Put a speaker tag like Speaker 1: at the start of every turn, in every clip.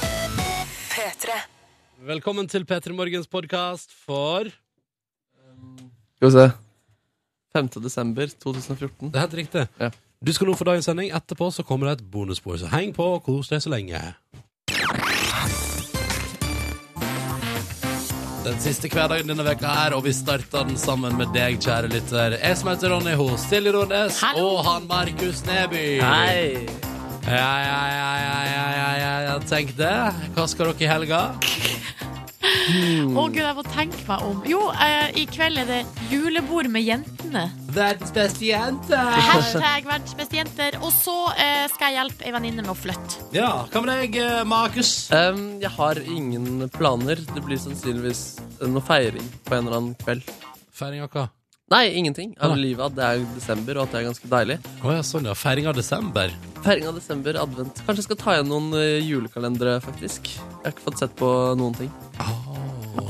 Speaker 1: P3.
Speaker 2: Velkommen til P3 Morgens podkast for Det
Speaker 3: Skal vi se. 5. desember 2014.
Speaker 2: er helt riktig.
Speaker 3: Ja.
Speaker 2: Du skal nå få dagens sending. Etterpå så kommer det et bonusspor. Så heng på og kos deg så lenge. Den siste hverdagen denne veka her, og vi starter den sammen med deg, kjære lytter. Jeg som heter Ronny Ho, Silje Nordnes og han Markus Neby.
Speaker 3: Hei!
Speaker 2: Ja, ja, ja, ja, ja, ja, ja, ja, tenk det. Hva skal dere i helga?
Speaker 4: Å gud, jeg må tenke meg om. Jo, eh, i kveld er det julebord med jentene.
Speaker 2: Verdens beste jente.
Speaker 4: Hashtag verdens beste jenter. Og så eh, skal jeg hjelpe ei venninne med å flytte.
Speaker 2: Ja, hva med deg, eh, Markus?
Speaker 3: Em, jeg har ingen planer. Det blir sannsynligvis noe feiring på en eller annen kveld.
Speaker 2: Feiring av hva?
Speaker 3: Nei, ingenting av
Speaker 2: Nei.
Speaker 3: livet. At det er desember, og at det er ganske deilig.
Speaker 2: Å ja, sånn ja. Feiring av desember.
Speaker 3: Feiring av desember, advent. Kanskje jeg skal ta igjen noen eh, julekalendere, faktisk. Jeg har ikke fått sett på noen ting.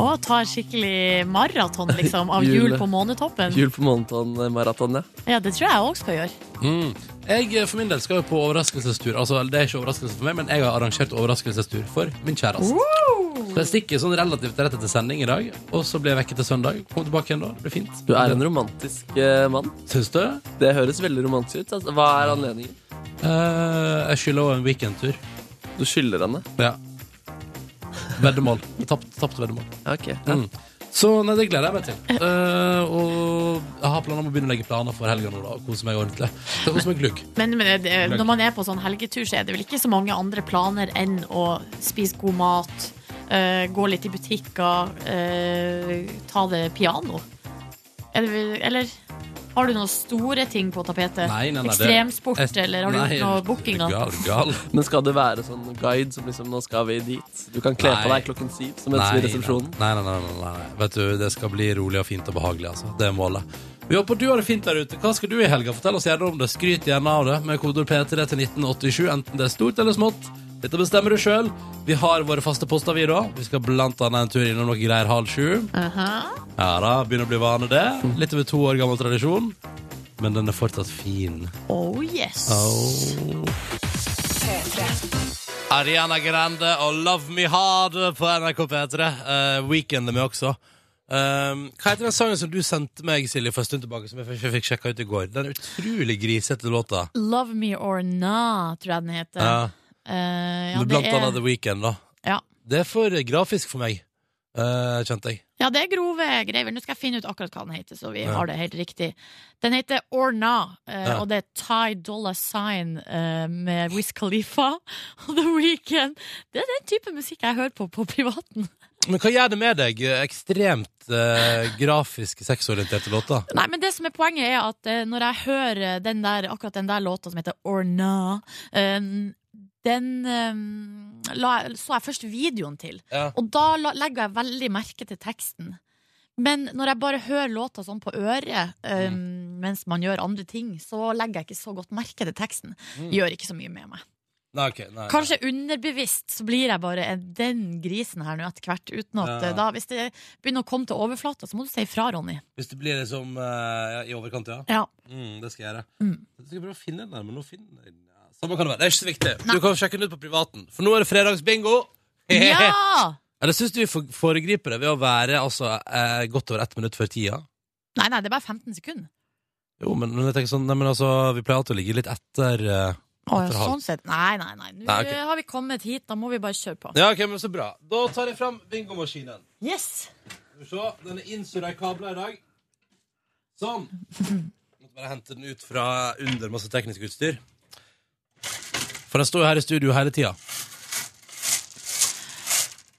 Speaker 4: Og ta en skikkelig maraton liksom, av
Speaker 3: Jule.
Speaker 4: jul på månetoppen.
Speaker 3: Jul på månedton-maraton, ja.
Speaker 4: Ja, Det tror jeg òg skal gjøre.
Speaker 2: Mm. Jeg eh, for min del skal jo på overraskelsestur. Altså, Det er ikke overraskelse for meg, men jeg har arrangert overraskelsestur for min kjæreste. Så jeg stikker sånn relativt rett etter sending i dag, og så blir jeg vekket til søndag. Kom tilbake igjen da. Det blir fint.
Speaker 3: Du er en romantisk eh, mann.
Speaker 2: Syns du?
Speaker 3: Det høres veldig romantisk ut. Altså, hva er anledningen?
Speaker 2: Eh, jeg skylder også en weekendtur.
Speaker 3: Du skylder henne.
Speaker 2: Ja. Veddemål. Tapt, tapt veddemål.
Speaker 3: Ja, ok. Ja.
Speaker 2: Mm. Så nei, det gleder jeg meg til. Eh, og jeg har planer om å begynne å legge planer for helga nå, da. Og kose meg ordentlig. Så kose meg glugg.
Speaker 4: Men, men det, når man er på sånn helgetur, så er det vel ikke så mange andre planer enn å spise god mat, eh, gå litt i butikker, eh, ta det piano. Er det, vel- eller har du noen store ting på tapetet?
Speaker 2: Nei, nei, nei, det-
Speaker 4: Ekstremsport,
Speaker 2: Jeg-
Speaker 4: eller har du
Speaker 2: Nei,
Speaker 4: gjort noe
Speaker 2: du
Speaker 4: bookinger?
Speaker 2: er Gal, gal.
Speaker 3: Men skal det være sånn guide som liksom, nå skal vi dit? Du kan kle på
Speaker 2: Nei.
Speaker 3: deg klokken syv, så møtes vi i resepsjonen.
Speaker 2: Nei, nei, nei, nei, nei, nei. Vet du, det skal bli rolig og fint og behagelig, altså. Det er målet. Vi håper du har det fint der ute. Hva skal du i helga? Fortell oss gjerne om det. Skryt gjerne av det med kodeord P3 til 1987, enten det er stort eller smått. Dette bestemmer du sjøl. Vi har våre faste poster, vi, da. Vi skal blant annet en tur innom noe greier halv sju.
Speaker 4: Aha.
Speaker 2: Ja da, begynner å bli vane det. Litt over to år gammel tradisjon. Men den er fortsatt fin.
Speaker 4: Oh yes.
Speaker 2: Oh. Ariana Grande og Love Me Hard på NRK P3. Uh, weekend er med også. Um, hva heter den sangen som du sendte meg Silje, for en stund tilbake, som jeg ikke fikk sjekka ut i går? Den utrolig grisete låta.
Speaker 4: Love me or not, tror jeg den heter.
Speaker 2: Ja,
Speaker 4: Eh, ja,
Speaker 2: med
Speaker 4: det
Speaker 2: blant annet
Speaker 4: er,
Speaker 2: The Weekend, da.
Speaker 4: ja.
Speaker 2: Det er for grafisk for meg, eh, kjente jeg.
Speaker 4: ja, det er grove greier. Nå skal jeg finne ut akkurat hva den heter, så vi
Speaker 2: Ja.
Speaker 4: har det helt riktig. Den heter Or Not, eh,
Speaker 2: Ja.
Speaker 4: og det er Ty Dolla Sign eh, med Wiz Khalifa og The Weeknd. Det er den type musikk jeg hører på på privaten.
Speaker 2: Men hva gjør det med deg? Ekstremt eh, grafisk sexorienterte låter.
Speaker 4: Nei, men det som er poenget er at eh, når jeg hører den der, akkurat den der låta som heter Or Not, eh, den eh, la, jeg- så jeg først videoen til.
Speaker 2: Ja.
Speaker 4: Og da la, legger jeg veldig merke til teksten. Men når jeg bare hører låta sånn på øret eh,
Speaker 2: Mm.
Speaker 4: mens man gjør andre ting, så legger jeg ikke så godt merke til teksten.
Speaker 2: Mm.
Speaker 4: Gjør ikke så mye med meg.
Speaker 2: Nei, ok, nei, nei.
Speaker 4: Kanskje underbevisst så blir jeg bare en- den grisen her nå etter hvert. Uten at
Speaker 2: Ja.
Speaker 4: eh, da, Hvis det begynner å komme til overflata, så må du si ifra, Ronny.
Speaker 2: Hvis det blir liksom eh, i overkant, ja.
Speaker 4: Ja.
Speaker 2: Mm, det skal jeg gjøre.
Speaker 4: Mm.
Speaker 2: Jeg skal prøve å finne den der, men nå finner jeg den. Ja, Samme kan det være. Det er ikke så viktig. Du kan sjekke den ut på privaten, for nå er det fredagsbingo!
Speaker 4: ja!
Speaker 2: Eller syns du vi for- foregriper det ved å være altså, eh, godt over ett minutt før tida?
Speaker 4: Nei, nei, det er bare 15 sekunder.
Speaker 2: Jo, men, men jeg tenker sånn, nei, men altså, vi pleier alltid å ligge litt etter eh.
Speaker 4: Å, ja,
Speaker 2: Etter halv.
Speaker 4: sånn sett. Nei, nei, nei. Nå
Speaker 2: Nei, ok.
Speaker 4: eh, har vi kommet hit. Da må vi bare kjøre på.
Speaker 2: Ja, ok, men så bra. Da tar jeg fram bingomaskinen.
Speaker 4: Yes!
Speaker 2: Skal vi se, den er innsurra i kabler i dag. Sånn. Måtte bare hente den ut fra under masse teknisk utstyr. For den står jo her i studio hele tida.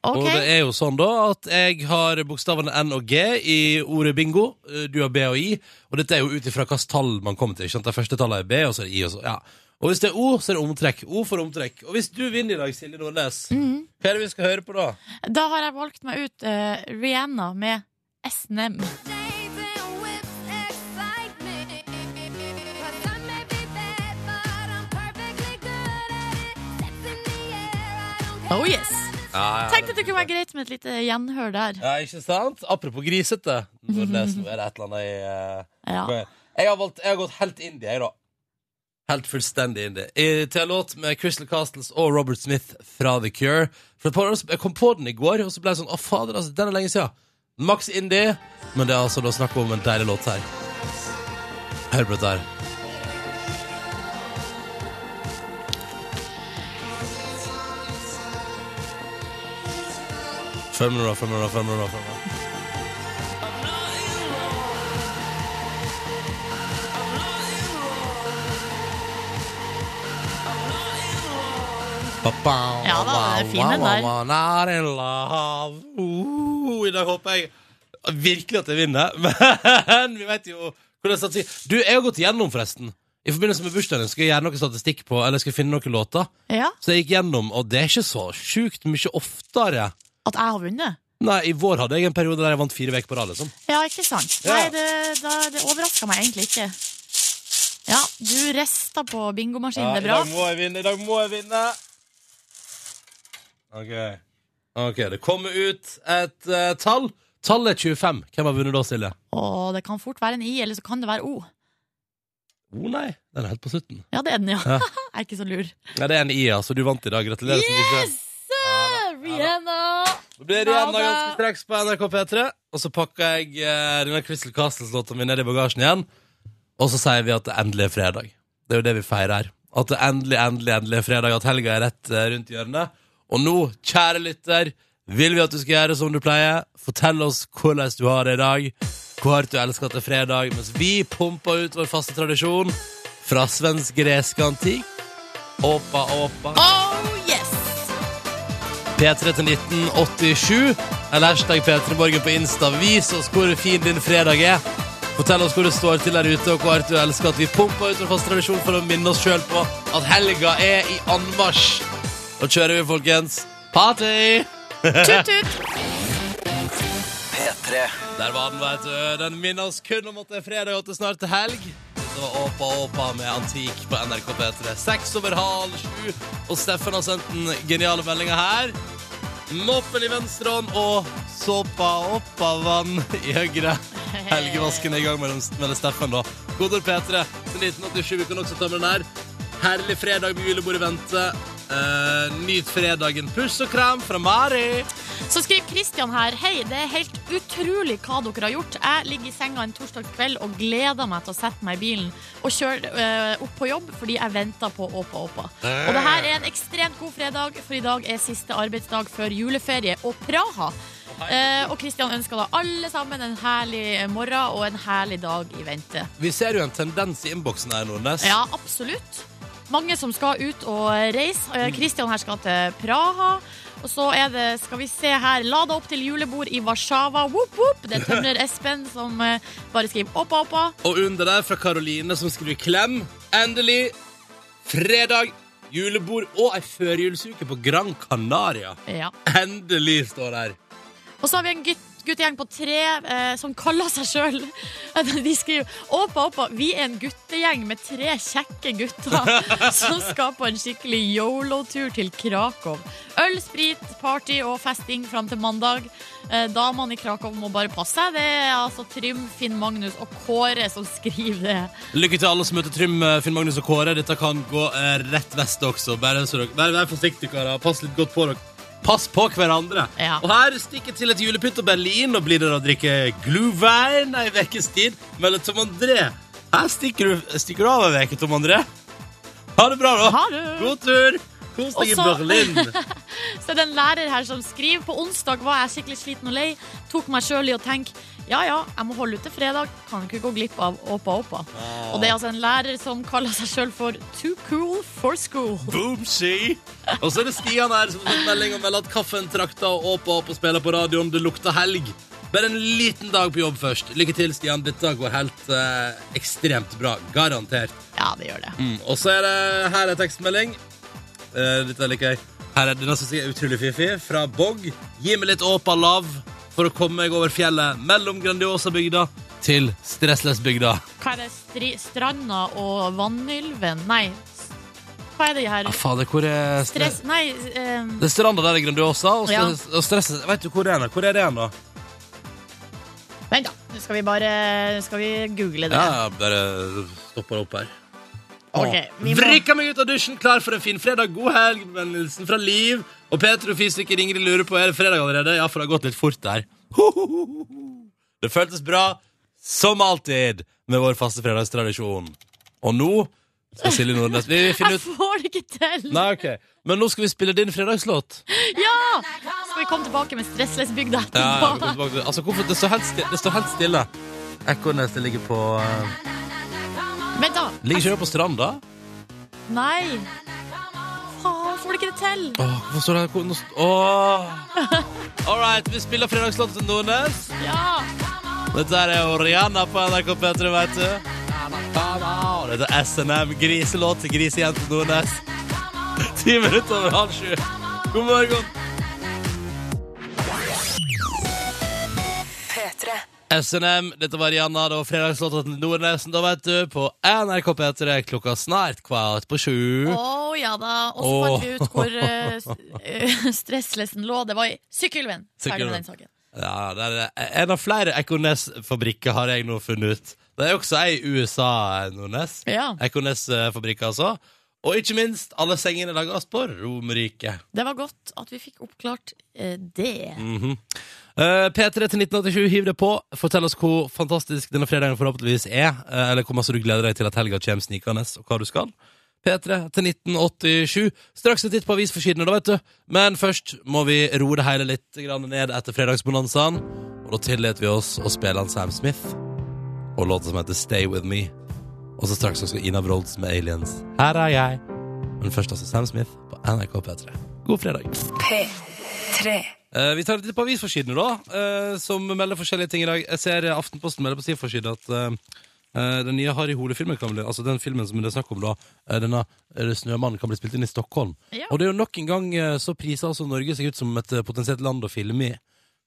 Speaker 4: Ok.
Speaker 2: Og det er jo sånn da at jeg har bokstavene N og G i ordet bingo. eh, Du har B og I. Og dette er jo ut ifra hvilket tall man kommer til. ikke sant? Det første tallet er B, og så er det I. Og så, ja. Og hvis det er O, så er det omtrekk. O for omtrekk. Og hvis du vinner i dag, Silje Nordnes,
Speaker 4: Mhm.
Speaker 2: hva er det vi skal høre på da?
Speaker 4: Da har jeg valgt meg ut eh, Rihanna med SNM. Oh yes! Tenkte at det kunne være greit med et lite gjenhør der.
Speaker 2: Ja, ikke sant? Apropos grisete. Nordnes, nå er det et eller annet i eh,
Speaker 4: Ja.
Speaker 2: Jeg har, valgt, jeg har gått helt indie, jeg, da. Helt fullstendig indie. I- Til en låt med Crystal Castles og Robert Smith fra The Cure. For et par år, så- Jeg kom på den i går, og så ble jeg sånn Å, fader, altså, den er lenge siden. Max indie, men det er altså da snakk om en deilig låt her. Hør på dette her. Fem minutter, fem minutter, fem minutter, fem minutter. Ba-ba,
Speaker 4: Ja da, den er fin, den der.
Speaker 2: ba-ba, Not in love. Uh, I dag håper jeg virkelig at jeg vinner, men vi vet jo hvordan statistikk Du, jeg har gått gjennom, forresten. I forbindelse med bursdagen skal jeg gjøre noe statistikk på, eller skal finne noen låter.
Speaker 4: Ja,
Speaker 2: Så jeg gikk gjennom, og det er ikke så sjukt mye oftere.
Speaker 4: At jeg har vunnet?
Speaker 2: Nei, i vår hadde jeg en periode der jeg vant fire uker på rad, liksom.
Speaker 4: Ja, ikke sant?
Speaker 2: Ja.
Speaker 4: Nei, det, da, det overraska meg egentlig ikke. Ja, du rista på bingomaskinen, det er
Speaker 2: I dag
Speaker 4: bra.
Speaker 2: må jeg vinne, i dag må jeg vinne! Ok. Ok, det kommer ut et eh, tall. Tallet er 25. Hvem har vunnet da, Silje?
Speaker 4: Og det kan fort være en I, eller så kan det være O.
Speaker 2: Å nei, den er helt på slutten.
Speaker 4: Ja, det er den, ja.
Speaker 2: Ja.
Speaker 4: jeg er ikke så lur.
Speaker 2: Nei, det er en I, altså. Du vant i dag. Gratulerer så mye.
Speaker 4: Yes! Rihanna!
Speaker 2: Da blir det
Speaker 4: Ha
Speaker 2: igjen
Speaker 4: det.
Speaker 2: ganske straks på NRK P3. Og så pakker jeg eh, denne Crystal Castles-låta mi ned i bagasjen igjen. Og så sier vi at det endelig er fredag. Det er jo det vi feirer her. At det endelig, endelig, endelig er fredag. At helga er rett eh, rundt hjørnet. Og nå, kjære lytter, vil vi at du skal gjøre som du pleier. Fortell oss hvordan du har det i dag. Hvor hardt du elsker at det er fredag. Mens vi pumper ut vår faste tradisjon fra svensk-gresk antikk. Åpa, åpa.
Speaker 4: Oh yes!
Speaker 2: P3 til 1987 Eller hashtag P3morgen på Insta Vis oss hvor fin din fredag er Fortell oss hvor det står til der ute Og hvor hardt du elsker at vi pumper ut en fast tradisjon For å minne oss selv på at helga er i anmarsj Da kjører vi folkens Party!
Speaker 4: Tut-tut!
Speaker 5: P3
Speaker 2: Der var den, vet du Den minner oss kun om at det er fredag og at det snart er helg Det var Åpa Åpa med Antik på NRK P3 Seks over halv sju Og Steffen har sendt den geniale meldingen her Moppen i venstre hånd og såpa opp av vann i høyre. Helgevasken er i gang mellom, mellom Steffen, da. Koder P3 til 1987. Vi kan også ta med den her. Herlig fredag med julebord i vente. Eh, nyt fredagen. Puss og kram fra Mari.
Speaker 4: Så skriver Kristian her Hei, det er helt utrolig hva dere har gjort Jeg ligger i senga en torsdag kveld Og gleder meg til å sette meg i bilen Og kjøre eh, opp på jobb Fordi jeg venter på Åpa Åpa Og det her er en ekstremt god fredag For i dag er siste arbeidsdag før juleferie Og Praha Eh, og Kristian ønsker da alle sammen en herlig morgen Og en herlig dag i vente
Speaker 2: Vi ser jo en tendens i innboksen her, Nordnes.
Speaker 4: ja, absolutt. Mange som skal ut og reise. Kristian her skal til Praha. Og så er det, skal vi se her, lada opp til julebord i Warszawa. Whoop, whoop. Det er tømrer Espen som eh, bare skriver oppa, oppa.
Speaker 2: Og under der fra Karoline, som skriver klem. Endelig fredag, julebord og ei førjulsuke på Gran Canaria.
Speaker 4: Ja.
Speaker 2: Endelig står det her.
Speaker 4: Og så har vi en gutt, guttegjeng på tre eh, som kaller seg sjøl De skriver Åpa, åpa, vi er en guttegjeng med tre kjekke gutter som skal på en skikkelig yolo-tur til Krakow. Øl, sprit, party og festing fram til mandag. Eh, damene i Krakow må bare passe seg. Det er altså Trym, Finn Magnus og Kåre som skriver det.
Speaker 2: Lykke til alle som møter Trym, eh, Finn Magnus og Kåre. Dette kan gå eh, rett vest også. Bare så dere, vær, vær forsiktige, karer. Pass litt godt på dere. Pass på hverandre.
Speaker 4: Ja.
Speaker 2: Og her stikker til et julepynt og Berlin, og blir det å drikke glühwein ei ukes tid. Melde Tom André. Her stikker du, stikker du av ei uke, Tom André. Ha det bra, da.
Speaker 4: Ha det.
Speaker 2: God tur. Kos deg i
Speaker 4: Også-
Speaker 2: Berlin.
Speaker 4: Så er det en lærer her som skriver På onsdag var jeg skikkelig sliten og lei Tok meg selv i å tenke Ja, ja, jeg må holde ut til fredag Kan ikke gå glipp av Åpa Åpa Og det er altså en lærer som kaller seg selv for Too cool for school
Speaker 2: Boomsy. Og så er det Stian her som har fått melding om at kaffen trakter og åpa opp og spiller på radioen. Det lukter helg. Bare en liten dag på jobb først. Lykke til, Stian. Dette går helt eh, ekstremt bra. Garantert.
Speaker 4: Ja, det gjør det
Speaker 2: Mm. Og så er det her er tekstmelding. Eh, dette liker jeg. Her er denne som sier utrolig fiffig. Fra Bog. Gi meg litt åpa lav for å komme meg over fjellet mellom Grandiosa-bygda til Stressless-bygda.
Speaker 4: Hva er det? Stri stranda og vannylven? Nei s- Hva er det her?
Speaker 2: Ah, fader, hvor er Stress...
Speaker 4: Stress? Nei ehm,
Speaker 2: Det er stranda der er Grandiosa, og,
Speaker 4: Ja.
Speaker 2: stress, og stresset Vet du hvor det er? Hvor er det igjen, da?
Speaker 4: Vent da, nå skal vi bare Nå skal vi google det
Speaker 2: Ja, jeg bare stopper opp her.
Speaker 4: Ok, vi må-
Speaker 2: Vrikka meg ut av dusjen, klar for en fin fredag. God helg, men hilsen fra Liv. Og Peter og fysiker Ingrid lurer på er det fredag allerede. Ja, for det har gått litt fort der. Det føltes bra, som alltid, med vår faste fredagstradisjon. Og nå skal Silje Nordnes Vi finner
Speaker 4: Jeg
Speaker 2: ut
Speaker 4: får det ikke til!
Speaker 2: Nei, ok. Men nå skal vi spille din fredagslåt.
Speaker 4: Ja! Skal vi komme tilbake med Stressless-bygda
Speaker 2: Ja, ja, vi
Speaker 4: etterpå?
Speaker 2: går tilbake til- altså, hvorfor, det, står helt stille, det står helt stille. Ekornes det ligger på eh,
Speaker 4: Vent, da.
Speaker 2: Ligger ikke det på stranda?
Speaker 4: Nei. Faen, får det ikke det til?
Speaker 2: Åh, hvorfor står det her? Nå st- Åh. All right, vi spiller fredagslåt til Nordnes.
Speaker 4: Ja!
Speaker 2: Dette her er jo Rihanna på NRK P3, vet du. Dette er SNM, griselåt til grisejente Nordnes. Ti minutter over halv sju. God morgen.
Speaker 6: P3.
Speaker 2: SNM, dette var Rihanna, det var fredagslåta til Nordnesen, da vet du, på NRK P3 klokka snart kvart på sju.
Speaker 4: Å ja da. Og så fant vi ut hvor eh, s- eh, stresslessen lå. Det var i sykkelven. Ferdig med
Speaker 2: Sykkylven.
Speaker 4: den saken.
Speaker 2: Ja, det er eh, En av flere Ekornes-fabrikker har jeg nå funnet ut. Det er også ei i USA, Nordnes.
Speaker 4: Ja.
Speaker 2: Ekornes-fabrikk, altså. Og ikke minst, alle sengene lages på Romerike.
Speaker 4: Det var godt at vi fikk oppklart eh, det.
Speaker 2: Mm. Eh, P3 til 1987, hiv det på. Fortell oss hvor fantastisk denne fredagen forhåpentligvis er. eh, eller hvor masse du gleder deg til at helga kommer snikende, og hva du skal. P3 til 1987. Straks en titt på avisforsidene, da, vet du. Men først må vi roe det hele litt grann ned etter fredagsbonanzaen. Og da tillater vi oss å spille han Sam Smith og låta som heter Stay With Me. Og så straks også Ina Wrolds med Aliens. Her er jeg. Men først altså Sam Smith på NRK P3. God fredag.
Speaker 6: P3.
Speaker 2: Eh, vi tar litt på avisforsidene, da, eh, som melder forskjellige ting i dag. Jeg ser eh, Aftenposten melder på sin forside at eh, eh, den nye Harry Hole-filmen kan bli Altså den filmen som det er snakk om, da, eh, denne eh, 'Snømannen', kan bli spilt inn i Stockholm.
Speaker 4: Ja.
Speaker 2: Og det er jo nok en gang eh, så priser altså Norge seg ut som et eh, potensielt land å filme i.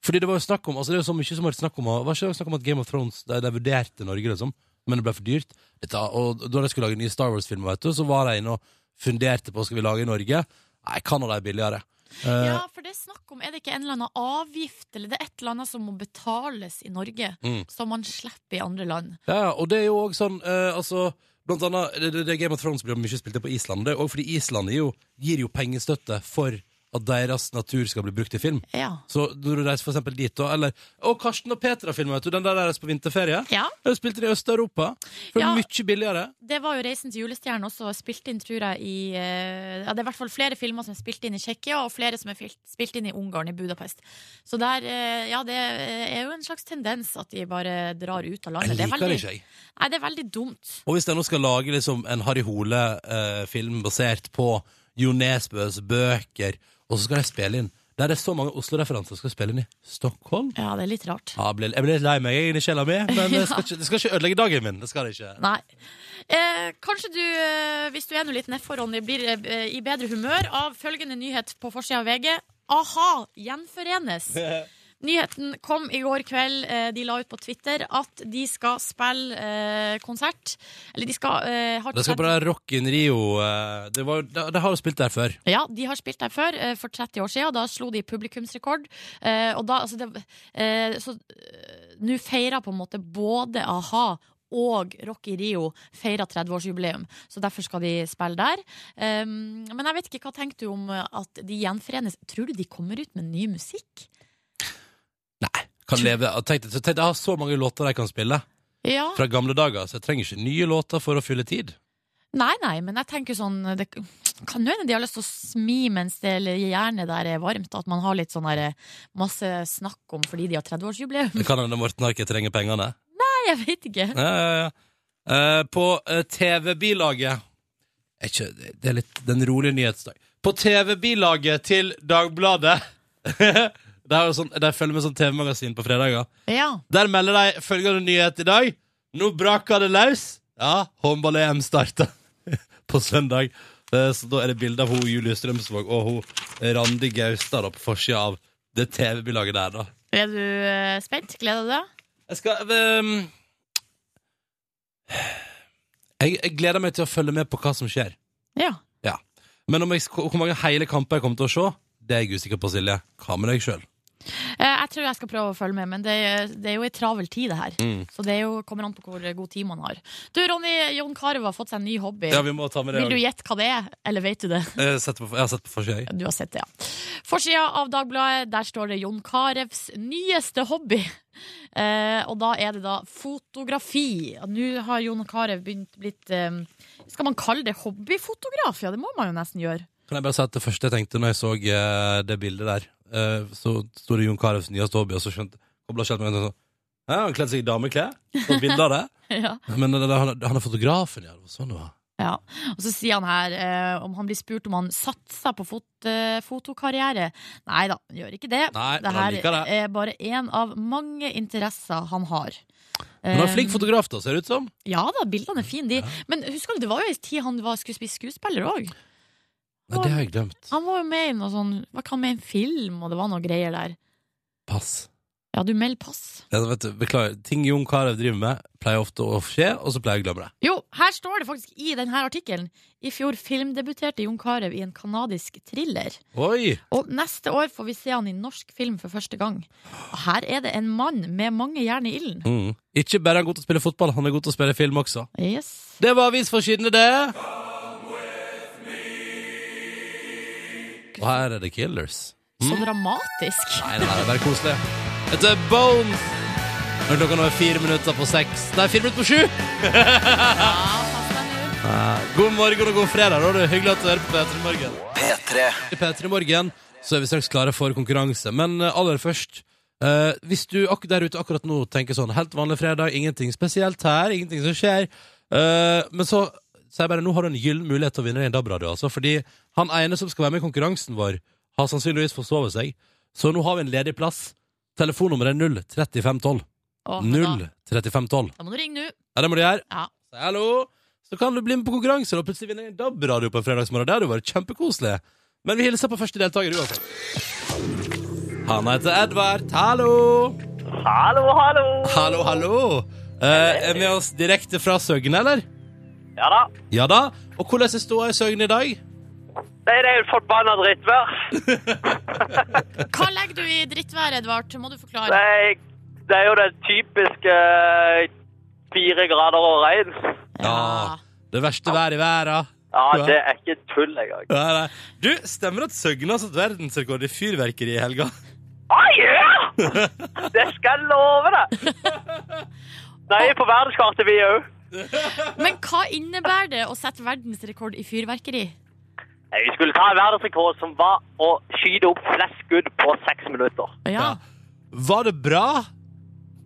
Speaker 2: Fordi det var jo snakk om altså det er jo så mye som har vært snakk om, var ikke det snakk om at Game of Thrones de, de vurderte Norge, liksom, men det ble for dyrt. Dette, og da de skulle lage nye Star Wars-filmer, vet du, så var de inne og funderte på skal vi lage i Norge. Nei, Canada er billigere. Eh,
Speaker 4: Ja, for det er snakk om Er det ikke en eller annen avgift eller det er et eller annet som må betales i Norge,
Speaker 2: Mm.
Speaker 4: som man slipper i andre land?
Speaker 2: Ja, ja, og det er jo også sånn eh, altså, Blant annet det, det- det Game of Thrones blir mye spilt på Island. Det er også fordi Island gir jo, gir jo pengestøtte for at deres natur skal bli brukt i film.
Speaker 4: Ja.
Speaker 2: Så når du reiser for eksempel dit, da, eller Å, Karsten og Petra filmen, vet du. Den der deres på vinterferie.
Speaker 4: ja.
Speaker 2: Den er spilt inn i Øst-Europa. For
Speaker 4: Ja.
Speaker 2: mye billigere.
Speaker 4: Det var jo 'Reisen til julestjernen' også spilt inn, tror jeg, i eh, Ja, det er i hvert fall flere filmer som er spilt inn i Tsjekkia, og flere som er fil- spilt inn i Ungarn, i Budapest. Så der eh, Ja, det er jo en slags tendens at de bare drar ut av
Speaker 2: Jeg
Speaker 4: landet. det
Speaker 2: liker
Speaker 4: er
Speaker 2: det
Speaker 4: veldig,
Speaker 2: ikke, jeg.
Speaker 4: Nei, det er veldig dumt.
Speaker 2: Og hvis jeg nå skal lage liksom en Harry Hole-film basert på Jo Nesbøs bøker, og så skal jeg spille inn Der er så mange Oslo-referanser skal spille inn i Stockholm.
Speaker 4: Ja, det er litt rart.
Speaker 2: Ja, jeg ble, jeg ble litt lei meg jeg, inni sjela mi, men det
Speaker 4: Ja.
Speaker 2: skal, ikke, det skal ikke ødelegge dagen min. Det skal det ikke.
Speaker 4: Nei. Eh, kanskje du, eh, hvis du er noe litt nedfor, Ronny, blir eh, i bedre humør av følgende nyhet på forsida av VG. A-ha gjenforenes. Nyheten kom i går kveld. eh, De la ut på Twitter at de skal spille eh, konsert. Eller de skal eh, ha
Speaker 2: Det skal på det her Rock in Rio eh, Det, var, det, det har jo spilt der før.
Speaker 4: Ja, de har spilt der før, eh, for 30 år siden. Da slo de publikumsrekord. Eh, og da, altså det, eh, så eh, nå feirer på en måte både a-ha og Rock i Rio feirer 30-årsjubileum, så derfor skal de spille der. Eh, men jeg vet ikke, hva tenker du om eh, at de gjenforenes? Tror du de kommer ut med ny musikk?
Speaker 2: Nei. Kan leve, tenk, tenk, jeg har så mange låter jeg kan spille
Speaker 4: Ja.
Speaker 2: fra gamle dager, så jeg trenger ikke nye låter for å fylle tid.
Speaker 4: Nei, nei, men jeg tenker sånn Det kan jo hende de har lyst til å smi mens det eller jernet der er varmt. At man har litt sånn der, eh, masse snakk om fordi de har 30-årsjubileum.
Speaker 2: Det kan hende Morten Harket trenger pengene.
Speaker 4: Nei, jeg vet ikke.
Speaker 2: Ja, ja, ja. Eh, på eh, TV-bilaget Er ikke- Det er litt den rolige nyhetsdag. På TV-bilaget til Dagbladet De har jo sånn, de følger med sånn TV-magasin på fredager.
Speaker 4: Ja.
Speaker 2: Der melder de følgende nyhet i dag. Nå braker det løs. Ja, håndball-EM starter på søndag. Eh, Så da er det bilde av hun Julie Strømsvåg og hun eh, Randi Gaustad da på forsida av det TV-bilaget der, da.
Speaker 4: Er du eh, spent? Gleder du deg?
Speaker 2: Jeg skal ehm, jeg, jeg gleder meg til å følge med på hva som skjer.
Speaker 4: Ja.
Speaker 2: Ja. Men om jeg, hvor mange hele kamper jeg kommer til å se, det er jeg usikker på, Silje. Hva med deg sjøl?
Speaker 4: Eh, jeg tror jeg skal prøve å følge med, men det, det er jo ei travel tid, det her.
Speaker 2: Mm.
Speaker 4: Så det er jo, kommer an på hvor god tid man har. Du, Ronny, Jon Carew har fått seg en ny hobby.
Speaker 2: Ja, vi må ta med det
Speaker 4: Vil du
Speaker 2: også.
Speaker 4: gjette hva det er, eller vet du det?
Speaker 2: Jeg har sett på- jeg har sett på forsida, jeg.
Speaker 4: Du har sett det, ja. Forsida av Dagbladet, der står det Jon Carews nyeste hobby. Eh, og da er det da fotografi. Og Nå har Jon Carew begynt blitt eh, Skal man kalle det hobbyfotograf? Ja, det må man jo nesten gjøre.
Speaker 2: Kan jeg bare si at det første jeg tenkte når jeg så eh, det bildet der, eh, så sto det Jon Carews nyeste hobby, og så skjønte kobla ikke helt med en sånn Ja, han kledde seg i dameklær. Tatt bilde av det.
Speaker 4: Ja.
Speaker 2: Men eh, han, han er fotografen, ja. Det var sånn det var.
Speaker 4: Ja, og så sier han her eh, om han blir spurt om han satser på fot, eh, fotokarriere. Nei da, han gjør ikke det.
Speaker 2: Nei, men
Speaker 4: det
Speaker 2: han
Speaker 4: her eh,
Speaker 2: liker det.
Speaker 4: er bare én av mange interesser han har.
Speaker 2: Men han er
Speaker 4: Eh,
Speaker 2: flink fotograf, da, ser det ut som.
Speaker 4: Ja da, bildene er fine, de. Men husker du, det var jo en tid han var, skulle spille skuespiller òg.
Speaker 2: Nei, det har jeg glemt.
Speaker 4: Han var jo med i noe sånn Var ikke han med i en film, og det var noe greier der.
Speaker 2: Pass.
Speaker 4: Ja, du melder pass.
Speaker 2: Ja, vet du, beklager. Ting Jon Carew driver med, pleier ofte å skje, og så pleier jeg å glemme det.
Speaker 4: Jo, her står det faktisk i denne artikkelen. I fjor filmdebuterte Jon Carew i en kanadisk thriller.
Speaker 2: Oi!
Speaker 4: Og neste år får vi se han i norsk film for første gang. Og her er det en mann med mange jern i ilden.
Speaker 2: Mm. Ikke bare er han god til å spille fotball, han er god til å spille film også.
Speaker 4: Yes.
Speaker 2: Det var avisforsidene, det! Og her er The Killers.
Speaker 4: Så dramatisk.
Speaker 2: Nei, det her er bare koselig. Dette er Bones. Når klokka nå er fire minutter på seks Nei, fire minutter på sju! God morgen og god fredag. Da er det hyggelig at du hører på P3 Morgen. I P3 Morgen så er vi straks klare for konkurranse. Men eh, aller først eh, Hvis du ak der ute akkurat nå tenker sånn Helt vanlig fredag, ingenting spesielt her, ingenting som skjer. eh, men så sier jeg bare nå har du en gyllen mulighet til å vinne deg en DAB-radio. Altså, fordi han ene som skal være med i konkurransen vår, har sannsynligvis forsovet seg. Så nå har vi en ledig plass. Telefonnummeret er 03512.
Speaker 4: Å, men Da,
Speaker 2: 03512.
Speaker 4: da må du ringe nå.
Speaker 2: Ja, det må du gjøre.
Speaker 4: Ja.
Speaker 2: Si hallo. Så kan du bli med på konkurranse og plutselig vinne en DAB-radio på en fredagsmorgen. Det hadde jo vært kjempekoselig. Men vi hilser på første deltaker uansett. Han heter Edvard. Hallo!
Speaker 7: Hallo, hallo!
Speaker 2: Hallo, hallo! Eh, er med oss direkte fra Søgne, eller?
Speaker 7: Ja da.
Speaker 2: Ja da. Og hvordan er ståa i Søgne i dag?
Speaker 7: Nei, det er jo et forbanna drittvær.
Speaker 4: Hva legger du i drittværet, Edvard? Må du
Speaker 7: Det,
Speaker 4: forklare?
Speaker 7: er- det er jo det typiske eh, fire grader og regn.
Speaker 2: Ja. Det verste været i verden.
Speaker 7: Ja, det er ikke tull engang.
Speaker 2: Nei, nei. Du, stemmer det at Søgne har satt verdensrekord i fyrverkeri i helga?
Speaker 7: Å ja! Det skal jeg love deg! Nei, på verdenskartet vi òg.
Speaker 4: Men hva innebærer det å sette verdensrekord i fyrverkeri?
Speaker 7: Vi skulle ta en verdensrekord som var å skyte opp flest skudd på seks minutter.
Speaker 4: Ja.
Speaker 2: Var det bra?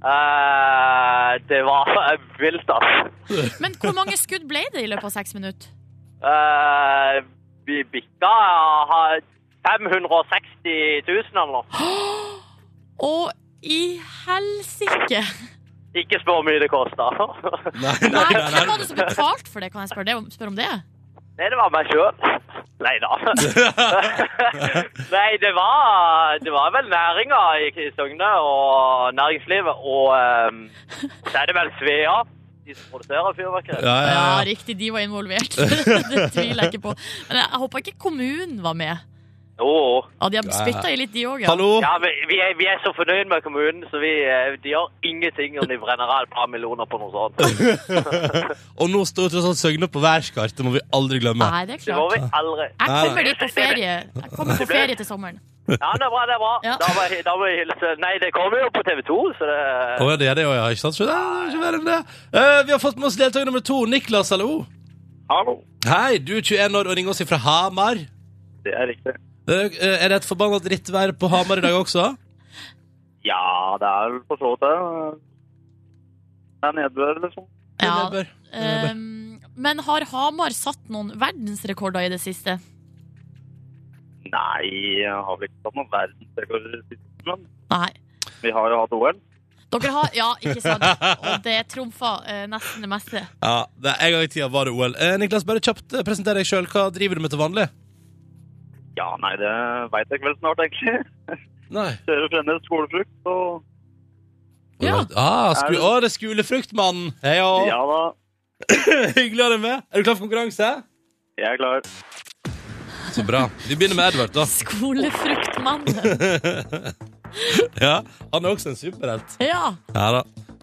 Speaker 7: Eh, det var eh, vilt, altså.
Speaker 4: Men hvor mange skudd ble det i løpet av seks minutter?
Speaker 7: Eh, vi bikka eh, 560 000 eller noe.
Speaker 4: Å, i helsike!
Speaker 7: Ikke spør hvor mye det kosta.
Speaker 2: Nei,
Speaker 4: Nei, hvem var det som betalte for det? Kan jeg spørre, det, om- spørre om det?
Speaker 7: Nei, det var meg sjøl. Nei da. Nei, det var, det var vel næringa i i Søgne og næringslivet. Og um, så er det vel Svea, de som produserer fyrverkeri.
Speaker 2: Ja, ja,
Speaker 4: Ja,
Speaker 2: ja.
Speaker 4: riktig, de var involvert. det tviler jeg ikke på. Men jeg håper ikke kommunen var med.
Speaker 7: Jo, jo.
Speaker 4: Ja, de har spytta i litt, de òg. Ja.
Speaker 2: Hallo?
Speaker 7: Ja, men vi er, vi er så fornøyd med kommunen, så vi, eh, de gjør ingenting om de brenner av et par millioner på noe sånt.
Speaker 2: Og nå står tross alt Søgne på værskart, det må vi aldri glemme.
Speaker 4: Nei, det er
Speaker 7: Det må
Speaker 4: klart.
Speaker 7: vi aldri.
Speaker 4: Jeg
Speaker 2: Nei,
Speaker 4: kommer dit på ferie Jeg kommer på ferie til sommeren.
Speaker 7: Ja, det er bra, det er bra.
Speaker 4: Ja.
Speaker 7: Da, må jeg, da må jeg hilse Nei, det kommer jo på TV 2, så det
Speaker 2: Å ja, det er det òg, ja. Ikke sant? Så det er ikke verre enn det. Eh, vi har fått med oss deltaker nummer to. Niklas, hallo.
Speaker 7: Hallo.
Speaker 2: Hei, du er 21 år og ringer oss fra Hamar.
Speaker 7: Det er riktig.
Speaker 2: Eh, eh, er det et forbanna drittvær på Hamar i dag også?
Speaker 7: Ja, det er vel for så vidt det. Det er nedbør, liksom.
Speaker 4: Ja,
Speaker 2: Eller bør-
Speaker 4: ehm, men har Hamar satt noen verdensrekorder i det siste?
Speaker 7: Nei, jeg har vel ikke tatt noen verdensrekord i siste, men
Speaker 4: Nei.
Speaker 7: vi har jo hatt OL.
Speaker 4: Dere har Ja, ikke sant? Og det trumfa eh, nesten det meste.
Speaker 2: Ja, det er en gang i tida var det OL. Eh, Niklas, bare kjapt eh, presenter deg sjøl. Hva driver du med til vanlig?
Speaker 7: Ja, nei, det veit jeg vel snart, egentlig.
Speaker 2: Nei.
Speaker 7: Kjører fremdeles skolefrukt og
Speaker 4: Ja.
Speaker 2: Ah, sku
Speaker 7: Er det-
Speaker 2: Å, det er skolefruktmannen. Hei, ja.
Speaker 7: Ja da,
Speaker 2: Hyggelig å ha deg med. Er du klar for konkurranse?
Speaker 7: jeg er klar.
Speaker 2: Så bra. Vi begynner med Edvard, da.
Speaker 4: Skolefruktmannen.
Speaker 2: Ja, han er også en superhelt.
Speaker 4: Ja.
Speaker 2: Ja da.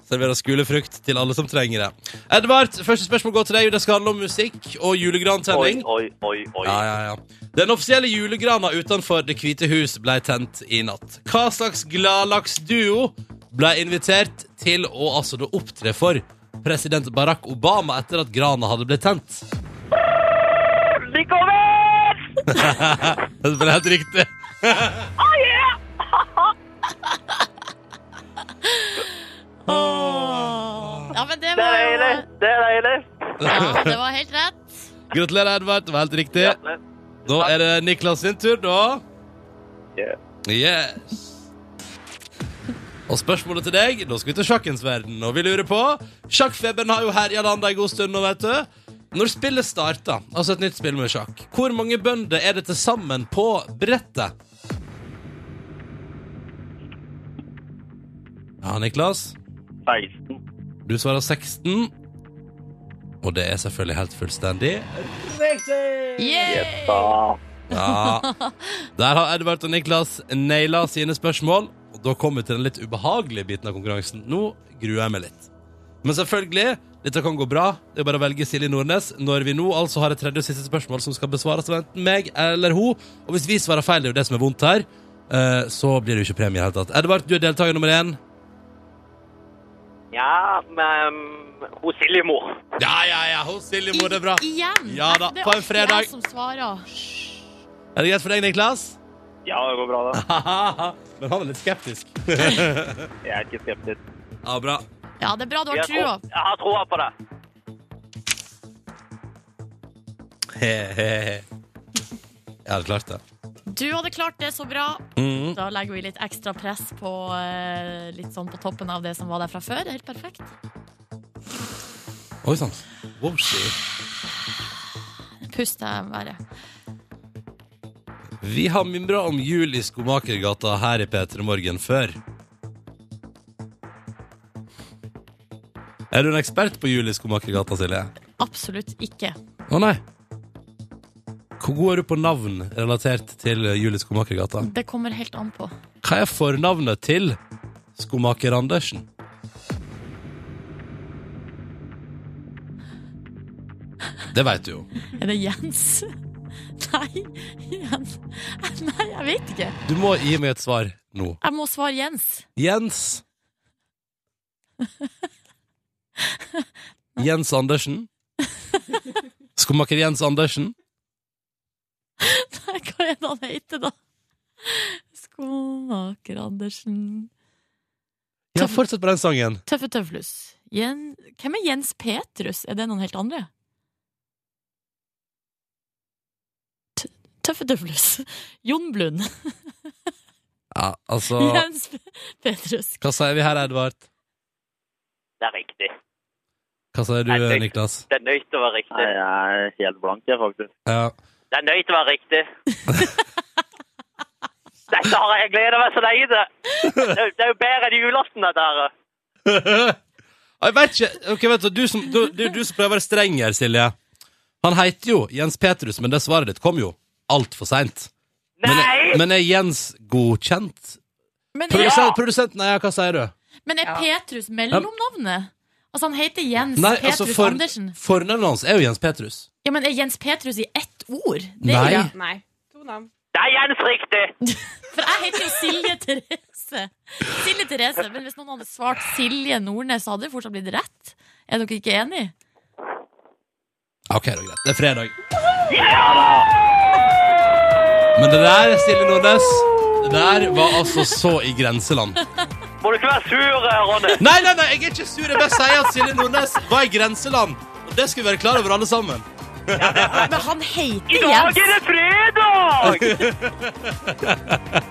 Speaker 2: Serverer skolefrukt til alle som trenger det. Edvard, første spørsmål går til deg. Det skal handle om musikk og
Speaker 7: Oi,
Speaker 2: julegrantenning.
Speaker 7: oi, oi, oi.
Speaker 2: Ja, ja, ja. Den offisielle julegrana utenfor Det hvite hus ble tent i natt. Hva slags gladlaksduo ble invitert til å altså da opptre for president Barack Obama etter at grana hadde blitt tent?
Speaker 7: Likovel!
Speaker 2: Det ble helt riktig.
Speaker 8: Ja, men det
Speaker 7: Det
Speaker 8: var
Speaker 7: er
Speaker 8: jo
Speaker 7: deilig. Det er deilig.
Speaker 8: Ja, det var helt rett.
Speaker 2: Gratulerer, Edvard. Det var helt riktig. Da er det Niklas sin tur, da.
Speaker 7: Yeah.
Speaker 2: Yes. Og spørsmålet til deg, da skal vi til sjakkens verden, og vi lurer på Sjakkfeberen har jo herja landet en god stund nå, vet du. Når spillet starter, altså et nytt spill med sjakk, hvor mange bønder er det til sammen på brettet? Ja, Niklas,
Speaker 7: 16.
Speaker 2: du svarer 16. Og det er selvfølgelig helt fullstendig
Speaker 4: Yeah.
Speaker 7: Da.
Speaker 2: Ja. Ah. Der har Edvard og Niklas naila sine spørsmål. Og da kommer vi til den litt ubehagelige biten av konkurransen. Nå gruer jeg meg litt. Men selvfølgelig, dette kan gå bra. Det er bare å velge Silje Nordnes når vi nå altså har et tredje og siste spørsmål som skal besvares av enten meg eller hun. Og hvis vi svarer feil, det er jo det som er vondt her, eh, så blir det jo ikke premie i det hele tatt. Edvard, du er deltaker nummer én.
Speaker 7: Ja, men hun Siljemor.
Speaker 2: Ja, ja, ja, hos Silje må det bra.
Speaker 4: Igjen.
Speaker 2: Ja da,
Speaker 4: Det er
Speaker 2: på en
Speaker 4: alltid
Speaker 2: fredag.
Speaker 4: jeg som svarer.
Speaker 2: Er det greit for deg, Niklas?
Speaker 7: Ja, det går bra, da.
Speaker 2: Men han er litt skeptisk.
Speaker 7: Jeg er ikke skeptisk.
Speaker 2: Ja, bra.
Speaker 4: Ja, det er bra du har
Speaker 7: Jeg,
Speaker 4: trua.
Speaker 7: tror- jeg har troa på det.
Speaker 2: He-he-he. Jeg hadde klart det.
Speaker 4: Du hadde klart det så bra.
Speaker 2: Mhm.
Speaker 4: Da legger vi litt ekstra press på eh, litt sånn på toppen av det som var der fra før. Helt perfekt.
Speaker 2: Oi sann. Wow, shit.
Speaker 4: Pust deg bare.
Speaker 2: Vi har mimra om jul i Skomakergata her i P3 Morgen før. Er du en ekspert på jul i Skomakergata, Silje?
Speaker 4: Absolutt ikke.
Speaker 2: Å nei. Hvor god er du på navn relatert til jul i Skomakergata?
Speaker 4: Det kommer helt an på.
Speaker 2: Hva er fornavnet til skomaker Andersen? Det veit du jo.
Speaker 4: Er det Jens? Nei, Jens. Nei, jeg vet ikke.
Speaker 2: Du må gi meg et svar nå.
Speaker 4: Jeg må svare Jens.
Speaker 2: Jens. Jens Andersen. Skomaker Jens Andersen.
Speaker 4: Nei, hva er det han heter, da? Skomaker Andersen
Speaker 2: Ja, fortsett på den sangen.
Speaker 4: Tøffe Tøflus. Jen... Hvem er Jens Petrus? Er det noen helt andre? T- Tøffe Tøflus. Jon Blund.
Speaker 2: Ja, altså
Speaker 4: Jens P- Petrus.
Speaker 2: Hva sier vi her, Edvard?
Speaker 7: Det er riktig.
Speaker 2: Hva sier du,
Speaker 7: Nei, det-
Speaker 2: Niklas?
Speaker 7: Det er nødt til å være riktig.
Speaker 9: Jeg er helt blank, jeg, faktisk.
Speaker 2: Ja.
Speaker 7: Det er nødt til å være riktig. Dette har jeg gleda meg så lenge til. Det er jo- det er jo bedre enn julaften, dette her.
Speaker 2: Jeg vet ikke. Ok, vet du, du, som, du, du, du som prøver å være streng her, Silje. Han heter jo Jens Petrus, men det svaret ditt kom jo altfor seint. Men, er-
Speaker 7: Nei!
Speaker 2: men er Jens godkjent?
Speaker 4: Men er,
Speaker 2: Produsent, produsenten, nei, ja, hva sier du?
Speaker 4: men er Petrus mellomnavnet? Altså, han heter Jens
Speaker 2: Nei,
Speaker 4: Petrus
Speaker 2: altså, for,
Speaker 4: Andersen.
Speaker 2: fornavnet hans er jo Jens Petrus.
Speaker 4: Ja, men er Jens Petrus i ett ord? Det er
Speaker 2: Nei.
Speaker 4: jo-
Speaker 10: Nei. To navn.
Speaker 7: Det er Jens riktig!
Speaker 4: For jeg heter jo Silje Therese. Silje Therese, Men hvis noen hadde svart Silje Nordnes, så hadde det fortsatt blitt rett. Er dere ikke enige?
Speaker 2: Ok, det er greit. Det er fredag. Men det der, Silje Nordnes, det der var altså så i grenseland.
Speaker 7: Må du ikke være sur, eh, Ronny?
Speaker 2: Nei, nei, nei, jeg er ikke sur. Jeg bare sier at Silje Nordnes var i grenseland. Og det skal vi være klar over, alle sammen.
Speaker 4: Men han heter
Speaker 7: I dag er det fredag!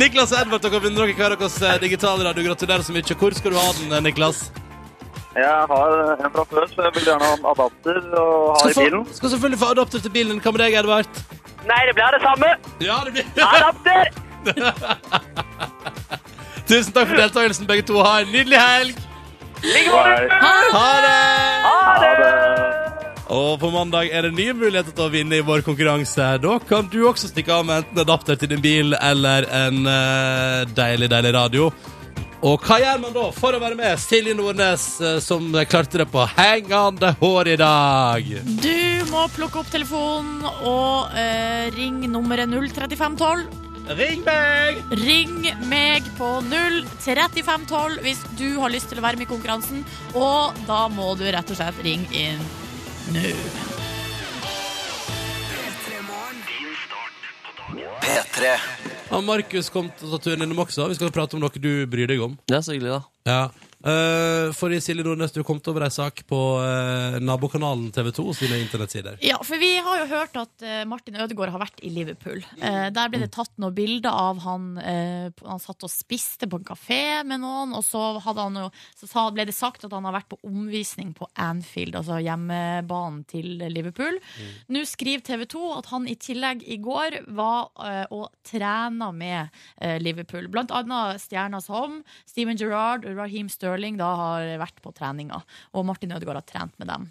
Speaker 2: Niklas og Edvard, dere vinner dere hver deres eh, digitale radio. Gratulerer så mye. Hvor skal du ha den, eh, Niklas?
Speaker 9: Jeg har en fra før, så jeg vil gjerne ha en adapter og ha
Speaker 2: Skal,
Speaker 9: i bilen.
Speaker 2: få, skal selvfølgelig få adopter til bilen. Hva med deg, Edvard?
Speaker 7: Nei, det blir det samme.
Speaker 2: Ja, det blir
Speaker 7: Adapter!
Speaker 2: Tusen takk for deltakelsen, begge to. Ha en nydelig helg.
Speaker 7: Ligger på
Speaker 9: Nei.
Speaker 7: ryggen!
Speaker 2: Ha det!
Speaker 7: Ha det!
Speaker 9: Ha det!
Speaker 2: Og på mandag er det nye muligheter til å vinne i vår konkurranse. Da kan du også stikke av med enten adapter til din bil eller en eh, deilig, deilig radio. Og hva gjør man da for å være med? Silje Nordnes, eh, som klarte det på hengende hår i dag.
Speaker 4: Du må plukke opp telefonen og eh, ring nummeret 03512.
Speaker 2: Ring meg!
Speaker 4: Ring meg på 03512 hvis du har lyst til å være med i konkurransen. Og da må du rett og slett ringe inn nå.
Speaker 11: P3
Speaker 2: Og Markus kom til å ta turen innom også. Vi skal prate om noe du bryr deg om.
Speaker 3: Det er så hyggelig, da.
Speaker 2: Ja. Uh, for Silje Nordnes, du kom til over ei sak på eh, nabokanalen TV 2 sine internettsider.
Speaker 4: Ja, for vi har jo hørt at eh, Martin Ødegaard har vært i Liverpool. Eh, der ble det tatt noen bilder av han eh, på- Han satt og spiste på en kafé med noen, og så, hadde han jo, så sa, ble det sagt at han har vært på omvisning på Anfield, altså hjemmebanen til Liverpool. Nå skriver TV 2 at han i tillegg i går var eh, og trena med eh, Liverpool. Blant annet stjerner som Steven Gerrard og Raheem Sterling da har vært på treninga, og Martin Ødegaard har trent med dem.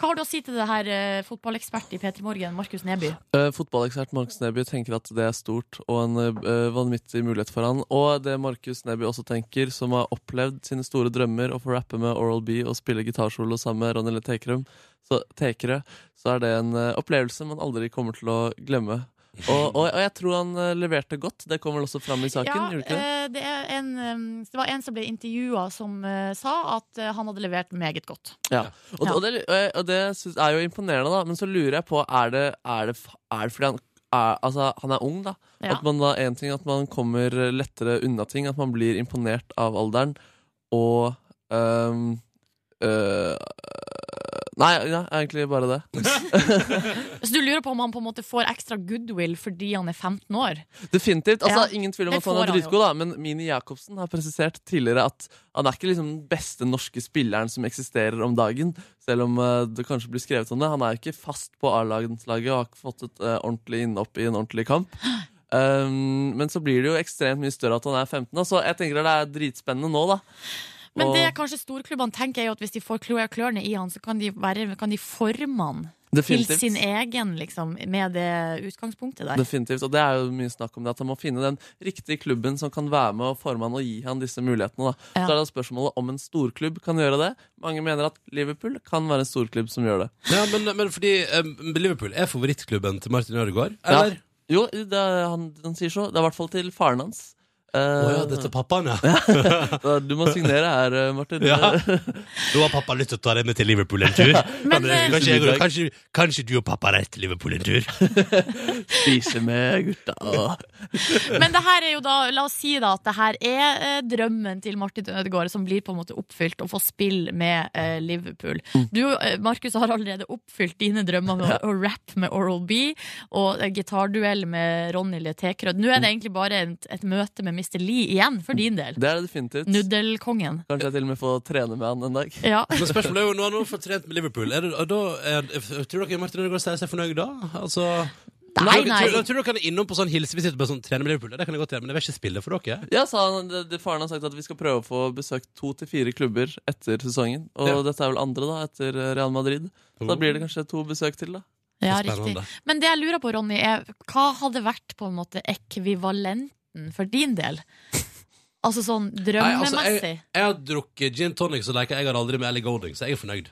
Speaker 4: Hva har du å si til det her eh, fotballekspert i P3 Morgen, Markus Neby?
Speaker 3: Eh, Fotballekspert Markus Neby tenker at det er stort og en eh, vanvittig mulighet for han. Og det Markus Neby også tenker, som har opplevd sine store drømmer, å få rappe med Oral B og spille gitarsolo sammen med Ronny Le Tekrum, så, Tekere, så er det en eh, opplevelse man aldri kommer til å glemme. Og, og, og jeg tror han eh, leverte godt. Det kommer vel også fram i saken? gjorde ikke det?
Speaker 4: eh, det, er en, eh, det var en som ble intervjua som eh, sa at eh, han hadde levert meget godt.
Speaker 3: Ja. Og,
Speaker 4: Ja.
Speaker 3: og det, og jeg- og det synes, er jo imponerende, da. Men så lurer jeg på Er det, er det, f- er det fordi han er, altså, han er ung, da?
Speaker 4: Ja.
Speaker 3: At man da, en ting, at man kommer lettere unna ting. At man blir imponert av alderen. Og øhm, øh, Nei, ja, egentlig bare det.
Speaker 4: Så du lurer på om han på en måte får ekstra goodwill fordi han er 15 år?
Speaker 3: Definitivt. altså
Speaker 4: Ja.
Speaker 3: Ingen tvil om
Speaker 4: Det
Speaker 3: at han er
Speaker 4: får han jo.
Speaker 3: dritgod, da, men Mini Jacobsen har presisert tidligere at han er ikke liksom den beste norske spilleren som eksisterer om dagen, selv om eh, det kanskje blir skrevet om det. Han er ikke fast på A-landslaget og har ikke fått et eh, ordentlig innhopp i en ordentlig kamp. Um, men så blir det jo ekstremt mye større at han er 15, da, så jeg tenker at det er dritspennende nå, da.
Speaker 4: Men
Speaker 3: Og-
Speaker 4: det kanskje storklubbene tenker, er jo at hvis de får klø klørne i han, så kan de, være, kan de forme han til
Speaker 3: Definitivt.
Speaker 4: sin egen, liksom, med det utgangspunktet der.
Speaker 3: Definitivt, og det er jo mye snakk om det, at han må finne den riktige klubben som kan være med og forme han og gi han disse mulighetene. Da.
Speaker 4: Ja.
Speaker 3: Så er det spørsmålet om en storklubb kan gjøre det. Mange mener at Liverpool kan være en storklubb som gjør det.
Speaker 2: Ja, men, men fordi eh, Liverpool er favorittklubben til Martin Ødegaard, eller?
Speaker 3: Ja. Jo, det er, han, han sier så. Det er i hvert fall til faren hans. Eh,
Speaker 2: Å ja, dette er pappaen, ja.
Speaker 3: da- Du må signere her, eh, Martin.
Speaker 2: ja. Nå har pappa lyst til å ta deg med til Liverpool en tur. Kan du-
Speaker 4: eh,
Speaker 2: kanskje, jeg- kanskje, kanskje du og pappa reiser til Liverpool en tur?
Speaker 3: Spise med gutta. og-
Speaker 4: Men det her er jo da, la oss si da at det her er eh, drømmen til Martin Ødegaard som blir på en måte oppfylt, å få spille med eh, Liverpool.
Speaker 2: Mm.
Speaker 4: Du, eh, Markus, har allerede oppfylt dine drømmer med å, å rappe med Oral B og eh, gitarduell med Ronny Le Tekrød. Nå er
Speaker 2: Mm.
Speaker 4: det egentlig bare et, et møte med Mr. Lee igjen, for din del.
Speaker 3: Det er det definitivt.
Speaker 4: Nuddelkongen.
Speaker 3: Kanskje jeg til og med får trene med han en dag.
Speaker 4: Ja.
Speaker 2: Men spørsmålet er jo, nå har han fått trent med Liverpool. Er det, og da, er, tror dere Martin Ødegaard sier seg fornøyd da? Altså,
Speaker 4: Nei,
Speaker 2: tror,
Speaker 4: nei.
Speaker 2: Tror, tror dere han er innom på sånn hilsevisitt og bare sånn 'Trener med Liverpool'? Ja, Det kan jeg godt gjøre, men jeg vil ikke spille for dere.
Speaker 3: Ja, sa han, det, det, Faren har sagt at vi skal prøve å få besøkt to til fire klubber etter sesongen. Og
Speaker 2: Ja.
Speaker 3: dette er vel andre, da, etter eh, Real Madrid. Så da blir det kanskje to besøk til, da.
Speaker 4: Ja, riktig.
Speaker 2: Spennende.
Speaker 4: Men det jeg lurer på, Ronny, er hva hadde vært på en måte ekvivalenten for din del? Altså sånn drømmemessig.
Speaker 2: Nei, altså, Jeg har drukket gin tonic så leker jeg har aldri med Ellie Golding, så jeg er fornøyd.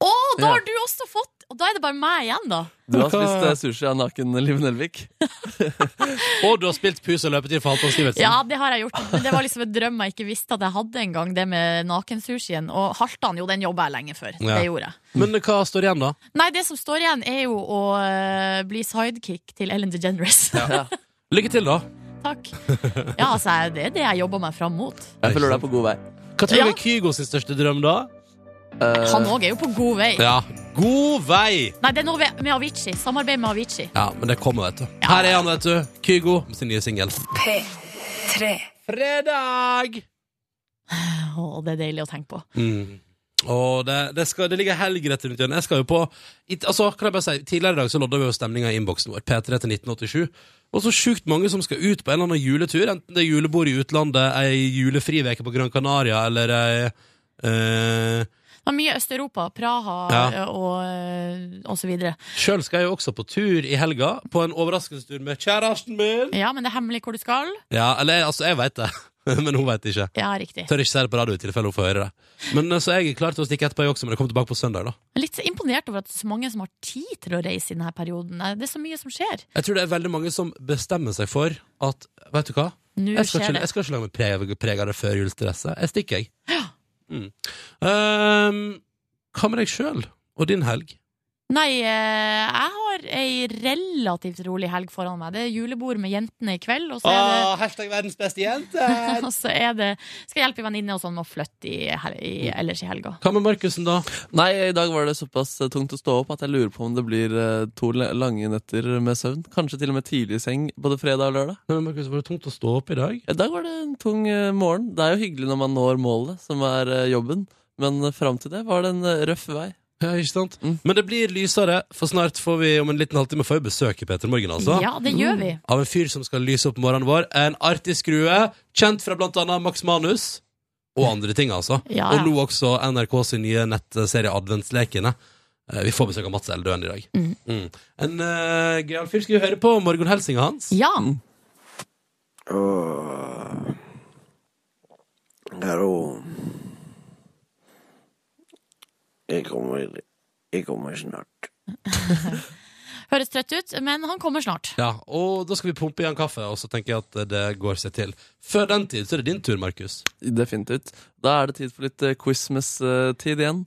Speaker 4: Å, da
Speaker 3: Ja.
Speaker 4: har du også fått Og da er det bare meg igjen, da.
Speaker 3: Du har
Speaker 2: Hva-
Speaker 3: spist eh, sushi av naken Liv Nelvik.
Speaker 2: Og du har spilt pus og løpetid for Halvdan Sivertsen.
Speaker 4: Ja, det har jeg gjort. Men det var liksom en drøm jeg ikke visste at jeg hadde engang, det med nakensushien. Og Halvdan, jo, den jobba jeg lenge før.
Speaker 2: Ja.
Speaker 4: Det gjorde jeg.
Speaker 2: Men hva står igjen, da?
Speaker 4: Nei, det som står igjen, er jo å eh, bli sidekick til Ellen DeGeneres.
Speaker 2: Lykke til, da.
Speaker 4: Takk. Ja, altså, jeg- det er det jeg jobber meg fram mot.
Speaker 2: Nei,
Speaker 3: Jeg føler
Speaker 2: ikke
Speaker 3: deg på god vei.
Speaker 2: Hva tror du
Speaker 4: Ja.
Speaker 2: er Kygo sin største drøm, da?
Speaker 3: Eh,
Speaker 4: Han òg er jo på god vei.
Speaker 2: Ja, god vei!
Speaker 4: Nei, det er noe ved- med Avicii. Samarbeid med Avicii.
Speaker 2: Ja, men det kommer, vet du. Her er han, vet du. Kygo med sin nye singel.
Speaker 12: P3
Speaker 2: Fredag!
Speaker 4: Å, det er deilig å tenke på.
Speaker 2: Mm. Og det, det, skal, det ligger helg rett rundt hjørnet. Jeg skal jo på i- altså, kan jeg bare si, Tidligere i dag så lodda vi jo stemninga i innboksen vår. P3 til 1987. Og så sjukt mange som skal ut på en eller annen juletur. Enten det er julebord i utlandet, ei julefriveke på Gran Canaria eller ei eh,
Speaker 4: Det var mye Øst-Europa, Praha eh,
Speaker 2: Ja.
Speaker 4: og, eh, og så videre.
Speaker 2: Sjøl skal jeg jo også på tur i helga, på en overraskelsestur med kjæresten min.
Speaker 4: Ja, men det er hemmelig hvor du skal.
Speaker 2: Ja, eller altså, jeg veit det, men hun veit det ikke.
Speaker 4: Ja, riktig.
Speaker 2: Tør ikke si det på radio i tilfelle hun får høre det. Men eh, Så jeg er klar til å stikke etterpå, jeg også, men jeg kommer tilbake på søndag. da
Speaker 4: Jeg er Litt imponert over at det er så mange som har tid til å reise i denne perioden. Nei, Det er så mye som skjer.
Speaker 2: Jeg tror det er veldig mange som bestemmer seg for at Vet du hva?
Speaker 4: Nå
Speaker 2: Jeg
Speaker 4: skjer
Speaker 2: skal, ikke,
Speaker 4: det.
Speaker 2: jeg skal ikke la meg prege, prege av det før julestresset. Jeg stikker, jeg. Mm. Ehm, hva med deg sjøl og din helg?
Speaker 4: Nei, eh, jeg har ei relativt rolig helg foran meg. Det er julebord med jentene i kveld, og så er det
Speaker 2: Ah, hashtag verdens beste jente!
Speaker 4: Og så er det Skal hjelpe venninne og sånn med å flytte i, hel- i, ellers i helga.
Speaker 2: Hva med Markussen, da?
Speaker 3: Nei, i dag var det såpass eh, tungt å stå opp at jeg lurer på om det blir eh, to le- lange netter med søvn. Kanskje til og med tidlig i seng både fredag og lørdag.
Speaker 2: Nei, men Markus, Var det tungt å stå opp i dag?
Speaker 3: I dag var det en tung eh, morgen. Det er jo hyggelig når man når målet, som er eh, jobben. Men eh, fram til det var det en eh, røff vei.
Speaker 2: Ja, ikke sant?
Speaker 3: Mm.
Speaker 2: Men det blir lysere, for snart får vi om en liten halvtime får vi besøk i Peter Morgen. altså
Speaker 4: Ja, det gjør vi.
Speaker 2: Av en fyr som skal lyse opp morgenen vår. En artig skrue, kjent fra blant annet Max Manus. Og andre ting, altså.
Speaker 4: Ja,
Speaker 2: Og
Speaker 4: ja.
Speaker 2: nå også NRK sin nye nettserie Adventslekene. Eh, Vi får besøk av Mats Eldøen i dag.
Speaker 4: Mm.
Speaker 2: En uh, gøyal fyr. Skal vi høre på morgenhelsinga hans?
Speaker 4: Ja,
Speaker 10: Oh, hallo. Jeg kommer, jeg kommer snart.
Speaker 4: høres trøtt ut, men han kommer snart.
Speaker 2: Ja, Og da skal vi pumpe i en kaffe, og så tenker jeg at eh, det går seg til. Før den tid så er det din tur, Markus.
Speaker 3: Definitivt. Da er det tid for litt eh, Christmas-tid igjen.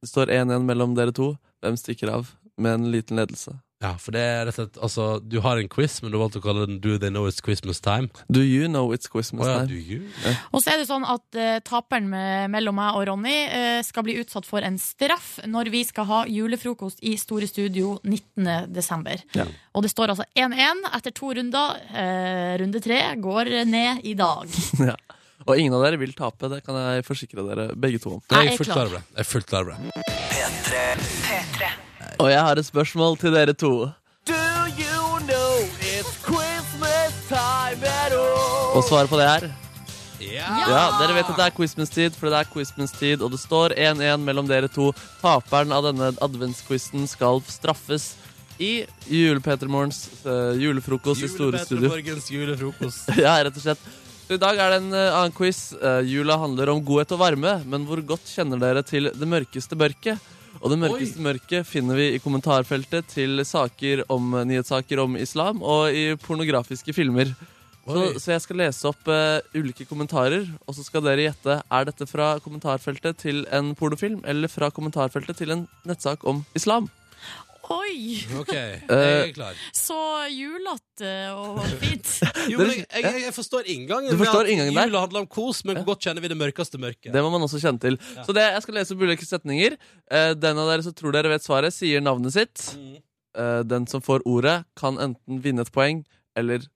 Speaker 3: Det står 1-1 mellom dere to. Hvem stikker av med en liten ledelse?
Speaker 2: Ja, for det er rett og slett Altså, du har en quiz, men du valgte å kalle den Do they know it's Christmas time?
Speaker 3: Do you know it's Christmas
Speaker 2: Å ja,
Speaker 3: time?
Speaker 2: do you?
Speaker 4: Og så er det sånn at eh, taperen med, mellom meg og Ronny eh, skal bli utsatt for en straff når vi skal ha julefrokost i Store Studio 19. desember.
Speaker 3: Ja.
Speaker 4: Og det står altså 1-1 etter to runder. Eh, runde tre går ned i dag.
Speaker 3: Og ingen av dere vil tape, det kan jeg forsikre dere begge to om.
Speaker 2: Nei,
Speaker 4: Jeg er
Speaker 2: jeg er fullt
Speaker 4: klar.
Speaker 2: klar over det. Jeg er fullt klar over det.
Speaker 3: Og jeg har et spørsmål til dere to. Og svaret på det er Ja, dere vet at det er Christmas-tid, for det er Christmas-tid, og det står 1-1 mellom dere to. Taperen av denne adventsquizen skal straffes i Jule-Petermorgens eh, julefrokost i Store Studio.
Speaker 2: Morgens julefrokost.
Speaker 3: Ja, rett og slett. Så I dag er det en eh, annen quiz. Eh, jula handler om godhet og varme, men hvor godt kjenner dere til det mørkeste mørket? Og det mørkeste mørket finner vi i kommentarfeltet til saker om, eh, nyhetssaker om islam og i pornografiske filmer. Så,
Speaker 2: Oi.
Speaker 3: så jeg skal lese opp eh, ulike kommentarer, og så skal dere gjette er dette fra kommentarfeltet til en pornofilm eller fra kommentarfeltet til en nettsak om islam.
Speaker 4: Oi!
Speaker 2: Ok, jeg
Speaker 3: Eh,
Speaker 2: er klar.
Speaker 4: Så julete og fint.
Speaker 2: Jo, men jeg, jeg, jeg forstår inngangen.
Speaker 3: liksom- Du
Speaker 2: med
Speaker 3: forstår
Speaker 2: at
Speaker 3: inngangen der?
Speaker 2: Jula handler om kos, men hvor godt kjenner vi det mørkeste mørket?
Speaker 3: Det må man også kjenne til. Så det, jeg skal lese opp ulike setninger. Eh, den av dere som tror dere vet svaret, sier navnet sitt.
Speaker 2: Mm.
Speaker 3: Eh, den som får ordet, kan enten vinne et poeng eller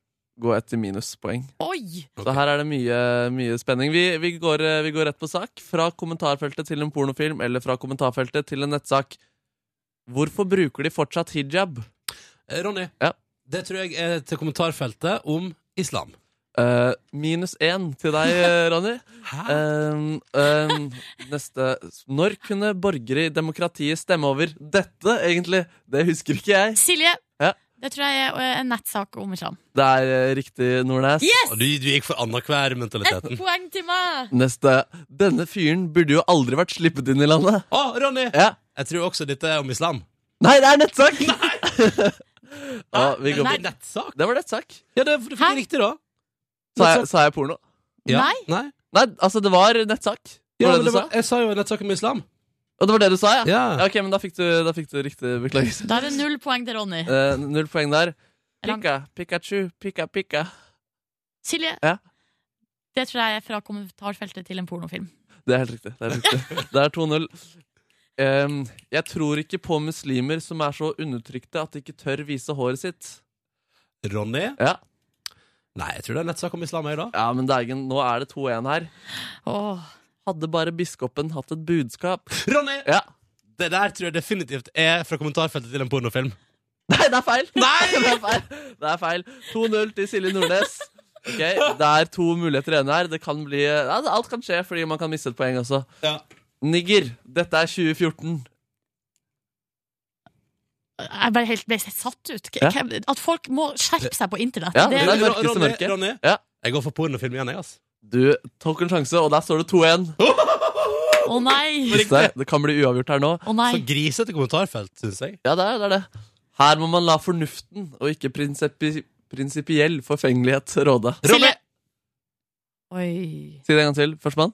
Speaker 3: gå etter minuspoeng.
Speaker 4: Oi!
Speaker 3: Så her er det mye, mye spenning. Vi, vi, går, eh, vi går rett på sak. Fra kommentarfeltet til en pornofilm eller fra kommentarfeltet til en nettsak. Hvorfor bruker de fortsatt hijab?
Speaker 2: Eh, Ronny,
Speaker 3: Ja.
Speaker 2: det tror jeg er til kommentarfeltet om islam.
Speaker 3: Eh, minus én til deg, eh, Ronny.
Speaker 2: Hæ?
Speaker 3: Ehm, ehm, neste Når kunne borgere i demokratiet stemme over dette, egentlig? Det husker ikke jeg.
Speaker 4: Silje,
Speaker 3: Ja.
Speaker 4: det tror jeg er eh, en nettsak om islam.
Speaker 3: Det er eh, riktig, Nordnes.
Speaker 2: Og du, du gikk for annenhver-mentaliteten. Å,
Speaker 4: Poeng til meg!
Speaker 3: Neste. Denne fyren burde jo aldri vært sluppet inn i landet.
Speaker 2: Ah, Ronny!
Speaker 3: Ja.
Speaker 2: Jeg tror også dette er om islam.
Speaker 3: Nei, det er nettsak! ja, vi går
Speaker 4: Nei.
Speaker 2: Det
Speaker 3: på.
Speaker 2: er nettsak.
Speaker 3: Det var nettsak.
Speaker 2: Ja, det, du fikk
Speaker 4: Hæ?
Speaker 2: det riktig, da.
Speaker 3: Sa jeg, sa jeg porno?
Speaker 2: Ja.
Speaker 4: Nei.
Speaker 2: Nei.
Speaker 3: Nei, altså, det var nettsak.
Speaker 2: Ja,
Speaker 3: Var
Speaker 2: men
Speaker 3: det
Speaker 2: det
Speaker 3: du
Speaker 2: var,
Speaker 3: sa?
Speaker 2: jeg sa jo nettsak om islam.
Speaker 3: Og det var det du sa, ja?
Speaker 2: Ja.
Speaker 3: Ok, men da fikk du, da fikk du riktig. Beklager.
Speaker 4: Da er det null poeng til Ronny.
Speaker 3: Eh, null poeng der.
Speaker 4: Eller han-
Speaker 3: Pika, Pikachu, pika, pika.
Speaker 4: Silje,
Speaker 3: Ja.
Speaker 4: det tror jeg er fra kommentarfeltet til en pornofilm.
Speaker 3: Det er helt riktig. Det er, helt riktig. Det er 2-0. Ehm, jeg tror ikke på muslimer som er så undertrykte at de ikke tør vise håret sitt.
Speaker 2: Ronny?
Speaker 3: Ja,
Speaker 2: Nei, jeg tror det er nettsak om islam, jeg, da.
Speaker 3: ja men Deigen, nå er det 2-1 her.
Speaker 4: Åh.
Speaker 3: Hadde bare biskopen hatt et budskap
Speaker 2: Ronny!
Speaker 3: Ja.
Speaker 2: Det der tror jeg definitivt er fra kommentarfeltet til en pornofilm.
Speaker 3: Nei, det er feil! Det er feil. Det er feil. 2-0 til Silje Nordnes. Ok, Det er to muligheter igjen her. Det kan bli, ja, alt kan skje, fordi man kan miste et poeng også.
Speaker 2: Ja.
Speaker 3: Nigger, dette er 2014.
Speaker 4: Jeg bare helt ble satt ut. K-
Speaker 3: Ja.
Speaker 4: hvem- At folk må skjerpe seg på internett.
Speaker 3: Ja,
Speaker 4: det,
Speaker 3: det er
Speaker 4: er,
Speaker 3: mørkeste
Speaker 2: Ronny,
Speaker 3: mørket.
Speaker 2: Ronny,
Speaker 3: Ja.
Speaker 2: jeg går for pornofilm igjen, jeg, altså. ass.
Speaker 3: Du tok en sjanse, og der står det 2-1.
Speaker 4: Å nei!
Speaker 3: Husk det, det kan bli uavgjort her nå.
Speaker 4: Å
Speaker 2: Så
Speaker 4: nei.
Speaker 2: grisete kommentarfelt, syns jeg.
Speaker 3: Ja, det er det. Er det. Her må man la fornuften og ikke prinsipi prinsipiell forfengelighet råde.
Speaker 2: Ronny!
Speaker 4: Silje- Oi.
Speaker 3: Si det en gang til. Førstemann.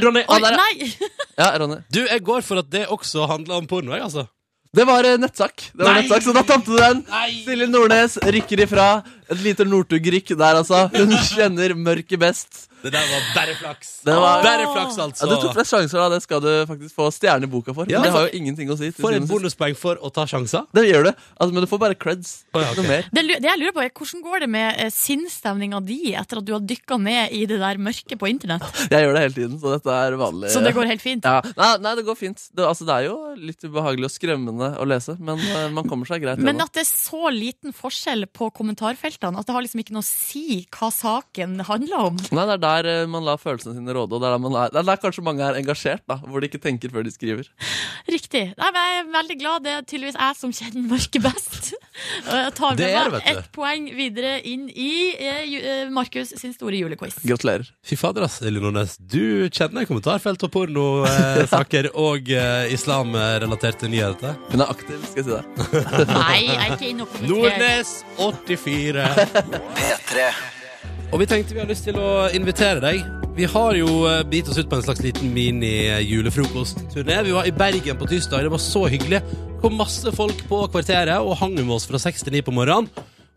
Speaker 2: Ronny
Speaker 4: Oi,
Speaker 2: ah, der, ja.
Speaker 4: nei!
Speaker 3: Ja, Ronny.
Speaker 2: du, jeg går for at det også handler om porno, jeg, altså.
Speaker 3: Det var eh, nettsak. Det var
Speaker 2: Nei!
Speaker 3: nettsak, Så da tapte du den.
Speaker 2: Nei!
Speaker 3: Silje Nordnes rykker ifra. Et lite Northug-rykk der, altså. Hun kjenner mørket best.
Speaker 2: Det der var bare flaks.
Speaker 3: Det var-
Speaker 2: Bare flaks,
Speaker 3: Ja,
Speaker 2: altså.
Speaker 3: du tok flest sjanser, da. Det skal du faktisk få stjerne i boka for.
Speaker 2: Ja.
Speaker 3: Men det har jo ingenting å si. Til
Speaker 2: Får jeg
Speaker 3: syvende og sist.
Speaker 2: bonuspoeng for å ta sjanser?
Speaker 3: Det gjør du. Altså, men du får bare creds.
Speaker 2: Å, ja,
Speaker 3: Ikke noe
Speaker 2: ok.
Speaker 3: mer.
Speaker 4: Det, lu- det jeg lurer på er, Hvordan går det med eh, sinnsstemninga di etter at du har dykka ned i det der mørket på internett?
Speaker 3: Jeg gjør det hele tiden, så dette er vanlig.
Speaker 4: Så det går helt fint?
Speaker 3: ja. nei, nei, det går fint. Det, altså, det er jo litt ubehagelig og skremmende å lese, men eh, man kommer seg greit
Speaker 4: Men
Speaker 3: gjennom.
Speaker 4: at det er så liten forskjell på kommentarfeltene, at det har liksom ikke noe å si hva saken handler om.
Speaker 3: Nei, det er der eh, man lar følelsene sine råde, og det er der, man er, det er der kanskje mange er engasjert, da, hvor de ikke tenker før de skriver.
Speaker 4: Riktig. Nei, men jeg er veldig glad. Det er tydeligvis jeg som kjenner mørket best. Og jeg tar
Speaker 2: Det
Speaker 4: med
Speaker 2: er det,
Speaker 4: meg
Speaker 2: vet du.
Speaker 4: ett poeng videre inn i eh, ju- eh, Markus sin store julequiz.
Speaker 3: Gratulerer.
Speaker 2: Fy fader, ass, Silje Nordnes. Du kjenner kommentarfelt og pornosaker og eh, islamrelaterte nyheter.
Speaker 3: Hun er aktiv, skal jeg si det.
Speaker 4: Nei, jeg er ikke inne og kommenterer.
Speaker 2: Nordnes 84.
Speaker 10: P3.
Speaker 2: Og vi tenkte vi har lyst til å invitere deg. Vi har jo eh, bitt oss ut på en slags liten mini-julefrokostturné. Vi var i Bergen på tirsdag. Det var så hyggelig. Det kom masse folk på kvarteret og hang med oss fra seks til ni på morgenen.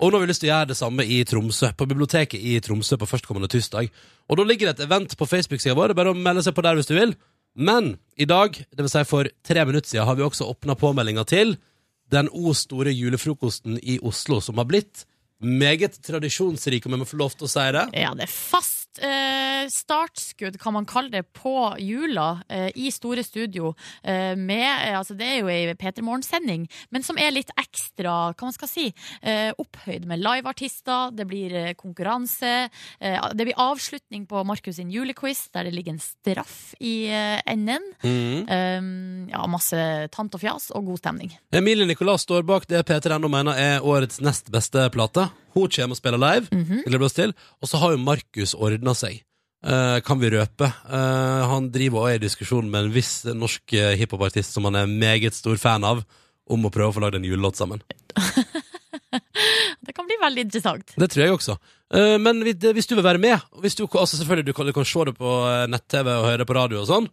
Speaker 2: Og nå har vi lyst til å gjøre det samme i Tromsø, på biblioteket i Tromsø på førstkommende tirsdag. Og da ligger det et event på Facebook-sida vår. Det er bare å melde seg på der hvis du vil. Men i dag, dvs. Si for tre minutter siden, har vi også åpna påmeldinga til den o store julefrokosten i Oslo, som har blitt meget tradisjonsrik, om jeg må få lov til å si det.
Speaker 4: Ja, det er fast eh, startskudd, kan man kalle det, på jula eh, i Store Studio. eh, med, eh, altså det er jo ei P3 Morgen-sending, men som er litt ekstra, hva man skal si, eh, opphøyd med liveartister. Det blir eh, konkurranse. eh, det blir avslutning på Markus sin julequiz, der det ligger en straff i eh, enden. Eh, ja, masse tant og fjas og god stemning.
Speaker 2: Emilie Nicolas står bak det Peter Ennå mener er årets nest beste plate. Hun kommer og spiller live, gleder vi oss til. Og så har jo Markus ordna seg, eh, kan vi røpe. Eh, han driver og er i diskusjon med en viss norsk eh, hiphopartist som han er meget stor fan av, om å prøve å få lagd en julelåt sammen.
Speaker 4: Det kan bli veldig interessant.
Speaker 2: Det tror jeg også. Eh, men hvis, det- hvis du vil være med og hvis du, altså Selvfølgelig, du kan, du kan se det på eh, nett-TV og høre det på radio og sånn.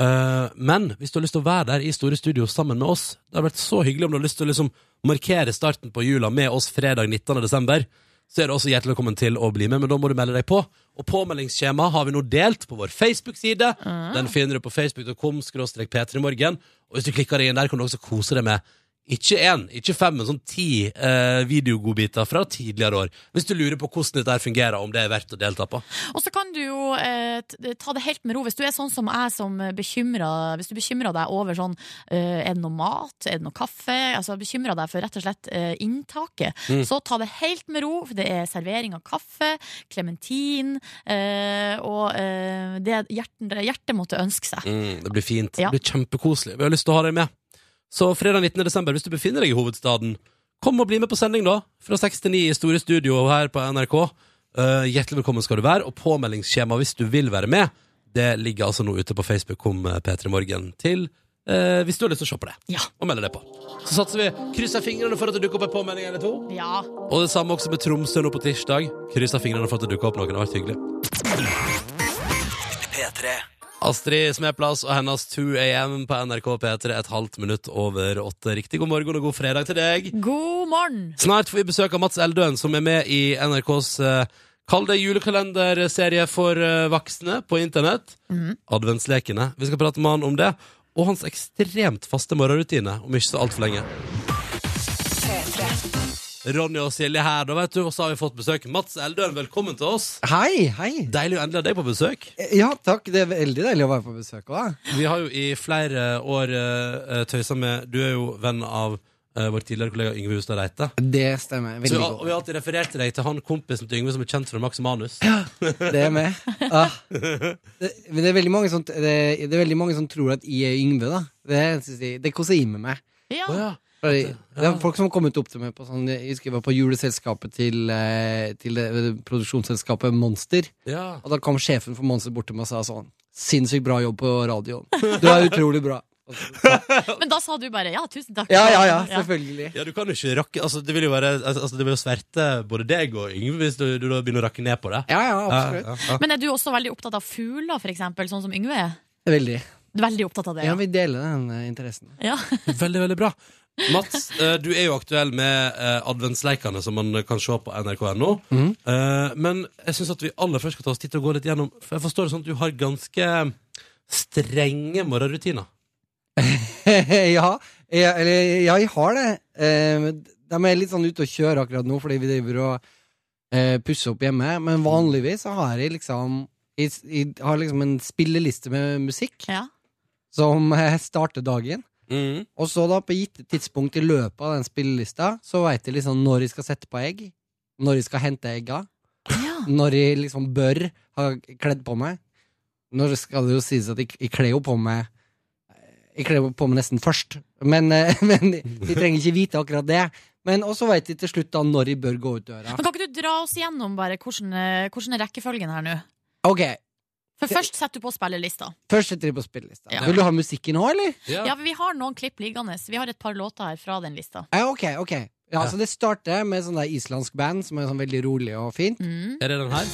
Speaker 2: Eh, men hvis du har lyst til å være der i Store Studio sammen med oss Det hadde vært så hyggelig om du har lyst til å liksom markere starten på jula med oss fredag 19. desember. Så er du også hjertelig velkommen til å bli med, men da må du melde deg på. Og påmeldingsskjema har vi nå delt på vår Facebook-side. Den finner du på facebook.com skråstrek p3morgen. Og hvis du klikker deg inn der, kan du også kose deg med ikke én, ikke fem, men sånn ti eh, videogodbiter fra tidligere år. Hvis du lurer på hvordan dette her fungerer, om det er verdt å delta på.
Speaker 4: Og så kan du jo eh, t- ta det helt med ro. Hvis du er sånn som jeg som bekymrer, hvis du bekymrer deg over sånn eh, Er det noe mat? Er det noe kaffe? Altså bekymrer deg for rett og slett eh, inntaket.
Speaker 13: Mm.
Speaker 4: Så ta det helt med ro. For det er servering av kaffe, klementin eh, og eh, det hjertet, hjertet måtte ønske seg.
Speaker 2: Mm, det blir fint.
Speaker 4: Ja.
Speaker 2: Det blir kjempekoselig. Vi har lyst til å ha deg med. Så fredag 19. desember, hvis du befinner deg i hovedstaden, kom og bli med på sending, da. Fra 6 til 9 i Store Studio her på NRK. Eh, hjertelig velkommen skal du være. Og påmeldingsskjema hvis du vil være med, det ligger altså nå ute på Facebook om eh, P3 Morgen til eh, hvis du har lyst til å se på det.
Speaker 4: Ja.
Speaker 2: Og melde deg på. Så satser vi. Krysser fingrene for at det dukker opp en påmelding eller to.
Speaker 4: Ja.
Speaker 2: Og det samme også med Tromsø nå på tirsdag. Kryssa fingrene for at det dukker opp noen. Det har vært hyggelig. Astrid Smeplass og hennes 2 AM på NRK P3 et halvt minutt over åtte. Riktig god morgen og god fredag til deg.
Speaker 4: God morgen!
Speaker 2: Snart får vi besøk av Mats Eldøen, som er med i NRKs eh, Kall det julekalenderserie for eh, voksne på internett. Adventslekene. Vi skal prate med han om det. Og hans ekstremt faste morgenrutine om ikke så altfor lenge. Ronny og Silje her, da vet du, og så har vi fått besøk. Mats Eldøen, velkommen til oss.
Speaker 13: Hei, hei.
Speaker 2: Deilig å endelig ha deg på besøk.
Speaker 13: Ja, takk. Det er veldig deilig å være på besøk òg.
Speaker 2: eh, Vi har jo i flere år uh, tøysa med Du er jo venn av eh, vår tidligere kollega Yngve Hustad Reite.
Speaker 13: Det stemmer.
Speaker 2: Så vi
Speaker 13: Veldig
Speaker 2: har, og vi
Speaker 13: godt.
Speaker 2: har alltid referert til deg til han kompisen til Yngve som er kjent fra Max Manus.
Speaker 13: Det er med. Ah. Det, men det er veldig mange som, det, det er veldig mange som tror at jeg er Yngve, da. Det, synes jeg, det koser jeg med meg.
Speaker 4: Ja.
Speaker 2: Å ja.
Speaker 13: Fordi, det er folk som har kommet opp til meg på sånn Jeg husker jeg var på juleselskapet til, eh, til det, produksjonsselskapet Monster.
Speaker 2: ja.
Speaker 13: Og da kom sjefen for Monster bort til meg og sa sånn Sinnssykt bra jobb på radioen. Du er utrolig bra. Og så-
Speaker 4: Men da sa du bare ja, tusen takk.
Speaker 13: Ja, ja, ja, selvfølgelig.
Speaker 2: Ja, du kan jo ikke rakke altså, Det vil jo være al- altså, Det vil jo sverte både deg og Yngve hvis du, du da begynner å rakke ned på det.
Speaker 13: Ja, ja, absolutt.
Speaker 2: Ja, ja, ja.
Speaker 4: Men er du også veldig opptatt av fugler, for eksempel, sånn som Yngve er?
Speaker 13: Veldig.
Speaker 4: Du er Veldig opptatt av det.
Speaker 13: Ja,
Speaker 4: Ja.
Speaker 13: vi deler den eh, interessen.
Speaker 2: Veldig, veldig bra. Mats, eh, du er jo aktuell med eh, adventsleikene som man kan se på nrk.no.
Speaker 13: Mhm.
Speaker 2: Eh, Men jeg syns at vi aller først skal ta oss tid til å gå litt gjennom For jeg forstår det sånn at du har ganske strenge morgenrutiner.
Speaker 13: ja, jeg, eller, ja, jeg har det. Eh, men De er litt sånn ute og kjører akkurat nå, fordi vi driver og eh, pusser opp hjemme. Men vanligvis så har jeg liksom jeg, s- jeg har liksom en spilleliste med musikk
Speaker 4: Ja.
Speaker 13: som eh, starter dagen.
Speaker 2: Mhm.
Speaker 13: Og så da på gitt tidspunkt i løpet av den spillelista, så veit jeg liksom når jeg skal sette på egg, når jeg skal hente egga,
Speaker 4: Ja.
Speaker 13: når jeg liksom bør ha kledd på meg. Når skal det jo sies at jeg, jeg kler jo på meg Jeg kler jo på meg nesten først, men, eh, men jeg trenger ikke vite akkurat det. Men også veit jeg til slutt da når jeg bør gå ut døra.
Speaker 4: Men kan ikke du dra oss gjennom bare hvordan, eh, hvordan er rekkefølgen her nå?
Speaker 13: Ok,
Speaker 4: For først setter du på spillelista.
Speaker 13: Først setter jeg på spillelista.
Speaker 4: Ja.
Speaker 13: Vil du ha musikken nå, eller?
Speaker 2: Ja.
Speaker 4: Ja, for vi har noen klipp liggende. Vi har et par låter her fra den lista.
Speaker 13: Ja, ok, ok. Ja,
Speaker 2: Ja.
Speaker 13: Så det starter med sånn der islandsk band som er sånn veldig rolig og fint.
Speaker 4: Mm.
Speaker 2: Er det den her?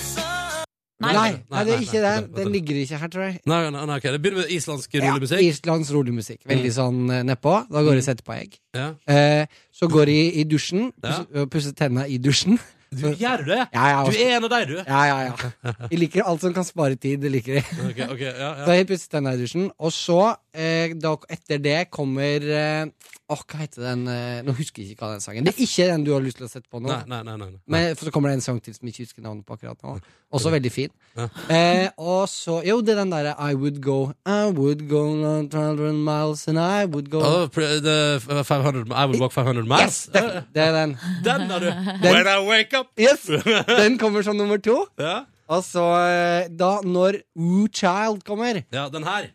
Speaker 13: Nei,
Speaker 4: Nei.
Speaker 13: nei,
Speaker 2: Nei,
Speaker 13: det
Speaker 2: nei,
Speaker 13: er ikke
Speaker 2: nei,
Speaker 13: den.
Speaker 2: vent,
Speaker 13: Den
Speaker 2: vent.
Speaker 13: ligger ikke her, tror jeg.
Speaker 2: Nei, nei, nei, ok, Det begynner med islandsk rolig musikk. Mm.
Speaker 13: Ja, Islands rolig musikk. Veldig sånn eh, nedpå. Da går jeg og setter på egg.
Speaker 2: Ja.
Speaker 13: Eh, så går jeg i dusjen.
Speaker 2: Ja.
Speaker 13: Pusser, øh, pusser tenna i dusjen.
Speaker 2: Du gjør det?
Speaker 13: Ja, ja,
Speaker 2: Du er en av deg, du.
Speaker 13: ja, ja, ja. Jeg liker alt som kan spare tid. Det liker jeg.
Speaker 2: Ok, ok, ja,
Speaker 13: Så
Speaker 2: ja.
Speaker 13: jeg pusser tenna i dusjen. Og så, eh, da, etter det, kommer eh, Åh, hva heter den eh, Nå husker jeg ikke hva den sangen Det er ikke den du har lyst til å sette på nå.
Speaker 2: Nei, nei, nei, nei, nei.
Speaker 13: Men, for så kommer det en sang til som jeg ikke husker navnet på akkurat nå. Også veldig fin.
Speaker 2: Ja.
Speaker 13: Eh, og så Jo, det er den derre I would go, I would go 100 miles and I would go
Speaker 2: Oh, pr- the 500, I would walk 500 miles.
Speaker 13: Yes! Det, det er den.
Speaker 2: Den har du. When I wake up.
Speaker 13: Yes! Den kommer som nummer to.
Speaker 2: Ja,
Speaker 13: Og så, eh, da, når Woo Child kommer,
Speaker 2: ja den her.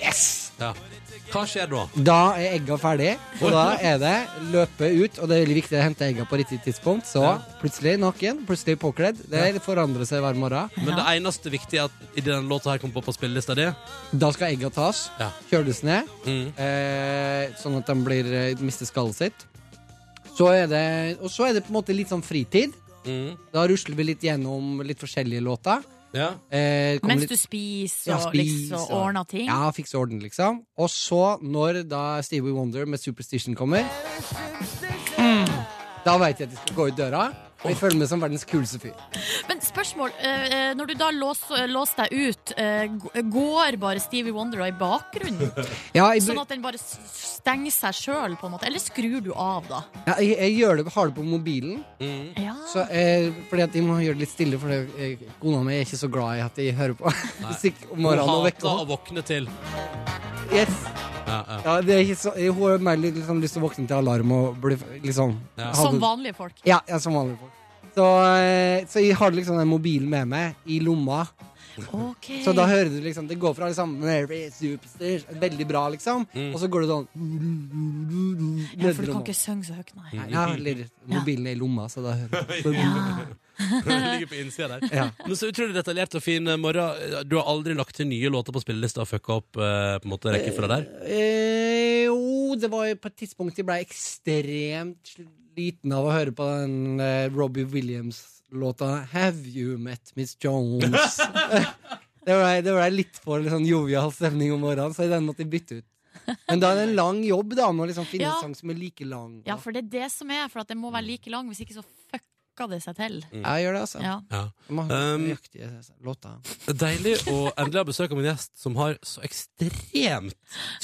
Speaker 13: yes!
Speaker 2: Ja. Hva skjer da?
Speaker 13: Da er egga ferdig, og da er det løpe ut. Og det er veldig viktig å hente egga på riktig tidspunkt. Så plutselig naken, plutselig påkledd. Det forandrer seg hver morgen.
Speaker 2: Men det eneste viktige er at i den låta her kommer på på spillelista di
Speaker 13: Da skal egga tas,
Speaker 2: Ja.
Speaker 13: kjøles ned,
Speaker 2: Mm.
Speaker 13: eh, sånn at den blir, eh, mister skallet sitt. Så er det, og så er det på en måte litt sånn fritid.
Speaker 2: mm.
Speaker 13: Da rusler vi litt gjennom litt forskjellige låter.
Speaker 2: Ja.
Speaker 13: Eh, kommer
Speaker 4: Mens
Speaker 13: litt-
Speaker 4: du spiser
Speaker 13: Ja,
Speaker 4: og
Speaker 13: spis,
Speaker 4: liksom
Speaker 13: og-
Speaker 4: ordner ting.
Speaker 13: Ja, fikse orden, liksom. Og så, når da Stevie Wonder med Superstition kommer
Speaker 2: Mm.
Speaker 13: Da veit jeg at de skal gå ut døra. Og jeg føler meg som verdens kuleste fyr.
Speaker 4: Men spørsmål, eh, eh, når du da låser, låser deg ut, eh, g- går bare Stevie Wonder i bakgrunnen?
Speaker 13: Ja, jeg,
Speaker 4: Sånn
Speaker 13: br-
Speaker 4: at den bare s- stenger seg sjøl, på en måte? Eller skrur du av, da?
Speaker 13: ja, jeg, jeg gjør det, har det på mobilen.
Speaker 2: Mm.
Speaker 4: Ja.
Speaker 13: Så, eh, fordi at jeg må gjøre det litt stille, for det- eh, kona mi er ikke så glad i at jeg hører på musikk om
Speaker 2: Hun
Speaker 13: morgenen og
Speaker 2: hater
Speaker 13: vekker
Speaker 2: å våkne til.
Speaker 13: henne. Yes.
Speaker 2: Ja, ja.
Speaker 13: Ja, det er ikke så, hun har mer litt- liksom, lyst til å våkne til alarm og bli liksom
Speaker 2: Ja.
Speaker 13: ha
Speaker 4: Som
Speaker 13: det-
Speaker 4: vanlige folk.
Speaker 13: Ja, ja, som vanlig folk. Så, eh, så jeg har liksom den mobilen med meg i lomma.
Speaker 4: Ok.
Speaker 13: Så da hører du liksom Det går fra liksom Mary Superstars, Veldig bra, liksom. Og så går det sånn
Speaker 4: ja, for du kan ikke synge så høyt, nei.
Speaker 13: Nei, ja, eller mobilen er i lomma, så da hører du
Speaker 4: Ja.
Speaker 2: Den ligger på innsida der.
Speaker 13: Ja.
Speaker 2: Men så utrolig detaljert og fin eh, morgen. Du har aldri lagt til nye låter på spillelista og fucka opp eh, på en måte rekkefølga der?
Speaker 13: eh, Jo, det var jo på et tidspunkt jeg ble ekstremt sliten av å høre på den eh, Robbie Williams-låta 'Have You Met Miss Jones'. det blei ble litt for liksom, jovial stemning om morgenen, så den måtte jeg bytte ut. Men da er det en lang jobb da med å liksom finne
Speaker 4: Ja.
Speaker 13: en sang som er like lang.
Speaker 4: ja, for det er det som er, for at den må være like lang, hvis ikke så fucka det seg til.
Speaker 13: Ja, jeg gjør det, altså.
Speaker 4: Ja.
Speaker 2: Ja.
Speaker 13: Jeg må ha
Speaker 2: Um,
Speaker 13: nøyaktige låter.
Speaker 2: Deilig å endelig ha besøk av en gjest som har så ekstremt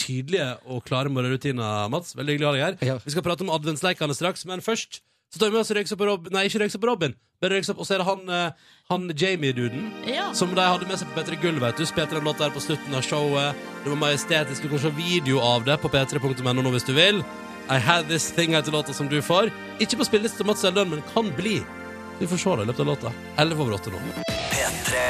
Speaker 2: tydelige og klare morgenrutiner, Mats. Veldig hyggelig å ha deg her.
Speaker 13: Ja.
Speaker 2: Vi skal prate om adventsleikene straks, men først så tar vi med oss Røyksopp og Robin. Nei, ikke Røyksopp og Robin, men Røyksopp. Og så er det han, eh, han Jamie-duden
Speaker 4: Ja.
Speaker 2: som de hadde med seg på P3 Gull, vet du. Spilte den låta her på slutten av showet. Det var majestetisk. Du kan se video av det på p3.no nå hvis du vil. I Had This Thing heter låta som du får. Ikke på spilleliste til Mats Eldøen, men kan bli. Vi får se det i løpet av låta. 11 over 8 nå.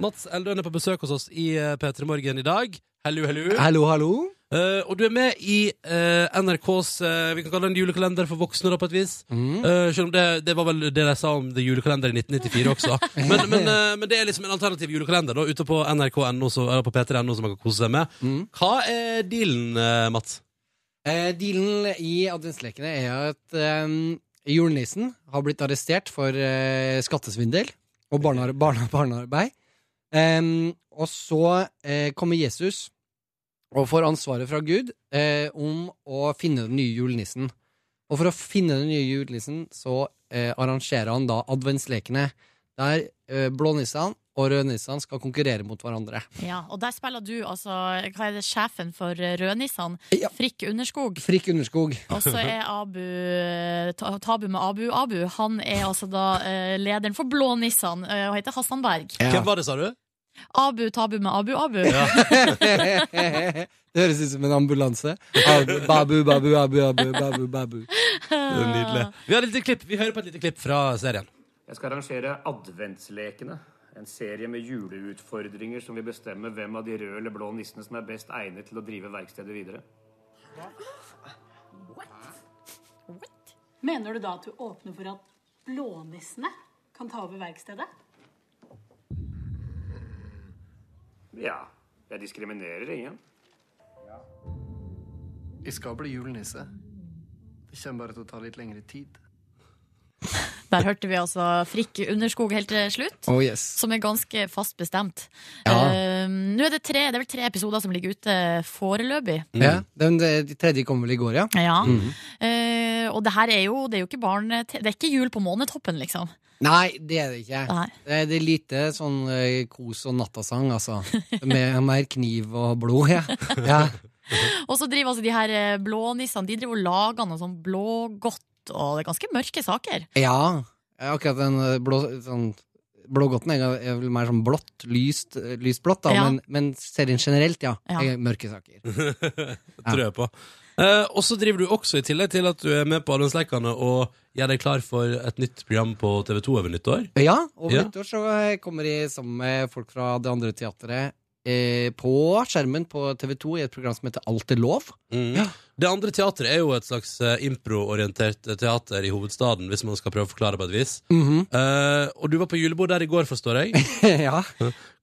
Speaker 2: Mats Eldøen er på besøk hos oss i eh, P3 Morgen i dag. Hello, hello.
Speaker 13: Hallo, hallo.
Speaker 2: Eh, og du er med i eh, NRKs eh, Vi kan kalle det en julekalender for voksne, da, på et vis. Eh, selv om det, det var vel det de sa om The Julekalender i 1994 også. Men, men, eh, men det er liksom en alternativ julekalender da, ute på nrk.no så- eller på p3.no som man kan kose seg med.
Speaker 13: Mm.
Speaker 2: Hva er dealen, eh, Mats?
Speaker 13: Eh, dealen i adventslekene er at eh, julenissen har blitt arrestert for eh, skattesvindel og barnear- barne- barnearbeid. Eh, og så eh, kommer Jesus og får ansvaret fra Gud eh, om å finne den nye julenissen. Og for å finne den nye julenissen så eh, arrangerer han da adventslekene, der eh, blånissene og rødnissene skal konkurrere mot hverandre.
Speaker 4: Ja, og der spiller du altså Hva er det sjefen for eh, rødnissene?
Speaker 13: Ja.
Speaker 4: Frikk Underskog.
Speaker 13: Frikk Underskog.
Speaker 4: Og så er Abu eh, Ta- Tabu med Abu Abu. Han er altså da eh, lederen for blånissene eh, og heter Hassan Berg.
Speaker 2: Hvem var det, sa du?
Speaker 4: Abu Tabu med Abu Abu.
Speaker 13: det høres ut som en ambulanse. Abu, Babu, babu, babu, babu, babu, babu.
Speaker 2: Nydelig. Vi har et lite klipp. Vi hører på et lite klipp fra serien.
Speaker 14: Jeg skal arrangere Adventslekene. En serie med juleutfordringer som vil bestemme hvem av de røde eller blå nissene som er best egnet til å drive verkstedet videre.
Speaker 15: Mener du da at du åpner for at blånissene kan ta over verkstedet?
Speaker 14: Ja, jeg diskriminerer ingen.
Speaker 16: Jeg skal bli julenisse. Det kommer bare til å ta litt lengre tid.
Speaker 4: Der hørte vi altså Frikk Underskog helt til slutt.
Speaker 13: Oh yes.
Speaker 4: Som er ganske fast bestemt.
Speaker 13: Ja.
Speaker 4: Eh, nå er det, tre, det er vel tre episoder som ligger ute foreløpig.
Speaker 13: Ja, den den tredje kom vel i går, ja?
Speaker 4: Ja.
Speaker 13: Mhm.
Speaker 4: Eh, og det her er jo Det er jo ikke barne... Det er ikke jul på månetoppen, liksom.
Speaker 13: Nei, det er det ikke.
Speaker 4: Nei.
Speaker 13: Det er, det er lite sånn eh, kos og nattasang, altså. Med mer kniv og blod, ja. ja.
Speaker 4: Og så driver altså de her eh, blånissene De driver og lager noe sånn blågodt, og det er ganske mørke saker.
Speaker 13: ja. Akkurat den eh, blå, sånn, blågodten er ga- er vel mer sånn blått, lyst, eh, lyst blått, da.
Speaker 4: Ja.
Speaker 13: Men, men serien generelt, ja.
Speaker 4: Ja.
Speaker 13: Er mørke saker.
Speaker 2: Det tror jeg på. Eh, og så driver du også, i tillegg til at du er med på Adventslekkene, og gjør deg klar for et nytt program på TV2 over nyttår.
Speaker 13: Ja, og
Speaker 2: Ja.
Speaker 13: nyttår så eh, kommer de sammen med folk fra det andre teatret eh, på skjermen på TV2 i et program som heter Alt er lov. Ja.
Speaker 2: Det andre teatret er jo et slags eh, improorientert eh, teater i hovedstaden, hvis man skal prøve å forklare på et vis. Eh, og du var på julebord der i går, forstår jeg.
Speaker 13: ja.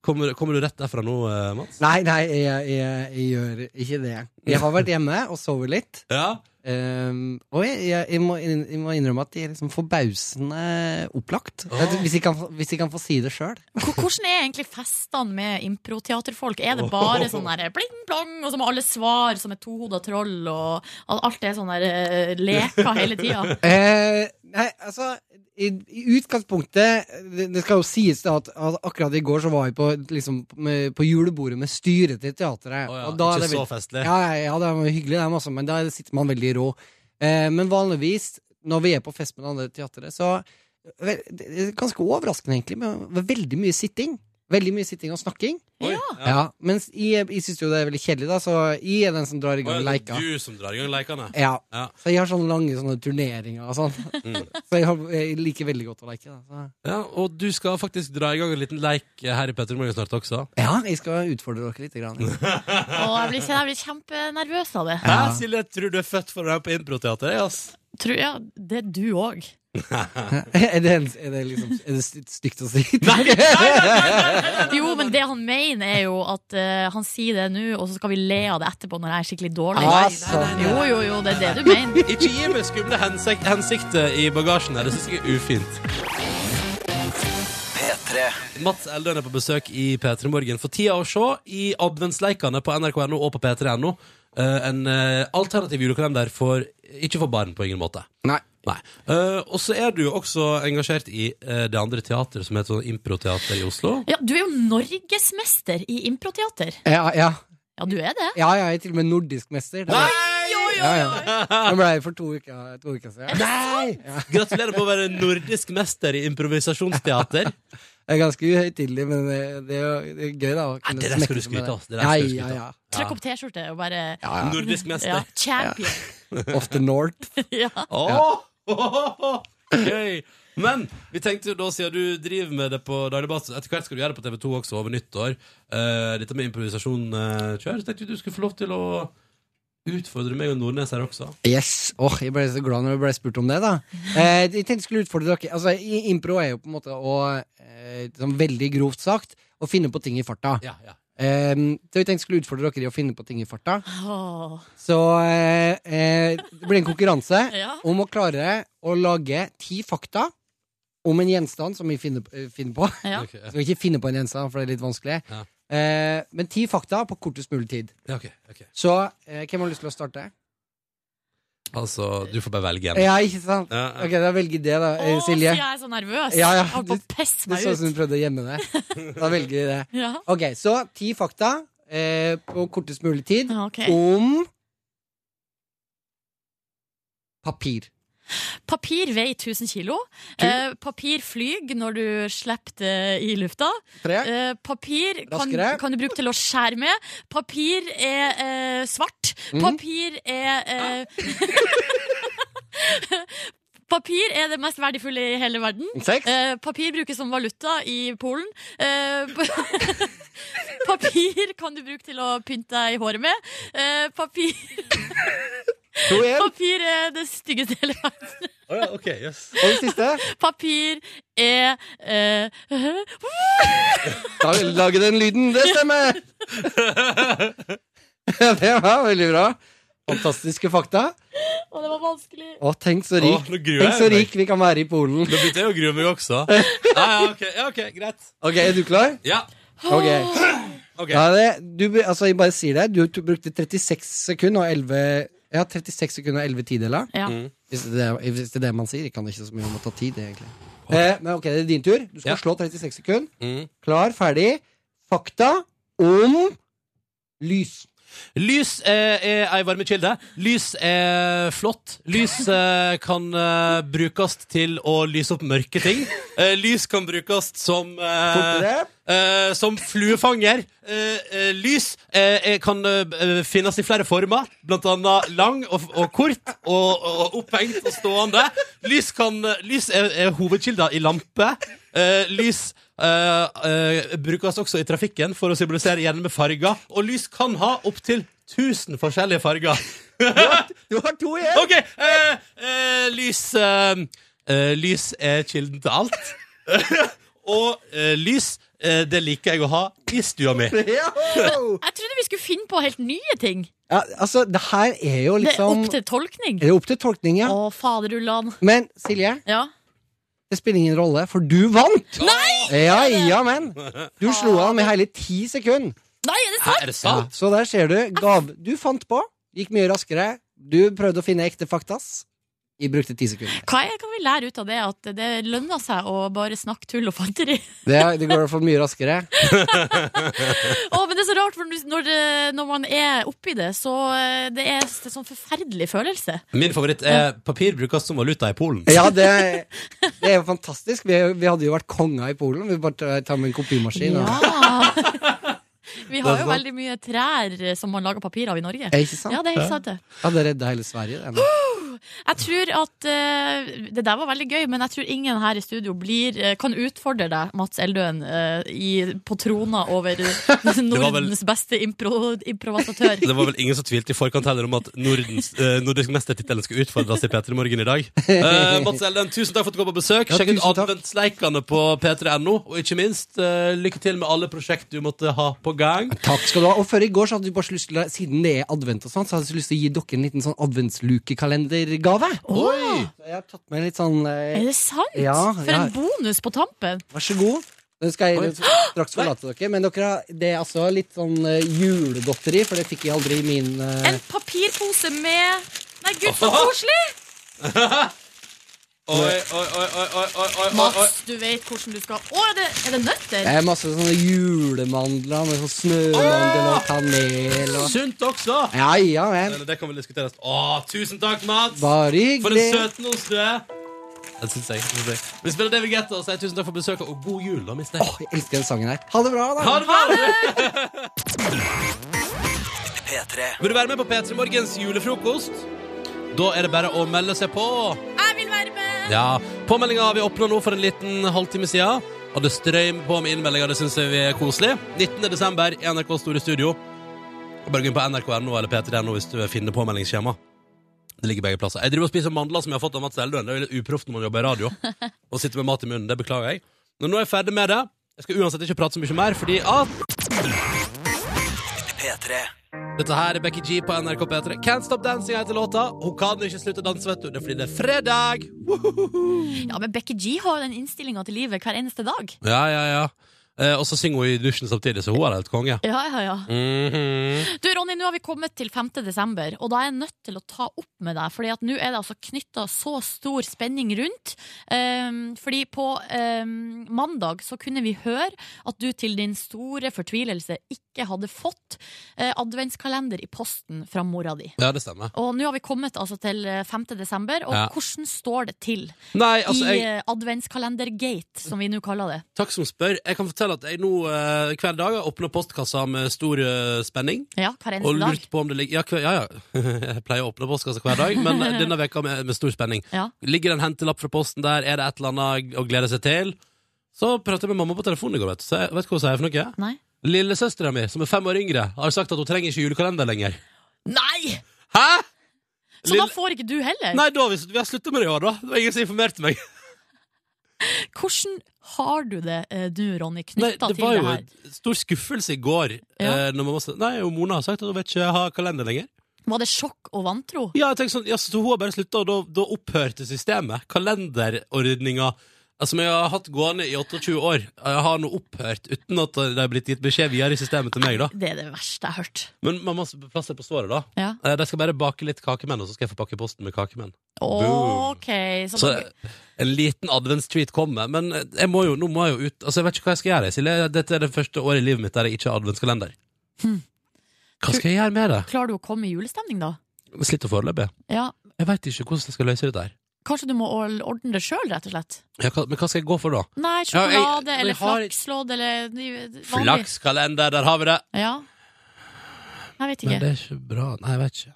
Speaker 2: Kommer, kommer du rett derfra nå, eh, Mats?
Speaker 13: Nei, nei, jeg, jeg, jeg gjør ikke det. Jeg har vært hjemme og sovet litt.
Speaker 2: Ja.
Speaker 13: Um, og jeg, jeg, jeg, må, inn- jeg må innrømme at jeg er liksom forbausende opplagt. Jeg- Hvis, jeg kan, få- hvis jeg kan få si det sjøl.
Speaker 4: H- Hvordan er egentlig festene med improteaterfolk? Er det bare sånn der bling blong, og så må alle svar som et tohoda troll, og al- alt er sånn der eh, leker hele tida?
Speaker 13: Eh, nei, altså i, I utgangspunktet Det, det skal jo sies da at, at akkurat i går så var jeg på, liksom, med, på julebordet med styret til teatret.
Speaker 2: Å ja,
Speaker 13: og da er
Speaker 2: ikke
Speaker 13: det
Speaker 2: så
Speaker 13: vel-
Speaker 2: festlig.
Speaker 13: Ja, ja, ja, det er hyggelig, dem også, men da sitter man veldig rå. Eh, men vanligvis, når vi er på fest med det andre teatret, så vel, Det er ganske overraskende, egentlig, men det er veldig mye sitting. Veldig mye sitting og snakking.
Speaker 2: Oi.
Speaker 13: Ja, Mens jeg, jeg syns jo det er veldig kjedelig, da, så jeg er den som drar i gang
Speaker 2: Å, ja, det
Speaker 13: leika.
Speaker 2: er du som drar i gang leikene.
Speaker 13: Ja.
Speaker 2: Ja.
Speaker 13: Så jeg har sånne lange sånne turneringer og sånn.
Speaker 2: Mm.
Speaker 13: Så jeg, har, jeg liker veldig godt å leke. Da. Så.
Speaker 2: Ja, og du skal faktisk dra i gang en liten leik eh, her i Petter Morgen snart også.
Speaker 13: Ja, jeg skal utfordre dere litt. Grann.
Speaker 4: Og jeg blir, jeg blir kjempenervøs av det.
Speaker 2: Hæ, Silje, jeg tror du er født for å være på improteater, jeg, ass.
Speaker 4: Tror, ja, det er du òg.
Speaker 13: er, det, er, det liksom, er det st- stygt å si?
Speaker 4: Jo, men det han mener er jo at eh, han sier det nå, og så skal vi le av det etterpå når jeg er skikkelig dårlig.
Speaker 13: Ah, sånn, ja.
Speaker 4: Jo, jo, jo, det er det du mener.
Speaker 2: Ikke gi meg skumle hensikt, hensikter i bagasjen her, det synes jeg er ufint. Mats Eldøen er på besøk i P3 Morgen for tida å se i adventsleikene på nrk.no og på p3.no. eh, en eh, alternativ julekalender for ikke for barn på ingen måte.
Speaker 13: Nei.
Speaker 2: Nei. Eh, og så er du jo også engasjert i eh, det andre teatret som heter sånn improteater i Oslo.
Speaker 4: Ja, du er jo norgesmester i improteater.
Speaker 13: Ja, ja.
Speaker 4: Ja, du er det.
Speaker 13: ja, ja, jeg er til og med nordisk mester. Det, ja, ja. Jeg ble for to uker, to uker siden.
Speaker 2: Nei! Gratulerer med å være nordisk mester i improvisasjonsteater.
Speaker 13: Det er ganske uhøytidelig, men eh, det er jo det er gøy, da. å kunne
Speaker 2: det der skal du
Speaker 13: smekke med
Speaker 2: skryte av, det der
Speaker 13: Ja,
Speaker 2: skal du skryte
Speaker 13: ja,
Speaker 2: av.
Speaker 13: ja.
Speaker 8: Trykk opp T-skjorte og bare
Speaker 13: Ja, ja. Nordisk mester.
Speaker 8: Ja, champion.
Speaker 13: Off the North.
Speaker 8: Ja.
Speaker 2: Åh! Gøy! Men vi tenkte jo da, siden du driver med det på daglig basis Etter hvert skal du gjøre det på TV2 også, over nyttår. Eh, dette med improvisasjon eh, kjør. Så tenkte vi du skulle få lov til å utfordre meg og Nordnes her også.
Speaker 13: Yes, åh, Jeg ble så glad når jeg ble spurt om det. da eh, Jeg tenkte jeg skulle utfordre dere. Altså, i- Impro er jo på en måte å eh, sånn veldig grovt sagt å finne på ting i farta.
Speaker 2: Ja, ja.
Speaker 13: Eh, så jeg tenkte jeg skulle utfordre dere i å finne på ting i farta.
Speaker 8: Åh.
Speaker 13: Så eh, eh, det blir en konkurranse
Speaker 8: Ja.
Speaker 13: om å klare å lage ti fakta om en gjenstand som vi finner, eh, finner på.
Speaker 8: Ja.
Speaker 2: Ok, ja.
Speaker 13: Skal ikke finne på en gjenstand, for det er litt vanskelig.
Speaker 2: Ja.
Speaker 13: Eh, men ti fakta på kortest mulig tid.
Speaker 2: Ja, ok, ok.
Speaker 13: Så eh, hvem har lyst til å starte?
Speaker 2: Altså, du får bare velge en.
Speaker 13: Ja, ikke sant?
Speaker 2: Ja, ja.
Speaker 13: Ok, da velger jeg det, da,
Speaker 8: Å,
Speaker 13: eh, Silje.
Speaker 8: så jeg er så nervøs.
Speaker 13: Ja, ja.
Speaker 8: Jeg holdt på å pisse
Speaker 13: Det
Speaker 8: meg
Speaker 13: så ut
Speaker 8: ut.
Speaker 13: som du prøvde å gjemme det. Da velger vi det.
Speaker 8: Ja.
Speaker 13: Ok, så ti fakta eh, på kortest mulig tid
Speaker 8: Ja, ok.
Speaker 13: om papir.
Speaker 4: Papir veier 1000 kilo. Eh, papir flyr når du slipper det i lufta.
Speaker 13: Tre.
Speaker 4: Eh, papir kan,
Speaker 13: Raskere.
Speaker 4: kan du bruke til å skjære med. Papir er eh, svart.
Speaker 13: Mhm.
Speaker 4: Papir er eh, Papir er det mest verdifulle i hele verden.
Speaker 13: Seks.
Speaker 4: Eh, papir brukes som valuta i Polen. Eh, pa- papir kan du bruke til å pynte deg i håret med. Eh, papir
Speaker 13: To igjen.
Speaker 4: Papir er det styggeste i hele verden.
Speaker 2: Å ja, ok, yes.
Speaker 13: Og det siste.
Speaker 4: Papir er eh,
Speaker 13: Da vil jeg lage den lyden. Det stemmer! det var veldig bra. Fantastiske fakta.
Speaker 4: Å, det var vanskelig.
Speaker 13: Å, tenk så rik,
Speaker 2: Å, nå gruer
Speaker 13: tenk så
Speaker 2: jeg meg.
Speaker 13: rik vi kan være i Polen.
Speaker 2: Da begynte jeg å grue meg også. Ja, ja, ok, ja, ok, greit.
Speaker 13: Ok, Er du klar?
Speaker 2: Ja,
Speaker 13: Ok.
Speaker 2: ok.
Speaker 13: Da er det, du, be- altså, jeg bare sier det. Du, du brukte 36 sekunder og 11 ja, 36 sekunder og 11 tideler.
Speaker 4: Ja.
Speaker 2: Mm.
Speaker 13: Hvis det, er- hvis det er det man sier. Jeg kan ikke så mye om å ta tid, egentlig. Eh, men ok, det er din tur. Du skal
Speaker 2: Ja.
Speaker 13: slå 36 sekunder.
Speaker 2: Mm.
Speaker 13: Klar, ferdig. Fakta om lys.
Speaker 2: Lys eh, er ei varmekilde. Lys er flott. Lys eh, kan eh, brukes til å lyse opp mørke ting. Eh, lys kan brukes som eh,
Speaker 13: Fortere.
Speaker 2: eh, Som fluefanger. Eh, eh, lys eh, er- kan eh, eh, finnes i flere former, blant annet lang og, og kort og, og opphengt og stående. Lys, kan, lys er, er hovedkilda i lampe. Eh, lys eh, eh, brukes også i trafikken for å symbolisere gjerne med farger. Og lys kan ha opptil 1000 forskjellige farger.
Speaker 13: Du har to igjen.
Speaker 2: OK! eh, eh, lys eh, eh, Lys er kilden til alt. Og eh, lys, eh, det liker jeg å ha i stua mi.
Speaker 13: Ja.
Speaker 4: Jeg trodde vi skulle finne på helt nye ting.
Speaker 13: Ja, altså, det her er jo
Speaker 4: Det er
Speaker 13: liksom
Speaker 4: opp til tolkning.
Speaker 13: Det er opp til tolkning, ja.
Speaker 4: Å, faderullan.
Speaker 13: Men Silje,
Speaker 4: Ja.
Speaker 13: det spiller ingen rolle, for du vant! Ja, ja, men. Du slo han med hele ti sekunder.
Speaker 4: Nei, er det sant?
Speaker 2: Hæ, er det
Speaker 13: Ja,
Speaker 2: sant?
Speaker 13: så der ser du. Gav, du fant på, gikk mye raskere. Du prøvde å finne ekte faktas. Jeg brukte ti sekunder.
Speaker 4: Hva er, kan vi lære ut av det? At det lønner seg å bare snakke tull og fanteri.
Speaker 13: Det, det går i hvert fall mye raskere.
Speaker 4: Å, men det er så rart, for når, det- når man er oppi det, så eh, det er en sånn forferdelig følelse.
Speaker 2: Min favoritt er papir brukes som valuta i Polen.
Speaker 13: Ja, det, det er jo fantastisk. Vi, vi hadde jo vært konger i Polen. Vi bare tar- tar med en kopimaskin. og-
Speaker 4: Ja. Vi
Speaker 13: Det
Speaker 4: har
Speaker 13: er
Speaker 4: jo
Speaker 13: sant.
Speaker 4: veldig mye trær eh, som man lager papir av i Norge.
Speaker 13: Er ikke sant?
Speaker 4: Ja, det er helt sant, det.
Speaker 13: Ja, det redda hele Sverige. det nå.
Speaker 4: Jeg tror at eh, Det der var veldig gøy, men jeg tror ingen her i studio blir, eh, kan utfordre deg, Mats Eldøen, eh, i, på trona over Nordens beste impro, improvisatør.
Speaker 2: Det var vel ingen som tvilte i forkant heller om at Nordens, eh, nordisk mestertittelen skulle utfordres i P3 Morgen i dag. Eh, Mats Elden, tusen takk for at du kom på besøk.
Speaker 13: Ja,
Speaker 2: Sjekk ut
Speaker 13: tusen takk.
Speaker 2: adventsleikene på p3.no, og ikke minst eh, lykke til med alle prosjekt du måtte ha på gang.
Speaker 13: Takk skal du ha. Og før i går så hadde du bare så lyst til å, siden det er advent og sånn, så hadde jeg så lyst til å gi dere en liten sånn adventslukekalender-gave.
Speaker 4: Oi!
Speaker 13: Så Jeg har tatt med litt sånn eh,
Speaker 4: Er det sant?
Speaker 13: Ja,
Speaker 4: For
Speaker 13: ja.
Speaker 4: en bonus på tampen!
Speaker 13: Vær så god. Nå skal jeg straks forlate dere, men dere, har- det er altså litt sånn eh, julegodteri, for det fikk jeg aldri i min eh,
Speaker 4: En papirpose med Nei, gud, så koselig!
Speaker 2: Oi, oi, oi, oi, oi, oi, oi, oi, oi.
Speaker 4: Mats, du vet hvordan du skal Å, er det, er det
Speaker 13: Det
Speaker 4: nøtter?
Speaker 13: er masse sånne julemandler med sånn snømandel og kanel og
Speaker 2: Sunt også!
Speaker 13: Ja, ja, men.
Speaker 2: Eller det kan vel diskuteres. Å, tusen takk, Mats! For
Speaker 13: Bare
Speaker 2: en
Speaker 13: hyggelig.
Speaker 2: søtnos du er. Det syns jeg. det synes jeg. Vi spiller David Guetta og sier tusen takk for besøket, og god jul, da, mister jeg.
Speaker 13: jeg elsker den sangen her. Ha det bra, da.
Speaker 2: Ha det bra! Vil du være med på P3 Morgens julefrokost? Da er det bare å melde seg på.
Speaker 4: Jeg vil være med!
Speaker 2: Ja, Påmeldinga har vi oppnådd nå for en liten halvtime siden. Og det strøm på med innmeldinger. Det syns jeg vi er koselig. 19. desember i NRK Store Studio. Og Bare gå inn på nrk.no eller p3.no hvis du finner påmeldingsskjema. Det ligger begge plasser. Jeg driver og spiser mandler som jeg har fått av Mats Eldøen. Det er jo litt uproft når man jobber i radio og sitter med mat i munnen. Det beklager jeg. Men nå er jeg ferdig med det. Jeg skal uansett ikke prate så mye mer, fordi at Dette her er Becky G på NRK P3. Can't Stop Dancing heter låta. Hun kan ikke slutte å danse, vet du. Det er fordi det er fredag!
Speaker 4: Ja, men Becky G har jo den innstillinga til livet hver eneste dag.
Speaker 2: Ja, ja, ja. Eh, og så synger hun i dusjen samtidig, så hun er helt konge.
Speaker 4: Ja, ja, ja.
Speaker 2: Mhm.
Speaker 4: Du, Ronny, nå har vi kommet til 5. desember, og da er jeg nødt til å ta opp med deg, fordi at nå er det altså knytta så stor spenning rundt. Ehm, fordi på ehm, mandag så kunne vi høre at du til din store fortvilelse ikke hadde fått eh, adventskalender i posten fra mora di.
Speaker 2: Ja, det stemmer.
Speaker 4: Og nå har vi kommet altså til eh, 5. desember, og
Speaker 2: Ja.
Speaker 4: hvordan står det til
Speaker 2: Nei, altså,
Speaker 4: i
Speaker 2: jeg-
Speaker 4: eh, adventskalendergate, som vi nå kaller det?
Speaker 2: Takk som spør. Jeg kan fortelle at jeg nå eh, hver dag har åpna postkassa med stor eh, spenning.
Speaker 4: Ja, hver
Speaker 2: Og
Speaker 4: eneste dag.
Speaker 2: lurt på om det ligger ja, hver- ja, ja. Jeg pleier å åpne postkassa hver dag, men eh, denne veka med, med stor spenning.
Speaker 4: Ja.
Speaker 2: Ligger det en hentelapp fra posten der? Er det et eller annet å glede seg til? Så pratet jeg med mamma på telefonen i går, vet du. Så jeg, vet du hva hun sier for noe?
Speaker 4: Nei.
Speaker 2: Lillesøstera mi, som er fem år yngre, har sagt at hun trenger ikke julekalender lenger.
Speaker 4: Nei!
Speaker 2: Hæ?!
Speaker 4: Så da får ikke du heller?
Speaker 2: Nei, da, hvis vi har sluttet med det i år, da. Det var ingen som informerte meg.
Speaker 4: Hvordan har du det eh, du, Ronny,
Speaker 2: Nei,
Speaker 4: knytta
Speaker 2: det
Speaker 4: til
Speaker 2: var
Speaker 4: det
Speaker 2: jo
Speaker 4: her?
Speaker 2: en stor skuffelse i går. eh, Når mamma sa Nei, og Mona har sagt at hun vet ikke ha kalender lenger.
Speaker 4: Var det sjokk og vantro?
Speaker 2: Ja, jeg tenkte sånn, ja, så Hun har bare slutta, og da, da opphørte systemet. Kalenderordninga eh, som jeg har hatt gående i 28 år, jeg har nå opphørt uten at det er blitt gitt beskjed videre i systemet til meg. da
Speaker 4: Det er det verste jeg har hørt.
Speaker 2: Men mamma plass er på såret, da.
Speaker 4: Ja.
Speaker 2: Eh, De skal bare bake litt kakemenn, og så skal jeg få pakke posten med kakemenn. Boom.
Speaker 4: Ok, så,
Speaker 2: Så eh, en liten adventstreat kommer. Men eh, jeg må jo, nå må jeg jo ut Altså, jeg vet ikke hva jeg skal gjøre. Silje. Dette er det første året i livet mitt der jeg ikke har adventskalender.
Speaker 4: Hm.
Speaker 2: Hva skal jeg gjøre med det?
Speaker 4: Klarer du å komme i julestemning, da?
Speaker 2: Sliter foreløpig.
Speaker 4: Ja.
Speaker 2: Jeg veit ikke hvordan jeg skal løse dette her.
Speaker 4: Kanskje du må ol- ordne det sjøl, rett og slett?
Speaker 2: Ja, hva- men hva skal jeg gå for, da?
Speaker 4: Nei,
Speaker 2: Ja, jeg-
Speaker 4: sjokolade
Speaker 2: jeg
Speaker 4: eller
Speaker 2: har-
Speaker 4: flakslodd eller vanlig.
Speaker 2: Flakskalender, der har vi det!
Speaker 4: Ja. Jeg vet
Speaker 2: Men
Speaker 4: ikke.
Speaker 2: det er ikke bra. Nei, jeg vet ikke.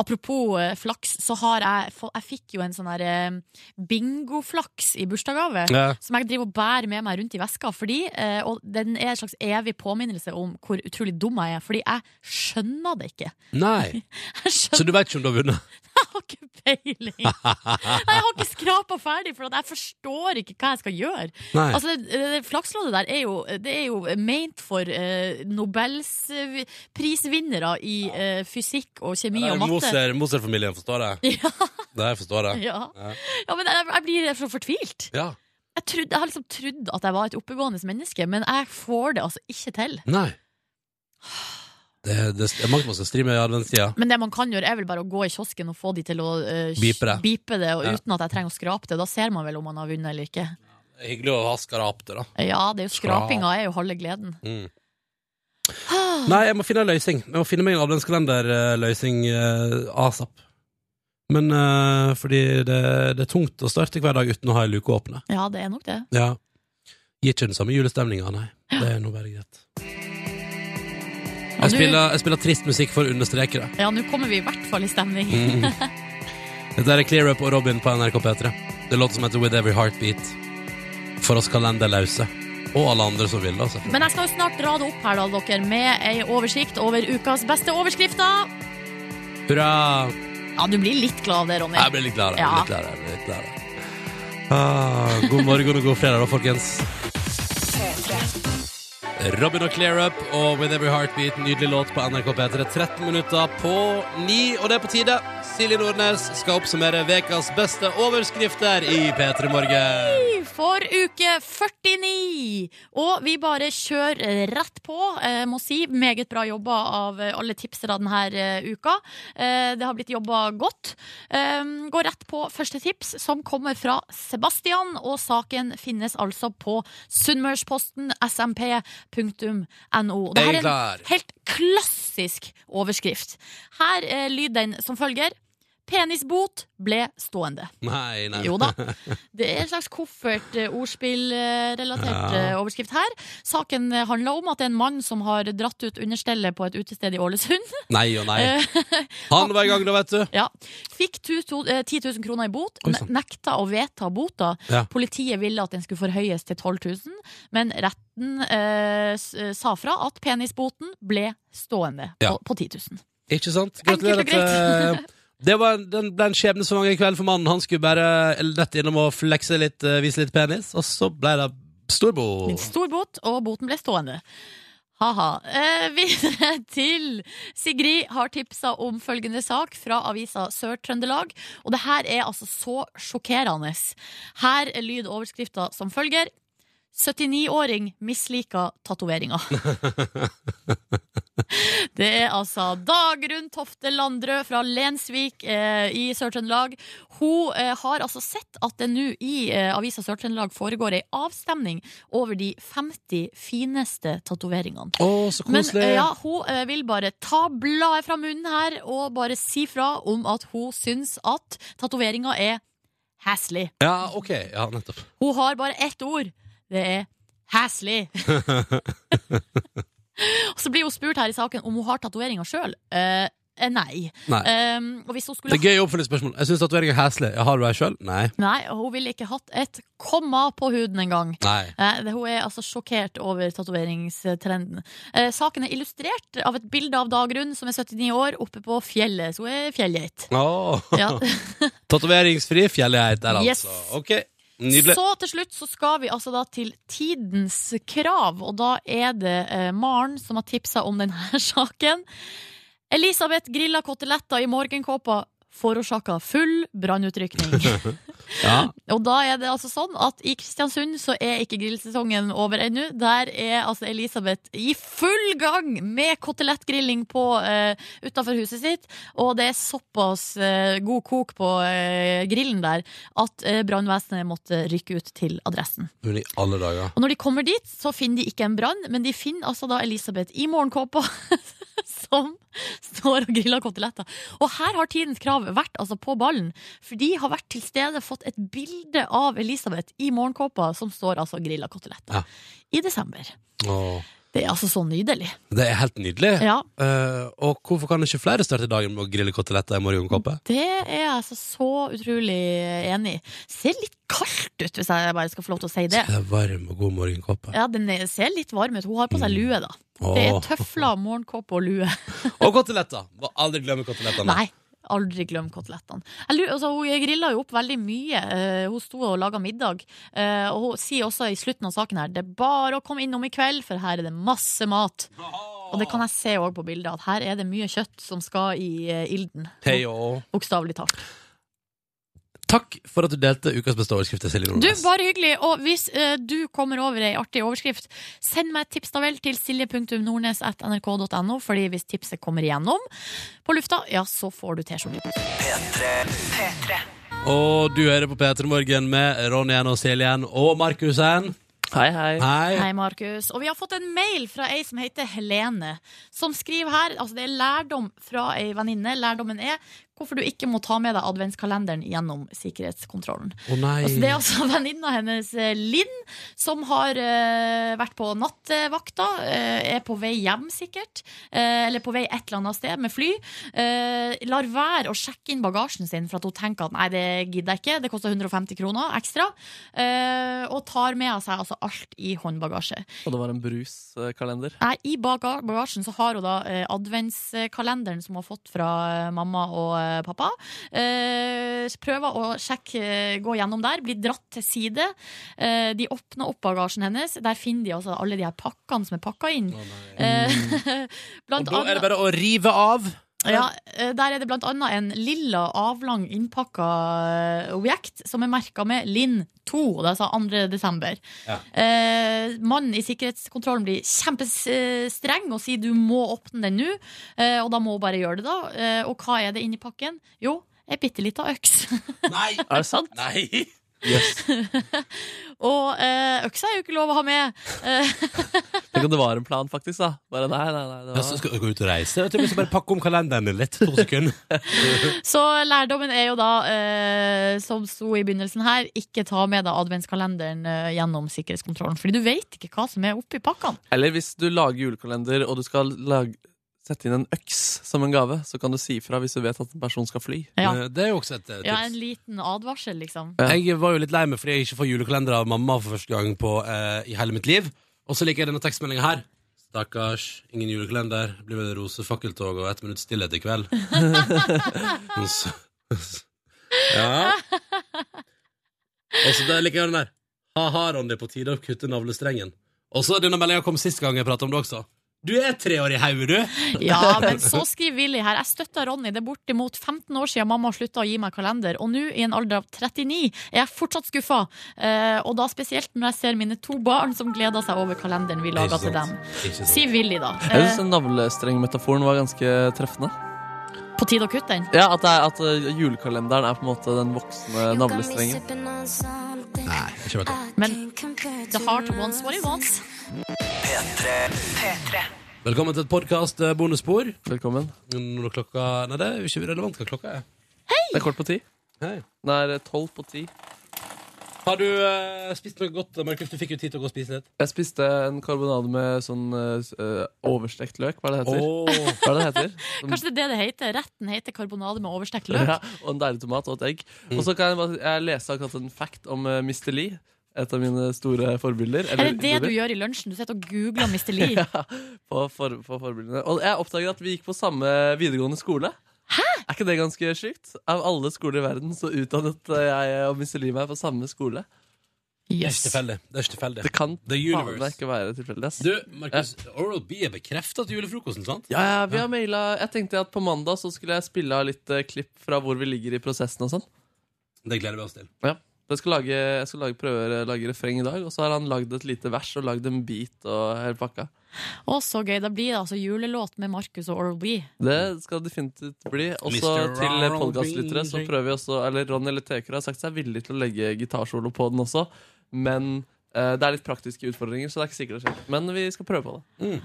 Speaker 4: Apropos eh, flaks, så har jeg få- Jeg fikk jo en sånn her eh, bingoflaks i bursdagsgave.
Speaker 2: Ja.
Speaker 4: Som jeg driver og bærer med meg rundt i veska. Fordi, eh, og den er en slags evig påminnelse om hvor utrolig dum jeg er. Fordi jeg skjønner det ikke.
Speaker 2: Nei.
Speaker 4: Jeg
Speaker 2: Så du veit ikke om du har vunnet?
Speaker 4: Peiling. Nei, jeg har ikke skrapa ferdig, for at jeg forstår ikke hva jeg skal gjøre.
Speaker 2: Nei.
Speaker 4: Altså, det- det Flaksloddet der er jo, det er jo meint for eh, nobelprisvinnere i eh, fysikk og kjemi
Speaker 2: Det er
Speaker 4: og matte.
Speaker 2: Moser- Moser-familien forstår det.
Speaker 4: Ja,
Speaker 2: Det jeg forstår det.
Speaker 4: Ja.
Speaker 2: Ja.
Speaker 4: ja, men jeg, jeg blir så fortvilt.
Speaker 2: Ja.
Speaker 4: Jeg, trodde, jeg har liksom trodd at jeg var et oppegående menneske, men jeg får det altså ikke til.
Speaker 2: Nei. Det, det, det er mangt man skal stri med i adventstida.
Speaker 4: Men det man kan gjøre, er vel bare å gå i kiosken og få de til å eh,
Speaker 2: Bipe det.
Speaker 4: bipe det og
Speaker 2: Ja.
Speaker 4: uten at jeg trenger å skrape det. Da ser man vel om man har vunnet eller ikke.
Speaker 2: Det er Hyggelig å ha skarapter, da.
Speaker 4: Ja, det er jo
Speaker 2: Skrap.
Speaker 4: skrapinga er jo halve gleden.
Speaker 2: Mm. Nei, jeg må finne en løsning. Jeg må finne meg en adventskalenderløsning eh, asap. Men eh, fordi det, det er tungt å starte hver dag uten å ha ei luke åpne.
Speaker 4: Ja, det er nok det.
Speaker 2: Ja. Gir ikke den samme julestemninga, nei. Det er nå bare greit. Jeg
Speaker 4: du-
Speaker 2: spiller, jeg spiller trist musikk for å understreke det.
Speaker 4: Ja, nå kommer vi i hvert fall i stemning.
Speaker 2: Mhm. Dette er Clear Up og Robin på NRK P3. Det er låt som heter With Every Heartbeat. For oss kalenderlause. Og alle andre som vil, altså. da, selvfølgelig.
Speaker 4: Men jeg skal jo snart dra det opp her, da, dere, med ei oversikt over ukas beste overskrifter.
Speaker 2: Hurra!
Speaker 4: Ja, du blir litt glad av det, Ronny.
Speaker 2: Jeg blir litt glad. Jeg
Speaker 4: Ja.
Speaker 2: blir litt glad. Jeg blir litt glad. Ah, god morgen og god fredag, da, folkens. Robin og Clear Up og With Every Heartbeat, nydelig låt på NRK P3. 13 minutter på 9, og det er på tide. Silje Nordnes skal oppsummere ukas beste overskrifter i P3 Morgen.
Speaker 4: For uke 49! Og vi bare kjører rett på. Eh, må si meget bra jobba av eh, alle tipsere denne eh, uka. Eh, det har blitt jobba godt. Eh, går rett på første tips, som kommer fra Sebastian. Og saken finnes altså på sunnmørsposten smp.no. Og Det
Speaker 12: Jeg
Speaker 4: her er
Speaker 12: er
Speaker 4: en
Speaker 12: klar.
Speaker 4: helt klassisk overskrift. Her eh, lyder den som følger. Penisbot ble stående.
Speaker 2: Nei, nei.
Speaker 4: Jo da. Det er en slags koffert-ordspillrelatert eh,
Speaker 2: Ja.
Speaker 4: overskrift her. Saken eh, handler om at det er en mann som har dratt ut understellet på et utested i Ålesund.
Speaker 2: Nei og nei.
Speaker 4: Eh,
Speaker 2: Han var i gang, da, vet du.
Speaker 4: Ja. Fikk tu- to- eh, 10 000 kroner i bot, ne- nekta å vedta bota.
Speaker 2: sånn. Ja.
Speaker 4: Politiet ville at den skulle forhøyes til 12 000, men retten eh, s- eh, sa fra at penisboten ble stående
Speaker 2: Ja.
Speaker 4: på, på 10 000.
Speaker 2: Ikke sant?
Speaker 4: Enkelt og
Speaker 2: Gratulerer til
Speaker 4: greit.
Speaker 2: Det var en, den ble en skjebnesvanger kveld for mannen. Han skulle bare lette innom og flekse litt, eh, vise litt penis, og så ble det storbo.
Speaker 4: En stor bot, og boten ble stående. Ha-ha. Eh, videre til Sigrid har tipsa om følgende sak fra avisa Sør-Trøndelag. Og det her er altså så sjokkerende. Her lyder overskrifta som følger. 79-åring misliker tatoveringer. Det er altså Dagrun Tofte Landrø fra Lensvik eh, i Sør-Trøndelag. Hun eh, har altså sett at det nå i eh, Avisa Sør-Trøndelag foregår ei avstemning over de 50 fineste tatoveringene.
Speaker 2: Å, så
Speaker 4: Men
Speaker 2: koselig.
Speaker 4: eh, ja, hun eh, vil bare ta bladet fra munnen her og bare si fra om at hun syns at tatoveringa er hæslig.
Speaker 2: Ja, ok. Ja, nettopp.
Speaker 4: Hun har bare ett ord. Det er hæslig. Og så blir hun spurt her i saken om hun har tatoveringer sjøl. nei.
Speaker 2: Nei.
Speaker 4: Eh, og hvis hun skulle
Speaker 2: Det er gøy oppfølgingsspørsmål. Jeg syns tatovering er heslig. Jeg har du ei sjøl? Nei.
Speaker 4: Nei, og hun ville ikke hatt et komma på huden engang.
Speaker 2: Nei.
Speaker 4: Eh, det- Hun er altså sjokkert over tatoveringstrenden. Eh, saken er illustrert av et bilde av Dagrun, som er 79 år, oppe på fjellet. Så hun er fjellgeit.
Speaker 2: Åh.
Speaker 4: Ja.
Speaker 2: Tatoveringsfri fjellgeit der,
Speaker 4: Yes.
Speaker 2: altså. Ok, nydelig.
Speaker 4: Så til slutt så skal vi altså da til tidens krav, og da er det eh, Maren som har tipsa om denne saken. Elisabeth grilla koteletter i morgenkåpa forårsaka full brannutrykning.
Speaker 2: ja.
Speaker 4: Og da er det altså sånn at i Kristiansund så er ikke grillsesongen over ennå. Der er altså Elisabeth i full gang med kotelettgrilling på uh, utafor huset sitt. Og det er såpass eh, god kok på eh, grillen der at uh, brannvesenet måtte rykke ut til adressen.
Speaker 2: Men i alle dager.
Speaker 4: Og når de kommer dit, så finner de ikke en brann, men de finner altså da Elisabeth i morgenkåpa. Som står og griller koteletter. Og her har tidens krav vært altså på ballen. For de har vært til stede, fått et bilde av Elisabeth i morgenkåpa, som står altså og griller koteletter.
Speaker 2: Ja.
Speaker 4: I desember.
Speaker 2: Åh.
Speaker 4: Det er altså så nydelig.
Speaker 2: Det er helt nydelig.
Speaker 4: Ja.
Speaker 2: Eh, og hvorfor kan ikke flere starte dagen med å grille koteletter i morgenkåpe?
Speaker 4: Det er jeg altså så utrolig enig i. Ser litt kaldt ut, hvis jeg bare skal få lov til å si det.
Speaker 2: Det er varm og god morgenkåpe.
Speaker 4: Ja, Den er- ser litt varm ut. Hun har på seg lue, da. Det er
Speaker 2: Åh.
Speaker 4: tøfler, morgenkåpe og lue.
Speaker 2: Og koteletter! Må aldri glemme kotelettene.
Speaker 4: Nei. Aldri glem kotelettene. Jeg lurer- Altså, hun grilla jo opp veldig mye. Eh, hun sto og laga middag. Eh, og hun sier også i slutten av saken her det er bare å komme innom i kveld, for her er det masse mat. Og det kan jeg se òg på bildet, at her er det mye kjøtt som skal i eh, ilden.
Speaker 2: Hei og
Speaker 4: Bokstavelig talt.
Speaker 2: Takk for at du delte ukas beste overskrifter, Silje
Speaker 4: Du,
Speaker 2: Nordnes.
Speaker 4: bare hyggelig. Og hvis eh, du kommer over ei artig overskrift, send meg et tips da vel til silje.nordnes.nrk.no, fordi hvis tipset kommer igjennom på lufta, ja, så får du T-skjorte.
Speaker 2: Og du hører på P3 Morgen med Ronjen og Siljen og Markusen.
Speaker 3: Hei, hei.
Speaker 4: Hei, Markus. Og vi har fått en mail fra ei som heter Helene, som skriver her Altså, det er lærdom fra ei venninne. Lærdommen er hvorfor du ikke må ta med deg adventskalenderen gjennom sikkerhetskontrollen.
Speaker 2: Å nei.
Speaker 4: Altså, det er altså venninna hennes, eh, Linn, som har eh, vært på nattevakta. eh, er på vei hjem, sikkert. eh, eller på vei et eller annet sted med fly. eh, lar være å sjekke inn bagasjen sin for at hun tenker at nei, det gidder jeg ikke. Det koster 150 kroner ekstra. eh, og tar med seg altså alt i håndbagasje.
Speaker 3: Og det var en bruskalender.
Speaker 4: Nei, I baga bagasjen så har hun da eh, adventskalenderen som hun har fått fra eh, mamma og eh, pappa. Eh, prøver å sjekke, eh, gå gjennom der, blir dratt til side. Eh, de åpner opp bagasjen hennes. Der finner de altså alle de her pakkene som er pakka inn. Eh, blant
Speaker 2: Mm. Og da er
Speaker 4: annet-
Speaker 2: det bare å rive av.
Speaker 4: ja, eh, Der er det blant annet en lilla, avlang, innpakka eh, objekt som er merka med Linn 2, og det er altså 2. desember.
Speaker 2: Ja.
Speaker 4: Eh, mannen i sikkerhetskontrollen blir kjempestreng og sier du må åpne den nå. Eh, og da må hun bare gjøre det, da. Eh, og hva er det inni pakken? Jo, ei bitte lita øks.
Speaker 2: Nei!
Speaker 3: Er det sant?
Speaker 2: Nei!
Speaker 4: og eh, øksa er jo ikke lov å ha med. Eh,
Speaker 3: Tenk om det var en plan, faktisk. da Bare nei, nei, nei det
Speaker 2: Ja,
Speaker 3: var...
Speaker 2: så skal du gå ut og reise. Vet du, hvis du bare pakker om kalenderen din litt. To sekunder.
Speaker 4: Så lærdommen er jo da, eh, som sto i begynnelsen her, ikke ta med deg adventskalenderen eh, gjennom sikkerhetskontrollen. Fordi du vet ikke hva som er oppi pakkene.
Speaker 3: Eller hvis du lager julekalender og du skal lage, sette inn en øks som en gave, så kan du si fra hvis du vet at en person skal fly.
Speaker 4: Ja.
Speaker 2: Det er jo også et eh,
Speaker 4: Ja,
Speaker 2: tips.
Speaker 4: en liten advarsel, liksom.
Speaker 2: Jeg var jo litt lei meg fordi jeg ikke får julekalender av mamma for første gang på, eh, i hele mitt liv. Og så liker jeg denne tekstmeldinga her. Stakkars, ingen julekalender. Blir vel rosefakkeltog og ett minutts stillhet i kveld. Og så- ja. Og så der liker jeg den der. Ha-ha, Ronny, på tide å kutte navlestrengen. Og så denne meldinga kom sist gang jeg prata om det også. Du er tre år i hodet, du!
Speaker 4: Ja, men så skriver Willy her. Jeg støtter Ronny. Det er bortimot 15 år siden mamma slutta å gi meg kalender. Og nå, i en alder av 39, er jeg fortsatt skuffa. Eh, og da spesielt når jeg ser mine to barn som gleder seg over kalenderen vi laga til dem. Sier Willy, da.
Speaker 3: Jeg
Speaker 4: Eh,
Speaker 3: syns den navlestrengmetaforen var ganske treffende.
Speaker 4: på tide å kutte den.
Speaker 3: Ja, At, det er, at eh, julekalenderen er på en måte den voksne navlestrengen.
Speaker 2: Nei, ikke vet jeg.
Speaker 4: Men the heart wants what it wants.
Speaker 2: Velkommen til et podkast bonusspor.
Speaker 3: Velkommen.
Speaker 2: Når klokka Nei, det er jo ikke relevant hva klokka er.
Speaker 3: Det er kort på ti.
Speaker 2: Hei.
Speaker 3: Den er eh, tolv på ti.
Speaker 2: Har du eh, spist noe godt, Markus? Du fikk jo tid til å gå og spise litt.
Speaker 3: Jeg spiste en karbonade med sånn eh, s- eh, overstekt løk, hva er det det heter?
Speaker 2: Åh.
Speaker 3: Hva er det det heter? Sånn
Speaker 4: Kanskje det er det det heter. Retten heter karbonade med overstekt løk.
Speaker 3: Ja, og en deilig tomat og et egg. Og så kan jeg, bare- jeg lese akkurat en fact om eh, Mr. Lee. Et av mine store forbilder.
Speaker 4: Er det det du gjør i lunsjen? Du sitter og googler Mr. Lee.
Speaker 3: Ja, på, for, på forbildene. Og jeg oppdager at vi gikk på samme videregående skole. Er ikke det ganske sjukt? Av alle skoler i verden så utdannet jeg og Mr. Lee meg på samme skole.
Speaker 2: Det er ikke tilfeldig. Det er ikke tilfeldig.
Speaker 3: Det kan
Speaker 2: The
Speaker 3: faen meg
Speaker 2: universe.
Speaker 3: ikke være tilfeldig. ass.
Speaker 2: Du, Markus, Oral B er bekrefta til julefrokosten, sant?
Speaker 3: Ja, ja, vi har maila Jeg tenkte at på mandag så skulle jeg spille av litt eh, klipp fra hvor vi ligger i prosessen og sånn.
Speaker 2: Det gleder vi oss til.
Speaker 3: Ja. Jeg skal, lage, jeg skal lage, prøve å lage refreng i dag, og så har han lagd et lite vers og lagd en beat og hele pakka.
Speaker 4: Å, så gøy. Da blir det altså julelåt med Markus og Oral B.
Speaker 3: Det skal definitivt bli. Også
Speaker 2: Mr.
Speaker 3: til
Speaker 2: Ronald
Speaker 3: podkastlyttere så
Speaker 2: Beasley.
Speaker 3: prøver vi også Eller Ronny eller Teker har sagt seg villig til å legge gitarsolo på den også, men eh, det er litt praktiske utfordringer, så det er ikke sikkert det skjer. Men vi skal prøve på det.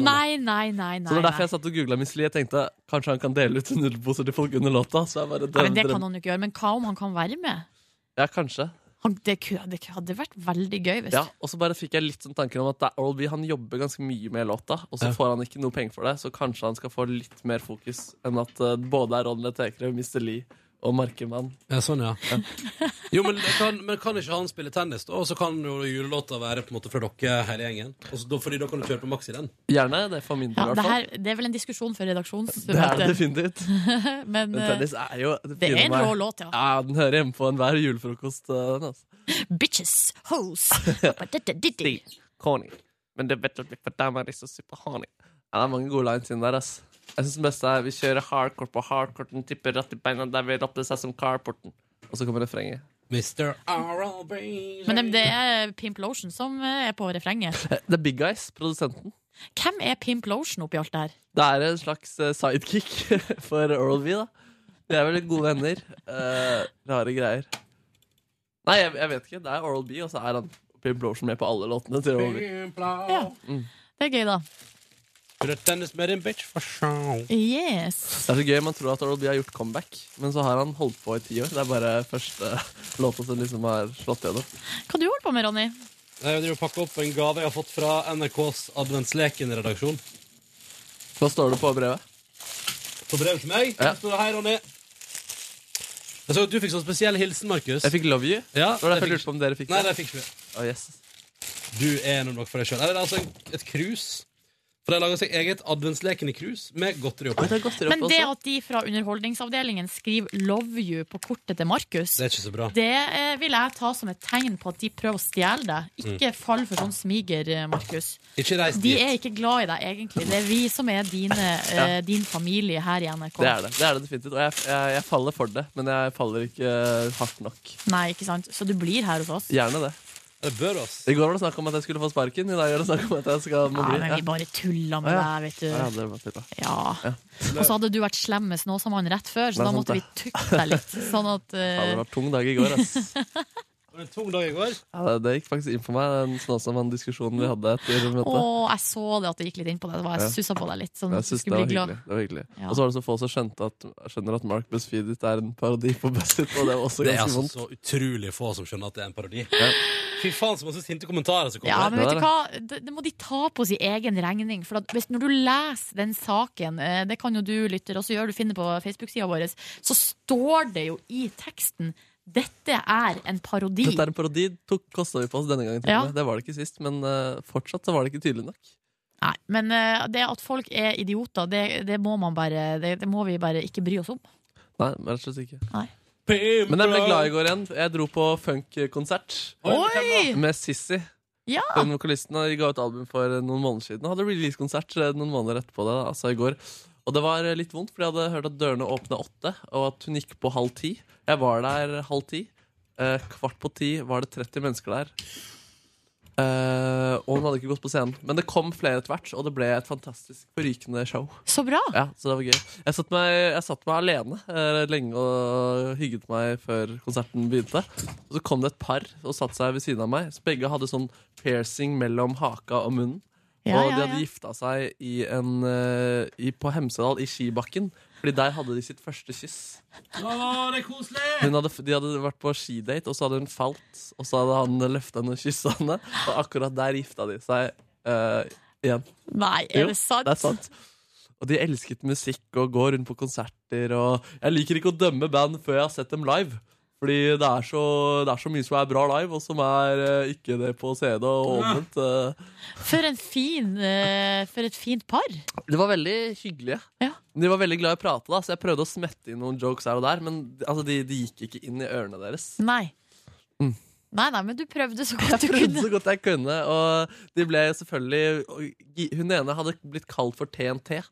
Speaker 4: Nei, nei, nei, nei.
Speaker 3: så det er derfor
Speaker 4: nei.
Speaker 3: jeg satt og googla Miss Lie. Jeg tenkte kanskje han kan dele ut nudelposer til folk under låta. Så jeg bare
Speaker 4: Nei, men det kan han jo ikke gjøre. Men hva om han kan være med?
Speaker 3: Ja, kanskje.
Speaker 4: Han, det, ku- det hadde vært veldig gøy hvis
Speaker 3: Ja, og så bare fikk jeg litt sånn tanken om at det er Oral B han jobber ganske mye med låta, og så
Speaker 2: Ja.
Speaker 3: får han ikke noe penger for det, så kanskje han skal få litt mer fokus enn at eh, både er Ronny Tekre, Mr. Lee og Markemann.
Speaker 2: Ja, sånn, ja. Jo, men kan, men kan ikke han spille tennis, da? Og så kan jo julelåta være på en måte fra dere, hele gjengen. Og så, da, fordi da kan du kjøre på maks i den.
Speaker 3: Gjerne det for min del,
Speaker 4: Ja, det,
Speaker 3: i hvert fall.
Speaker 4: her, det er vel en diskusjon for
Speaker 3: Det er det
Speaker 4: redaksjonsmøtet.
Speaker 3: definitivt.
Speaker 4: Men
Speaker 3: Men
Speaker 4: eh,
Speaker 3: tennis er jo
Speaker 4: det er en
Speaker 3: meg.
Speaker 4: rå låt, ja.
Speaker 3: Ja, den hører hjemme på enhver julefrokost. eh, Den, altså.
Speaker 4: Bitches, hoes
Speaker 3: Stig, Conny. Men det er bedre å bli for dem er det så superhoney. Ja, det er mange gode lines inn der, ass. Jeg synes den beste er vi kjører hardcore på hardcourten, tipper rett i beina der vi rapper seg som carporten. Og så kommer refrenget.
Speaker 2: Mr. Oral B.
Speaker 4: Men eh, det- det er Pimp Lotion som eh, er på refrenget.
Speaker 3: Eh, The Big Guys, produsenten.
Speaker 4: Hvem er Pimp Lotion oppi alt det her?
Speaker 3: Det er en slags eh, sidekick for Oral V, da. De er vel gode venner. Eh, rare greier. Nei, jeg, jeg vet ikke. Det er Oral B, og så er han Pim Blorsen med på alle låtene til Oral B.
Speaker 4: Ja.
Speaker 3: Mm.
Speaker 4: Det er gøy, da.
Speaker 2: Spille tennis med din bitch, for show.
Speaker 4: Yes.
Speaker 3: Det er så gøy, Man tror at Oral B har gjort comeback, men så har han holdt på i ti år. Det er bare første låta som liksom har slått gjennom.
Speaker 4: Hva du holder på med, Ronny?
Speaker 2: Jeg driver og pakker opp en gave jeg har fått fra NRKs Adventsleken-redaksjon.
Speaker 3: Hva står det på brevet?
Speaker 2: På brevet til meg
Speaker 3: Ja.
Speaker 2: der står det hei, Ronny. Jeg så at du fikk sånn spesiell hilsen, Markus.
Speaker 3: Jeg fikk 'Love You'.
Speaker 2: Ja,
Speaker 3: det var derfor jeg
Speaker 2: det fikk-
Speaker 3: lurte på om dere fikk
Speaker 2: Nei,
Speaker 3: det.
Speaker 2: det fikk ikke vi.
Speaker 3: Å, yes.
Speaker 2: Du er noe nok for deg sjøl. Det er altså en, et krus. For de har laga seg eget adventslekende krus med godteri
Speaker 3: Oi,
Speaker 2: oppi.
Speaker 3: det er godteri
Speaker 4: Men
Speaker 3: oppe
Speaker 4: det
Speaker 3: også.
Speaker 4: at de fra Underholdningsavdelingen skriver 'Love You' på kortet til Markus,
Speaker 2: Det er ikke så bra.
Speaker 4: det eh, vil jeg ta som et tegn på at de prøver å stjele deg.
Speaker 3: Mm.
Speaker 4: Ikke fall for sånn smiger, eh, Markus.
Speaker 2: Ikke reis
Speaker 4: De
Speaker 2: dit.
Speaker 4: er ikke glad i deg, egentlig. Det er vi som er dine, eh, din familie her i NRK.
Speaker 3: Det er det. det er det definitivt. Og jeg, jeg, jeg faller for det, men jeg faller ikke eh, hardt nok.
Speaker 4: Nei, ikke sant? Så du blir her hos oss?
Speaker 3: Gjerne det.
Speaker 2: Det bør oss.
Speaker 3: I går var det snakk om at jeg skulle få sparken. I dag er det snakk om at jeg skal må
Speaker 4: Ja,
Speaker 3: bli.
Speaker 4: men vi bare tulla med
Speaker 3: Ja.
Speaker 4: deg, vet du.
Speaker 3: Ja, ja, det var tull, da.
Speaker 4: Ja. Og så hadde du vært slem med Snåsamannen rett før, så
Speaker 3: Det er
Speaker 4: da
Speaker 3: sant,
Speaker 4: måtte vi
Speaker 3: det.
Speaker 4: tukke deg litt. Sånn at
Speaker 3: Ja, det
Speaker 4: eh,
Speaker 3: var tung dag i går, ass.
Speaker 2: var det en tung dag i går?
Speaker 3: Ja, det, det sånn gikk faktisk inn for meg, den Snåsamann-diskusjonen vi hadde etter møtet.
Speaker 4: Å, jeg så det at det gikk litt inn på det. Det var,
Speaker 3: Ja.
Speaker 4: jeg sussa på deg litt. Sånn,
Speaker 3: Jeg
Speaker 4: at du
Speaker 3: synes det,
Speaker 4: skulle
Speaker 3: var
Speaker 4: bli glad.
Speaker 3: hyggelig. det var hyggelig.
Speaker 4: Ja.
Speaker 3: Og så var det så få som skjønte at, skjønner at Mark Busfeed er en parodi på Busfeed, og det var også
Speaker 2: Det er
Speaker 3: ganske
Speaker 2: altså
Speaker 3: vondt.
Speaker 2: så utrolig få som skjønner at det er en parodi. Fy faen, så masse sinte kommentarer som kommer.
Speaker 4: Ja, men vet du hva? Det, det må de ta på sin egen regning. For at hvis, når du leser den saken, eh, det kan jo du lytter, og så gjør du finne på Facebook-sida vår, så står det jo i teksten dette er en parodi.
Speaker 3: Dette er en parodi, tok kosta vi på oss denne gangen. til og
Speaker 4: Ja.
Speaker 3: med. Det var det ikke sist, men eh, fortsatt så var det ikke tydelig nok.
Speaker 4: Nei, men eh, det at folk er idioter, det, det må man bare det, det må vi bare ikke bry oss om.
Speaker 3: Nei, rett og slett ikke.
Speaker 4: Nei.
Speaker 3: Men jeg ble glad i går igjen. Jeg dro på funkkonsert
Speaker 4: Oi!
Speaker 3: med Sissy.
Speaker 4: Ja!
Speaker 3: Den vokalisten og de ga ut album for eh, noen måneder siden. og Hadde release-konsert eh, noen måneder etterpå det, da, altså i går. Og det var eh, litt vondt, for jeg hadde hørt at dørene åpna åtte, og at hun gikk på halv ti. Jeg var der halv ti. Eh, kvart på ti var det 30 mennesker der. Eh, og hun hadde ikke gått på scenen. Men det kom flere etter hvert, og det ble et fantastisk forrykende show.
Speaker 4: Så bra!
Speaker 3: Ja, så det var gøy. Jeg satt meg, jeg satt meg alene eh, lenge og hygget meg før konserten begynte. Og så kom det et par og satte seg ved siden av meg. Så begge hadde sånn piercing mellom haka og munnen.
Speaker 12: Ja,
Speaker 3: og
Speaker 12: ja,
Speaker 3: de hadde
Speaker 12: ja.
Speaker 3: gifta seg i en, eh, i, på Hemsedal, i skibakken. Fordi der hadde de sitt første kyss.
Speaker 2: Å, det er koselig!
Speaker 3: Hun hadde, de hadde vært på skidate, og så hadde hun falt. Og så hadde han løfta henne og kyssa henne, og akkurat der gifta de seg eh, igjen.
Speaker 4: Nei, er
Speaker 3: Jo,
Speaker 4: det sant?
Speaker 3: Det er sant. Og de elsket musikk og går rundt på konserter. Og jeg liker ikke å dømme band før jeg har sett dem live. Fordi det er så, det er så mye som er bra live, og som er eh, ikke det på CD og omvendt. eh.
Speaker 4: For, en fin, eh, for et fint par.
Speaker 3: De var veldig hyggelige. De var veldig glad i å prate, da, så jeg prøvde å smette inn noen jokes her og der. Men altså, de, de gikk ikke inn i ørene deres.
Speaker 4: Nei. Nei, nei, men du prøvde så godt
Speaker 3: Mm. Jeg
Speaker 4: du
Speaker 3: prøvde så
Speaker 4: kunne.
Speaker 3: godt jeg kunne, og de ble selvfølgelig og gi- Hun ene hadde blitt kalt for TNT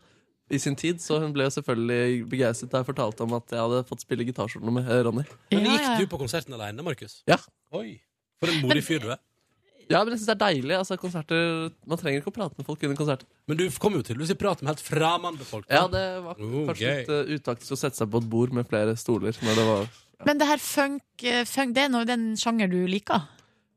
Speaker 3: i sin tid, så hun ble jo selvfølgelig begeistret da jeg fortalte om at jeg hadde fått spille gitarsolene med eh, Ronny.
Speaker 2: Men gikk du på konserten alene, Markus?
Speaker 3: Ja.
Speaker 2: Oi, for en modig fyr du er.
Speaker 3: Ja, men jeg synes det er deilig. Altså, konserter, man trenger ikke å prate med folk under konserter.
Speaker 2: Men du kom jo tydeligvis i prat med helt fremmede folk.
Speaker 3: Ja, det var
Speaker 2: Oh,
Speaker 3: kanskje
Speaker 2: gøy.
Speaker 3: litt eh, utaktisk å sette seg på et bord med flere stoler. Når det var
Speaker 4: Men det her funk, eh, funk det er noe, den sjanger du liker?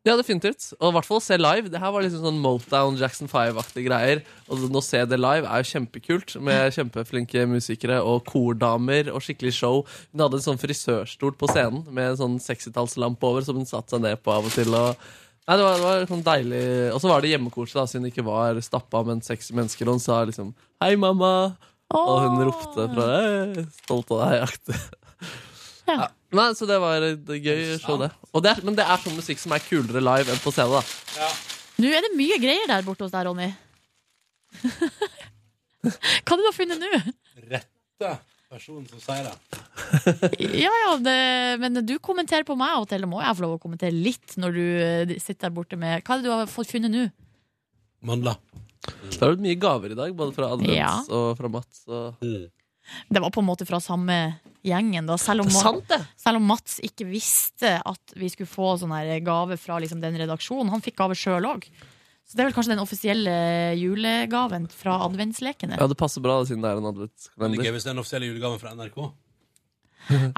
Speaker 3: ja, definitivt. Og i hvert fall å se live. Det her var liksom sånn Motown, Jackson 5-aktige greier. Og nå å se det live er jo kjempekult, med kjempeflinke musikere og kordamer og skikkelig show. Hun hadde en sånn frisørstol på scenen med en sånn 60-tallslampe over som hun satte seg ned på av og til. og Nei, det var, det var sånn deilig Og så var det hjemmekoselig, da, siden det ikke var stappa, men seks mennesker. Og hun sa liksom 'Hei, mamma', og hun ropte fra «Hei, 'Stolt av deg'-aktig. Ja. Nei, så det var et gøy show, det. Og det er, men det er sånn musikk som er kulere live enn på scenen. da
Speaker 4: Nå er det mye greier der borte hos deg, Ronny. Hva er det du har funnet nå?
Speaker 2: Rette personen som sier det.
Speaker 4: Ja, ja, det, men du kommenterer på meg av og til. Det må jeg få lov å kommentere litt når du eh, sitter der borte med Hva er det du har fått funnet nå?
Speaker 2: Mandler.
Speaker 3: Det har vært mye gaver i dag, både fra Advents
Speaker 4: Ja.
Speaker 3: og fra Mats. Og...
Speaker 4: Det var på en måte fra samme gjengen, da. Selv om,
Speaker 3: Det er sant,
Speaker 4: selv om Mats ikke visste at vi skulle få sånn her gave fra liksom, den redaksjonen. Han fikk gave sjøl òg. Så det er vel kanskje den offisielle eh, julegaven fra adventslekene.
Speaker 3: Ja, det passer bra, da, siden det er en
Speaker 2: Det er gøy
Speaker 3: adventskalender.
Speaker 2: hvis det er den offisielle julegaven fra NRK.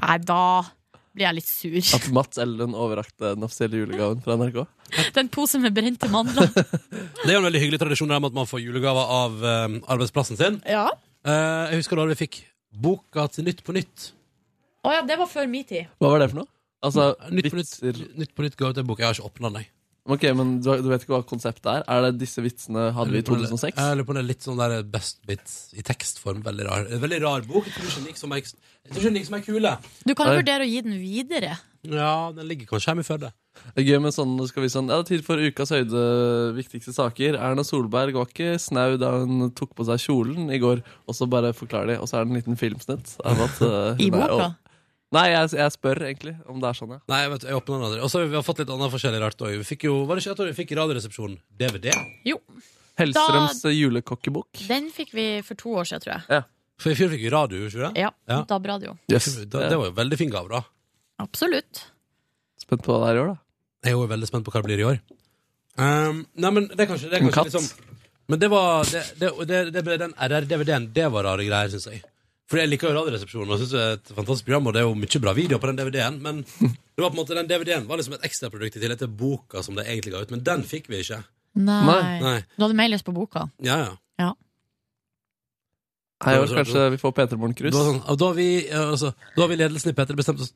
Speaker 4: Nei, da blir jeg litt sur.
Speaker 3: At Mats Ellen overrakte den offisielle julegaven fra NRK.
Speaker 4: Den posen med brente mandler.
Speaker 2: Det er jo en veldig hyggelig tradisjon der med at man får julegaver av eh, arbeidsplassen sin.
Speaker 4: Ja.
Speaker 2: Eh, jeg husker da vi fikk boka til Nytt på Nytt.
Speaker 4: Å ja, det var før min tid.
Speaker 3: Hva var det for noe? Altså,
Speaker 2: Eh, Nytt på Nytt, nytt, på nytt ga ut en bok. Jeg har ikke åpna den, jeg.
Speaker 3: Ok, men du, du vet ikke hva konseptet er? Er det disse vitsene hadde vi
Speaker 2: Jeg
Speaker 3: i
Speaker 2: lurer på om det-
Speaker 3: 2006?
Speaker 2: Jeg lurer på om det er litt sånn der best bits i tekstform. Veldig rar, en veldig rar bok. Jeg tror ikke den gikk som ei- jeg tror ikke den gikk som ei kule.
Speaker 4: Du kan jo vurdere å gi den videre.
Speaker 2: Ja, den ligger kanskje hjemme i Førde.
Speaker 3: Det er gøy med sånn, nå skal vi sånn Ja, det er tid for ukas høyde viktigste saker. Erna Solberg var ikke snau da hun tok på seg kjolen i går. Og så bare forklarer de, og så er det en liten filmsnitt. Av at, eh,
Speaker 2: I
Speaker 3: hun er-
Speaker 2: boka?
Speaker 3: Nei, jeg, jeg spør egentlig om det er sånn, ja.
Speaker 2: Nei, vet du, jeg åpner den aldri. Og så har vi fått litt annet forskjellig rart òg. Vi fikk jo, var det ikke et år vi fikk i Radioresepsjonen DVD?
Speaker 4: Jo.
Speaker 3: Hellstrøms julekokkebok.
Speaker 4: Den fikk vi for to år siden, tror jeg.
Speaker 2: For i fjor fikk vi radio, ikke sant?
Speaker 4: Ja, DAB-radio.
Speaker 2: Da,
Speaker 3: Eh,
Speaker 2: det var jo en veldig fin gave, da.
Speaker 4: Absolutt.
Speaker 3: Spent på hva det er i år, da.
Speaker 2: Jeg er jo veldig spent på hva det blir i år. Um, nei, men det er kanskje, det er
Speaker 3: En
Speaker 2: kanskje
Speaker 3: katt.
Speaker 2: liksom Men det var det, det, det, det ble den RR-DVD-en. Det var rare greier, syns jeg. For jeg liker jo Radioresepsjonen og synes det er et fantastisk program, og det er jo mye bra videoer på den DVD-en, men det var på en måte, den DVD-en var liksom et ekstraprodukt i tillegg til boka som det egentlig ga ut, men den fikk vi ikke.
Speaker 4: Nei.
Speaker 2: Nei.
Speaker 4: Du hadde mer lyst på boka.
Speaker 2: Ja, ja.
Speaker 4: Ja.
Speaker 3: Hei, år, kanskje vi får Peter Morn Krus.
Speaker 2: Da, sånn, og da, har vi, eh, altså, da har vi ledelsen i Peter bestemt oss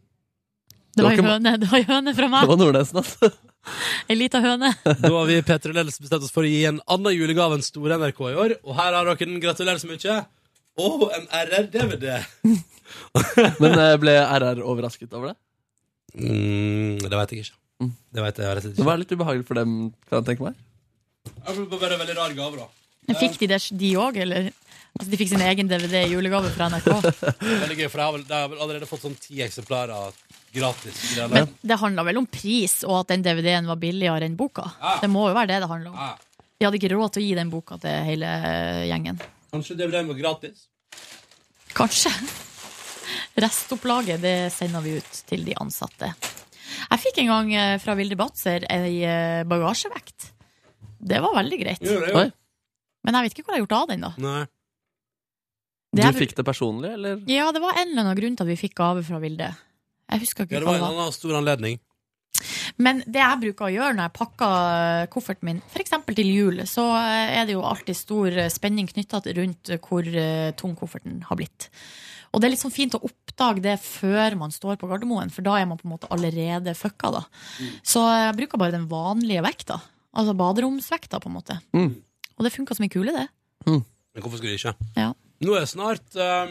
Speaker 4: Det var
Speaker 2: Det
Speaker 4: en
Speaker 2: var
Speaker 4: høne, det var en høne fra meg.
Speaker 3: Nordnesen, altså.
Speaker 4: Ei lita høne.
Speaker 2: Da har vi Peter og ledelsen bestemt oss for å gi en annen julegave enn Store NRK i år, og her har dere den. Gratulerer så mye. Og en RR-DVD.
Speaker 3: Men eh, ble RR overrasket over det?
Speaker 2: Mm, det veit jeg ikke. Det vet jeg, rett og slett
Speaker 3: Det
Speaker 2: ikke.
Speaker 3: var litt ubehagelig for dem, kan jeg tenke meg.
Speaker 2: Det var bare en veldig rar gave, da.
Speaker 4: Fikk de det, de òg, eller? Altså, de fikk sin egen DVD i julegave fra NRK.
Speaker 2: Veldig gøy, for jeg har vel, jeg har vel allerede fått sånn ti eksemplarer gratis. i den der.
Speaker 4: Men det handla vel om pris, og at den DVD-en var billigere enn boka. Det må jo være det det handla om. De hadde ikke råd til å gi den boka til hele gjengen.
Speaker 2: Kanskje DVD-en var gratis?
Speaker 4: Kanskje. Restopplaget det sender vi ut til de ansatte. Jeg fikk en gang eh, fra Vilde Batzer ei eh, bagasjevekt. Det var veldig greit.
Speaker 3: Jo, det er jo- Oi.
Speaker 4: Men jeg vet ikke hvor jeg har gjort av den, da.
Speaker 2: Nei.
Speaker 4: Det
Speaker 3: Du
Speaker 4: er-
Speaker 3: fikk det personlig, eller?
Speaker 4: Ja, det var en eller annen grunn til at vi fikk gave fra Vilde. Jeg husker
Speaker 2: Ja,
Speaker 4: ikke
Speaker 2: det
Speaker 4: hva
Speaker 2: var
Speaker 4: det
Speaker 2: en
Speaker 4: var.
Speaker 2: annen stor anledning.
Speaker 4: Men det jeg bruker å gjøre når jeg pakker eh, kofferten min, f.eks. til jul, så eh, er det jo alltid stor eh, spenning knytta rundt eh, hvor eh, tung kofferten har blitt. Og det er litt sånn fint å oppdage det før man står på Gardermoen, for da er man på en måte allerede fucka, da. Så jeg bruker bare den vanlige vekta. Altså baderomsvekta, på en måte.
Speaker 2: Mm.
Speaker 4: Og det funka som en kule, det.
Speaker 2: Men hvorfor skulle de ikke?
Speaker 4: Ja.
Speaker 2: Nå er snart eh,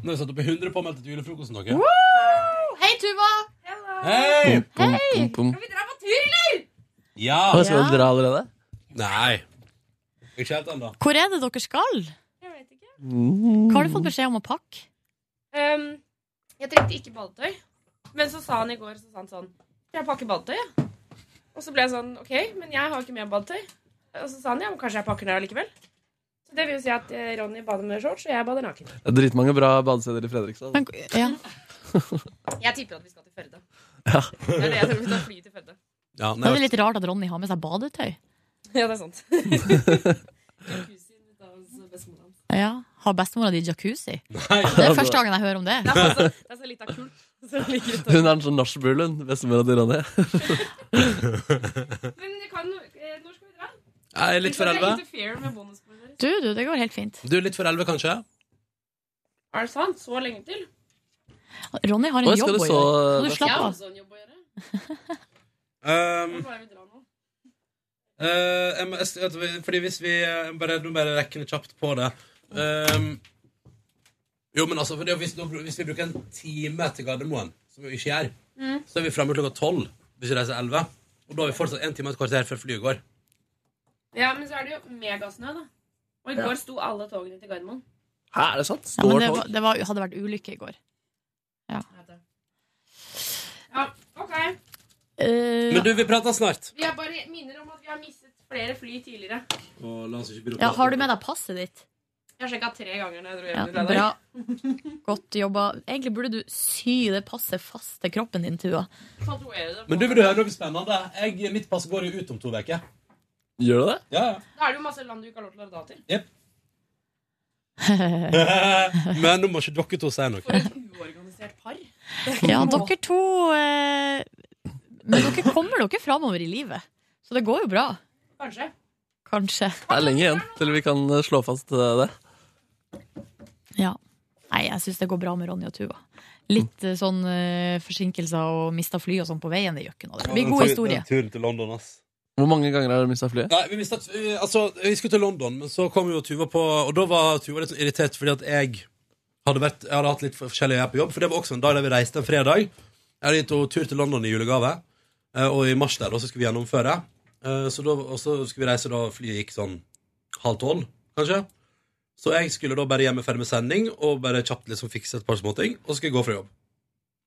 Speaker 2: Nå er jeg satt opp i 100 påmeldte til julefrokosten dere.
Speaker 4: Hei, Tuva!
Speaker 2: Hei!
Speaker 4: Hei!
Speaker 3: Skal
Speaker 4: vi dra på tur, eller?
Speaker 2: Ja!
Speaker 3: Å, skal dere dra allerede?
Speaker 2: Nei. Ikke helt ennå.
Speaker 4: Hvor er det dere skal? Hva har du fått beskjed om å pakke?
Speaker 12: Ehm, jeg trengte ikke badetøy. Men så sa han i går så sa han sånn Jeg pakker badetøy, jeg. Og så ble jeg sånn OK, men jeg har ikke med badetøy. Og så sa han ja, men kanskje jeg pakker det allikevel. Så det vil jo si at eh, Ronny bader med shorts, og jeg bader naken.
Speaker 3: Det er dritmange bra badesteder i Fredrikstad. altså.
Speaker 4: Men, ja.
Speaker 12: Jeg tipper at vi skal til Førde.
Speaker 3: Ja.
Speaker 12: Det er det jeg tror vi skal fly til Førde.
Speaker 2: Ja,
Speaker 4: Da er det litt rart at Ronny har med seg badetøy.
Speaker 12: Ja, det er sant. eh,
Speaker 4: Ja, Har bestemora di jacuzzi?
Speaker 3: Nei.
Speaker 4: det er første gangen jeg hører om det.
Speaker 3: Det er så-
Speaker 12: det er så litt av kult. Så det ligger
Speaker 3: Hun er en sånn nachspiel, hun. Bestemora til Ronny.
Speaker 12: Men det kan, eh, når skal vi dra?
Speaker 2: Jeg er litt for
Speaker 12: elleve.
Speaker 2: elleve.
Speaker 12: Interfere med bonusbordet deres.
Speaker 4: Du, du, det går helt fint.
Speaker 2: Du er litt for elleve, kanskje?
Speaker 12: Er det sant? Så lenge til?
Speaker 4: Ronny har en
Speaker 2: Oi, skal
Speaker 4: jobb
Speaker 2: du
Speaker 4: å
Speaker 2: så-
Speaker 4: gjøre. Skal du
Speaker 2: Ja,
Speaker 12: Jeg
Speaker 4: slappe
Speaker 12: har
Speaker 4: av?
Speaker 12: også en jobb å gjøre.
Speaker 2: Um,
Speaker 12: Hva er det vi drar nå?
Speaker 2: Eh, jeg må- jeg- vet du, fordi hvis vi eh, bare, Nå bare rekker det kjapt på det. Ehm, jo, men altså, for det, hvis, nå bru- hvis vi bruker en time til Gardermoen, som vi ikke gjør,
Speaker 12: Mm.
Speaker 2: så er vi fremme klokka tolv hvis vi reiser elleve. Og da har vi fortsatt en time og et kvarter før flyet går.
Speaker 12: Ja, men så er det jo megasnø, da. Og i
Speaker 2: Ja.
Speaker 12: går sto alle togene til Gardermoen.
Speaker 3: Hæ, er det sant?
Speaker 4: Ja, men
Speaker 3: Står
Speaker 4: det,
Speaker 3: tog?
Speaker 4: var- det var, hadde vært ulykke i går. Ja.
Speaker 12: Ja, ok.
Speaker 4: Eh,
Speaker 2: Men du, vi prater snart.
Speaker 12: Vi har bare minner om at vi har mistet flere fly tidligere.
Speaker 2: Og la oss ikke begynne å
Speaker 4: Ja,
Speaker 2: prate.
Speaker 4: har du med deg passet ditt?
Speaker 12: Jeg har sjekka tre ganger når jeg dro
Speaker 4: Ja,
Speaker 12: hjem. i dag.
Speaker 4: bra. Godt jobba. Egentlig burde du sy det passet fast til kroppen din, Tua.
Speaker 12: Tatuere det på-
Speaker 2: Men du, vil du høre noe spennende? Jeg, mitt pass går jo ut om to uker.
Speaker 3: Gjør det det?
Speaker 2: Ja, ja.
Speaker 12: Da er det jo masse land du ikke har lov til å dra til.
Speaker 2: Jep. Men nå må ikke dere to si
Speaker 12: For
Speaker 2: noe.
Speaker 12: et uorganisert par.
Speaker 4: Ja, dere to eh, Men dere kommer dere framover i livet. Så det går jo bra.
Speaker 12: Kanskje.
Speaker 4: Kanskje.
Speaker 3: Det er lenge igjen til vi kan eh, slå fast eh, det.
Speaker 4: Ja. Nei, jeg syns det går bra med Ronny og Tuva. Litt eh, sånn eh, forsinkelser og mista fly og sånn på veien, det gjør ikke noe. Det blir god historie.
Speaker 2: Turen til London, ass.
Speaker 3: Hvor mange ganger har dere mista flyet?
Speaker 2: Nei, vi, mistet, vi, altså, vi skulle til London, men så kom jo Tuva på Og da var Tuva litt sånn irritert fordi at jeg hadde, vært, jeg hadde hatt litt forskjellig her på jobb. For det var også en dag der vi reiste en fredag. Jeg hadde gitt henne tur til London i julegave, eh, og i mars der da, så skulle vi gjennomføre. Eh, Så da, og så skulle vi reise da flyet gikk sånn halv tolv, kanskje. Så jeg skulle da bare hjemme ferdig med sending og bare kjapt liksom fikse et par småting, og så skulle jeg gå fra jobb.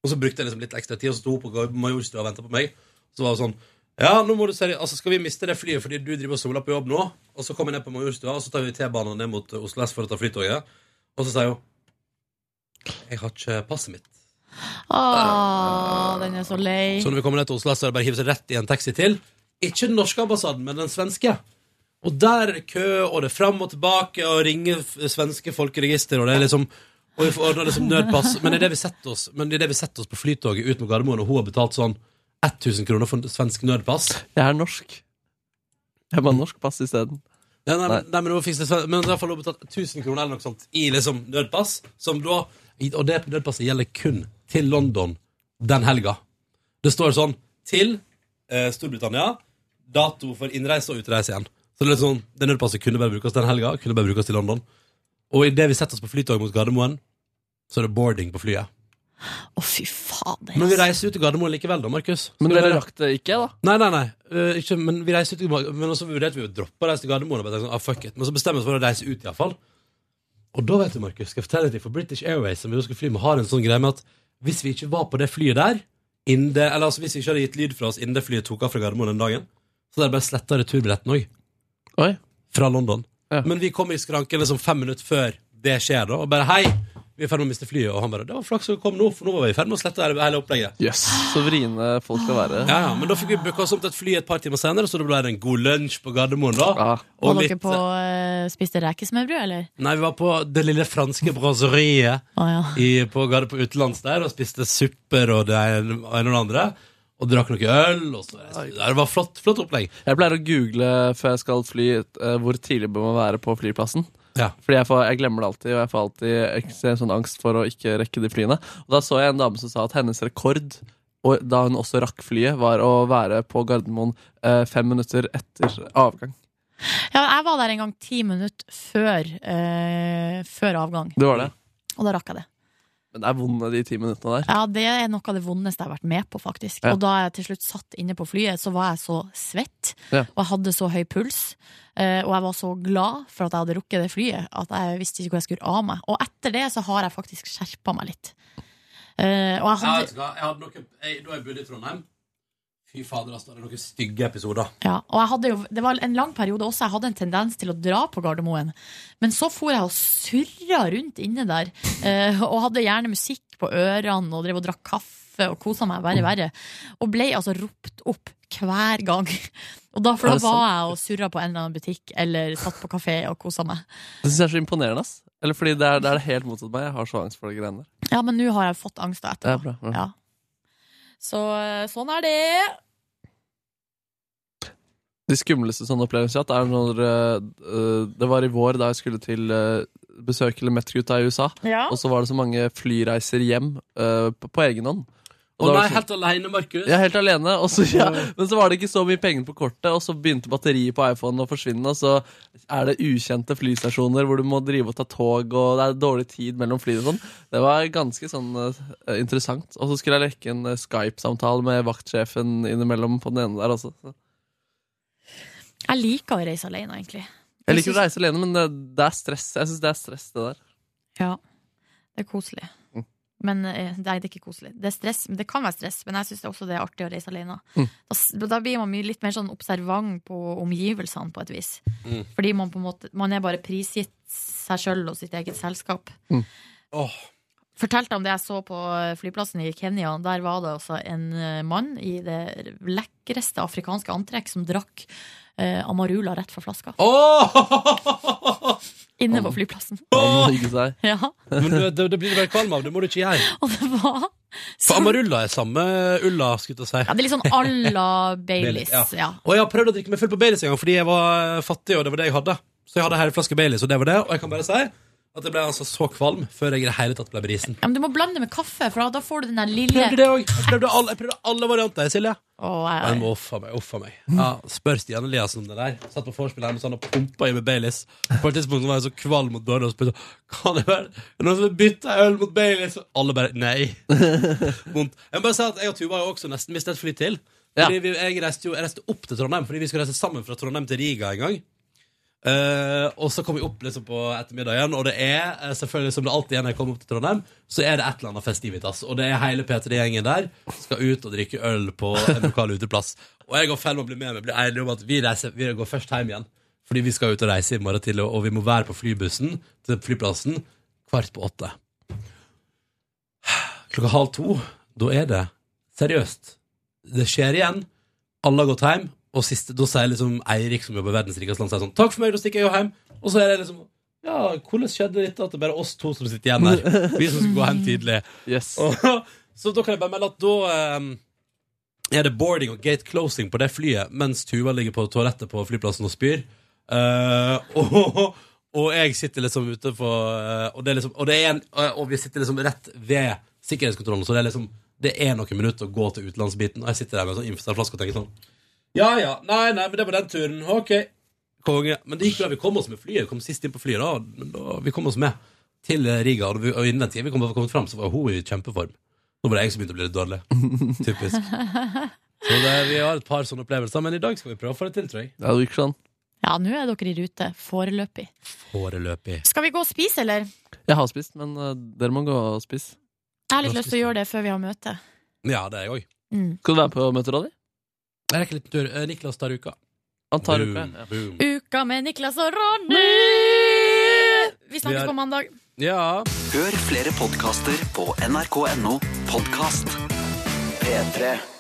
Speaker 2: Og så brukte jeg liksom litt ekstra tid, og så sto hun på Majorstua og venta på meg. Så var hun sånn Ja, nå må du seri altså, skal vi miste det flyet fordi du driver og soler på jobb nå? Og så kommer jeg ned på Majorstua, og så tar vi T-banen ned mot Oslo S for å ta flytoget. Og så sier hun Jeg har ikke passet mitt.
Speaker 4: Å, den er så lei.
Speaker 2: Så når vi kommer ned til Oslo S, så er det bare å hive seg rett i en taxi til. Ikke den norske ambassaden, men den svenske. Og der er det kø, og det er fram og tilbake, og ringer f- svenske folkeregister, og det er liksom Og vi får ordna det som nødpass. Men idet vi setter oss Men i det vi setter oss på flytoget ut mot Gardermoen, og hun har betalt sånn 1000 kroner for svensk nødpass
Speaker 3: Jeg er norsk. Jeg må ha norsk pass isteden.
Speaker 2: Nei, nei, men- nei, men hun fikk det sven- Men i hvert fall hun har betalt 1000 kroner eller noe sånt i liksom nødpass, som da Og det nødpasset gjelder kun til London den helga. Det står sånn til eh, Storbritannia, dato for innreise og utreise igjen. Så det er litt sånn, det nødpasset kunne bare brukes den helga, kunne bare brukes til London. Og idet vi setter oss på flytoget mot Gardermoen, så er det boarding på flyet.
Speaker 4: Å, fy fader.
Speaker 2: Men vi reiser ut til Gardermoen likevel, da, Markus. Skal
Speaker 3: Men
Speaker 2: vi
Speaker 3: dere
Speaker 2: gjøre det?
Speaker 3: rakk det ikke, da?
Speaker 2: Nei, nei, nei. Eh, ikke, men vi reiser ut til Gardermoen, Men så vurderte vi å droppe å reise til Gardermoen. Og bare tenkte sånn, ah, fuck it. Men så bestemmer vi oss for å reise ut, iallfall. Og da, vet du, Markus, skal jeg fortelle deg for British Airways som vi nå skal fly med, har en sånn greie med at hvis vi ikke var på det flyet der innen det, Eller altså, hvis vi ikke hadde gitt lyd fra oss innen det flyet tok av fra Gardermoen den dagen, så hadde de bare sletta returbilletten òg. Fra London. Men vi kom i skranken liksom fem minutter før det skjer, da, og bare hei, vi er i ferd med å miste flyet. Og han bare det var flaks at du kom nå, for nå var vi i ferd med å slette hele opplegget.
Speaker 3: Yes, så vriene folk skal være.
Speaker 2: Ja, ja, men da fikk vi booka oss om til et fly et par timer senere, så det ble en god lunsj på Gardermoen da.
Speaker 4: Var dere på eh, spiste rekesmørbrød, eller?
Speaker 2: Nei, vi var på det lille franske braseriet
Speaker 4: Å,
Speaker 2: i, på, Garder- på utenlands der og spiste supper og det ene og det andre. Og drakk noe øl. Og så, det var flott, flott opplegg.
Speaker 3: Jeg pleier å google før jeg skal fly, eh, hvor tidlig bør man være på flyplassen.
Speaker 2: Ja.
Speaker 3: Fordi jeg, får, jeg glemmer det alltid, og jeg får alltid ekstremt sånn angst for å ikke rekke de flyene. Og da så jeg en dame som sa at hennes rekord, og da hun også rakk flyet, var å være på Gardermoen eh, fem minutter etter avgang.
Speaker 4: Ja, jeg var der en gang ti minutter før, eh, før avgang.
Speaker 3: Det var det.
Speaker 4: Og da rakk jeg det.
Speaker 3: Men det er vonde de ti minuttene der.
Speaker 4: Ja, Det er noe av det vondeste jeg har vært med på, faktisk.
Speaker 3: Ja.
Speaker 4: Og da jeg til slutt satt inne på flyet, så var jeg så svett,
Speaker 3: Ja.
Speaker 4: og jeg hadde så høy puls. eh, Og jeg var så glad for at jeg hadde rukket det flyet, at jeg visste ikke hvor jeg skulle av meg. Og etter det så har jeg faktisk skjerpa meg litt. Eh, og jeg
Speaker 2: Jeg,
Speaker 4: hadde,
Speaker 2: vet du hva, jeg hadde noen, jeg, da jeg bodde i Trondheim Fy fader, altså, det er noen stygge episoder.
Speaker 4: ja, og jeg hadde jo, det var en lang periode også jeg hadde en tendens til å dra på Gardermoen. Men så for jeg og surra rundt inne der, eh, og hadde gjerne musikk på ørene og drev og drakk kaffe og kosa meg verre verre. Og ble altså ropt opp hver gang. Og da, for
Speaker 3: Er
Speaker 4: da
Speaker 3: det sant?
Speaker 4: var jeg og surra på en eller annen butikk eller satt på kafé og kosa meg.
Speaker 3: Det syns jeg er så imponerende. ass. Eller fordi det er, det er det helt motsatt meg. Jeg har så angst for de greiene der.
Speaker 4: Ja, men nå har jeg fått angst da
Speaker 3: Det
Speaker 4: etterpå.
Speaker 3: er bra. bra.
Speaker 4: Ja. Så eh, sånn er det.
Speaker 3: De skumleste sånne opplevelser jeg har hatt, er når eh, eh, Det var i vår da jeg skulle til eh, besøk eller Met-gutta i USA,
Speaker 2: Ja.
Speaker 3: og så var det så mange flyreiser hjem eh, på, på egen hånd.
Speaker 2: Å
Speaker 3: Og da var
Speaker 2: nei,
Speaker 3: det så-
Speaker 2: helt aleine, Markus.
Speaker 3: ja, helt alene. Og så, ja. Men så var det ikke så mye penger på kortet, og så begynte batteriet på iPhonen å forsvinne, og så er det ukjente flystasjoner hvor du må drive og ta tog, og det er dårlig tid mellom flyene og sånn. Det var ganske sånn eh, interessant. Og så skulle jeg rekke en eh, Skype-samtale med vaktsjefen innimellom på den ene der også. Så.
Speaker 4: Jeg liker å reise alene, egentlig.
Speaker 3: Jeg liker å reise alene, men det, det er stress. Jeg synes det er stress, det der.
Speaker 4: Ja, det er koselig.
Speaker 3: Mm.
Speaker 4: Men eh, nei, det er ikke koselig. Det er stress, men det kan være stress, men jeg syns også det er artig å reise alene.
Speaker 3: Mm.
Speaker 4: Da, s- da blir man mye, litt mer sånn observant på omgivelsene, på et vis.
Speaker 2: Mm.
Speaker 4: Fordi man på en måte Man er bare prisgitt seg sjøl og sitt eget selskap.
Speaker 3: Mm.
Speaker 4: Fortalte om det jeg så på eh, flyplassen i Kenya. Der var det altså en eh, mann i det lekreste afrikanske antrekk som drakk eh, Amarula rett fra flaska. Inne på flyplassen.
Speaker 3: Man må hygge seg.
Speaker 4: Ja.
Speaker 2: Men du, det, det blir du bare kvalm av. Det må du ikke gjøre.
Speaker 4: Og det var
Speaker 2: For Amarulla er samme ulla, skulle jeg til å si.
Speaker 4: Ja, det er litt sånn à la Baileys.
Speaker 2: Ja.
Speaker 4: Ja.
Speaker 2: Og jeg har prøvd å drikke meg full på Baileys en gang fordi jeg var fattig, og det var det jeg hadde. Så jeg hadde her en flaske Baileys, og det var det. Og jeg kan bare si at jeg ble altså så kvalm før jeg i det hele tatt ble brisen.
Speaker 4: Ja, men du må blande det med kaffe, for da får du den der lille
Speaker 2: Prøvde det òg. Jeg, prøvde alle- jeg prøvde alle varianter, Silje.
Speaker 4: Å, jeg-
Speaker 2: Men uffa meg, uffa meg. Ja, spør Stian Eliassen om det der. Satt på vorspiel hjemme så han og pumpa i med Baileys. På et tidspunkt så var jeg så kvalm og dårlig og spurte Kan det være er det noen som vil bytte øl mot Baileys. Og Alle bare nei. Vondt. Jeg må bare si at jeg og Tuva har jo også nesten mistet et fly til. Fordi vi, jeg, reiste jo, jeg reiste opp til Trondheim fordi vi skulle reise sammen fra Trondheim til Riga en gang. Eh, og så kom vi opp liksom på ettermiddagen, og det er eh, selvfølgelig som det alltid er når jeg kommer opp til Trondheim, så er det et eller annet festivitas. Og det er hele P3-gjengen der skal ut og drikke øl på en lokal uteplass. Og jeg og Felma blir med meg, blir enige om at vi, reiser, vi går først hjem igjen. Fordi vi skal ut og reise i morgen tidlig, og vi må være på flybussen til flyplassen kvart på åtte. Klokka halv to, da er det seriøst. Det skjer igjen. Alle har gått hjem, og siste, da sier liksom Eirik, som jobber i Verdens rikeste land, sier sånn Takk for meg, da stikker jeg jo hjem. Og så er det liksom Ja, hvordan skjedde dette at det bare er oss to som sitter igjen her? Vi som skal gå hen tidlig. Og, så da kan jeg bare melde at da eh, er det boarding og gate closing på det flyet mens Tuva ligger på toalettet på flyplassen og spyr. Eh, og, og jeg sitter liksom ute på eh, og, det er liksom, og, det er en, og vi sitter liksom rett ved sikkerhetskontrollen, så det er liksom det er noen minutter å gå til utenlandsbiten, og jeg sitter der med en sånn Imfestad-flaske og tenker sånn Ja ja, nei nei, men det var den turen. OK. Konge. Men det gikk bra. Vi kom oss med flyet. Vi kom sist inn på flyet, da. Men da vi kom oss med til Riga. Og, vi, og innen den tiden vi kom, kom fram, så var hun i kjempeform. Nå var det jeg som begynte å bli litt dårlig. Typisk. Så det, vi har et par sånne opplevelser, men i dag skal vi prøve å få det til, tror jeg.
Speaker 3: Ja, det gikk sånn.
Speaker 8: Ja, nå er dere i rute. Foreløpig.
Speaker 2: Foreløpig.
Speaker 8: Skal vi gå og spise, eller?
Speaker 3: Jeg har spist, men eh, dere må gå og spise.
Speaker 8: Jeg har litt lyst til å gjøre det før vi har møte.
Speaker 2: Ja, det er jeg òg.
Speaker 8: Mm.
Speaker 3: Skal du være på møtet, Ronny?
Speaker 2: Jeg rekker litt tur. Eh, Niklas tar uka.
Speaker 3: Han tar
Speaker 2: Boom,
Speaker 3: uka, ja.
Speaker 2: boom.
Speaker 8: Uka med Niklas og Ronny! Vi
Speaker 2: Vi
Speaker 8: snakkes
Speaker 2: er-
Speaker 8: på mandag.
Speaker 2: Ja.
Speaker 17: Hør flere podkaster på nrk.no podkast. P3.